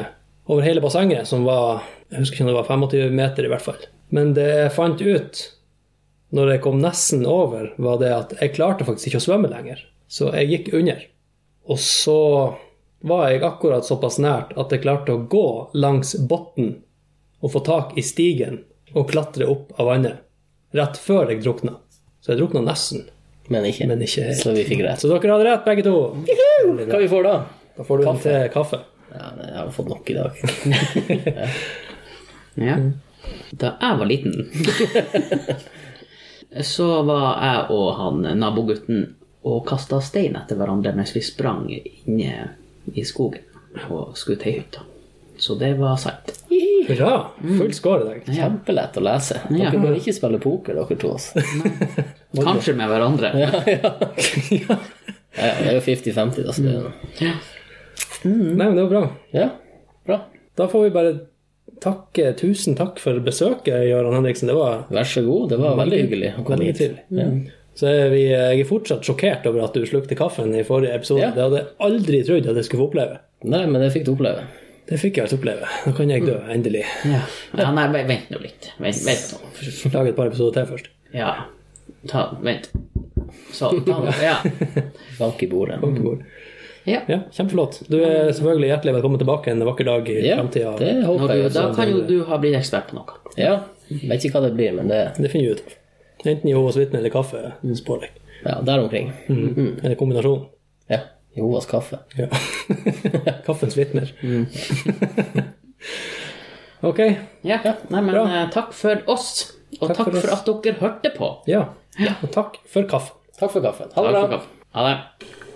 [SPEAKER 2] over hele bassenget, som var jeg husker ikke om det var 25 meter i hvert fall. Men det jeg fant ut når jeg kom nesten over, var det at jeg klarte faktisk ikke å svømme lenger. Så jeg gikk under. Og så var jeg akkurat såpass nært at jeg klarte å gå langs bunnen og få tak i stigen og klatre opp av vannet. Rett før jeg drukna. Så jeg drukna nesten,
[SPEAKER 1] Men ikke.
[SPEAKER 2] men ikke helt.
[SPEAKER 1] Så vi fikk rett.
[SPEAKER 2] Så dere hadde rett, begge to.
[SPEAKER 1] Hva vi får da?
[SPEAKER 2] Da får du en til kaffe.
[SPEAKER 1] Ja, jeg har fått nok i dag.
[SPEAKER 3] Ja. Da jeg var liten, så var jeg og han nabogutten og kasta stein etter hverandre mens vi sprang inne i skogen og skulle til hytta. Så det var sant.
[SPEAKER 2] Hurra! Full score i dag.
[SPEAKER 1] Kjempelett å lese. Dere
[SPEAKER 3] Ja.
[SPEAKER 1] bør ikke spille poker, dere to. altså.
[SPEAKER 3] Kanskje med hverandre.
[SPEAKER 1] Ja, det er jo 50-50, da. Så det er jo-
[SPEAKER 3] Ja.
[SPEAKER 2] Nei, men det var bra.
[SPEAKER 1] Ja, bra.
[SPEAKER 2] Da får vi bare takke tusen takk for besøket, Gøran Henriksen. Det var
[SPEAKER 1] Vær så god. Det var veldig hyggelig å komme
[SPEAKER 2] veldig
[SPEAKER 1] hit.
[SPEAKER 2] trivelig.
[SPEAKER 3] Mm.
[SPEAKER 2] Så er vi, jeg er fortsatt sjokkert over at du slukte kaffen i forrige episode.
[SPEAKER 1] Ja.
[SPEAKER 2] Det hadde jeg aldri trodd at jeg skulle få oppleve.
[SPEAKER 1] Nei, men det fikk du oppleve.
[SPEAKER 2] Det fikk jeg altså oppleve. Nå kan jeg dø, endelig.
[SPEAKER 3] Ja. ja. Nei, vent- vent nå litt. Vent, vent nå.
[SPEAKER 2] Lage et par episoder til først.
[SPEAKER 3] Ja. Ta, vent. Sånn. Ta den. Ja.
[SPEAKER 1] Bank i bordet.
[SPEAKER 3] ja.
[SPEAKER 2] Ja, Kjempeflott. Du er selvfølgelig hjertelig velkommen tilbake en vakker dag i
[SPEAKER 1] Ja,
[SPEAKER 2] fremtiden.
[SPEAKER 1] det
[SPEAKER 3] Når
[SPEAKER 1] håper
[SPEAKER 3] du,
[SPEAKER 1] jeg. sånn
[SPEAKER 3] da kan jo du ha blitt ekspert på noe.
[SPEAKER 1] Ja, vet ikke hva det blir, men det
[SPEAKER 2] Det finner vi ut av. Enten Jehovas vitne eller kaffe, spår jeg.
[SPEAKER 1] Ja, der omkring. Mhm.
[SPEAKER 2] Eller kombinasjon.
[SPEAKER 1] Ja. Jehovas kaffe.
[SPEAKER 2] Ja. Kaffens vitner.
[SPEAKER 1] Mhm.
[SPEAKER 2] ok.
[SPEAKER 3] Ja. Nei, men
[SPEAKER 2] Bra.
[SPEAKER 3] eh, takk for oss. Og
[SPEAKER 2] Takk
[SPEAKER 3] takk,
[SPEAKER 2] for oss.
[SPEAKER 3] for at dere hørte på.
[SPEAKER 2] Ja. Og takk for kaffen.
[SPEAKER 1] Takk for kaffen. Ha det
[SPEAKER 3] Takk
[SPEAKER 1] bra.
[SPEAKER 3] for kaffen. Ha det.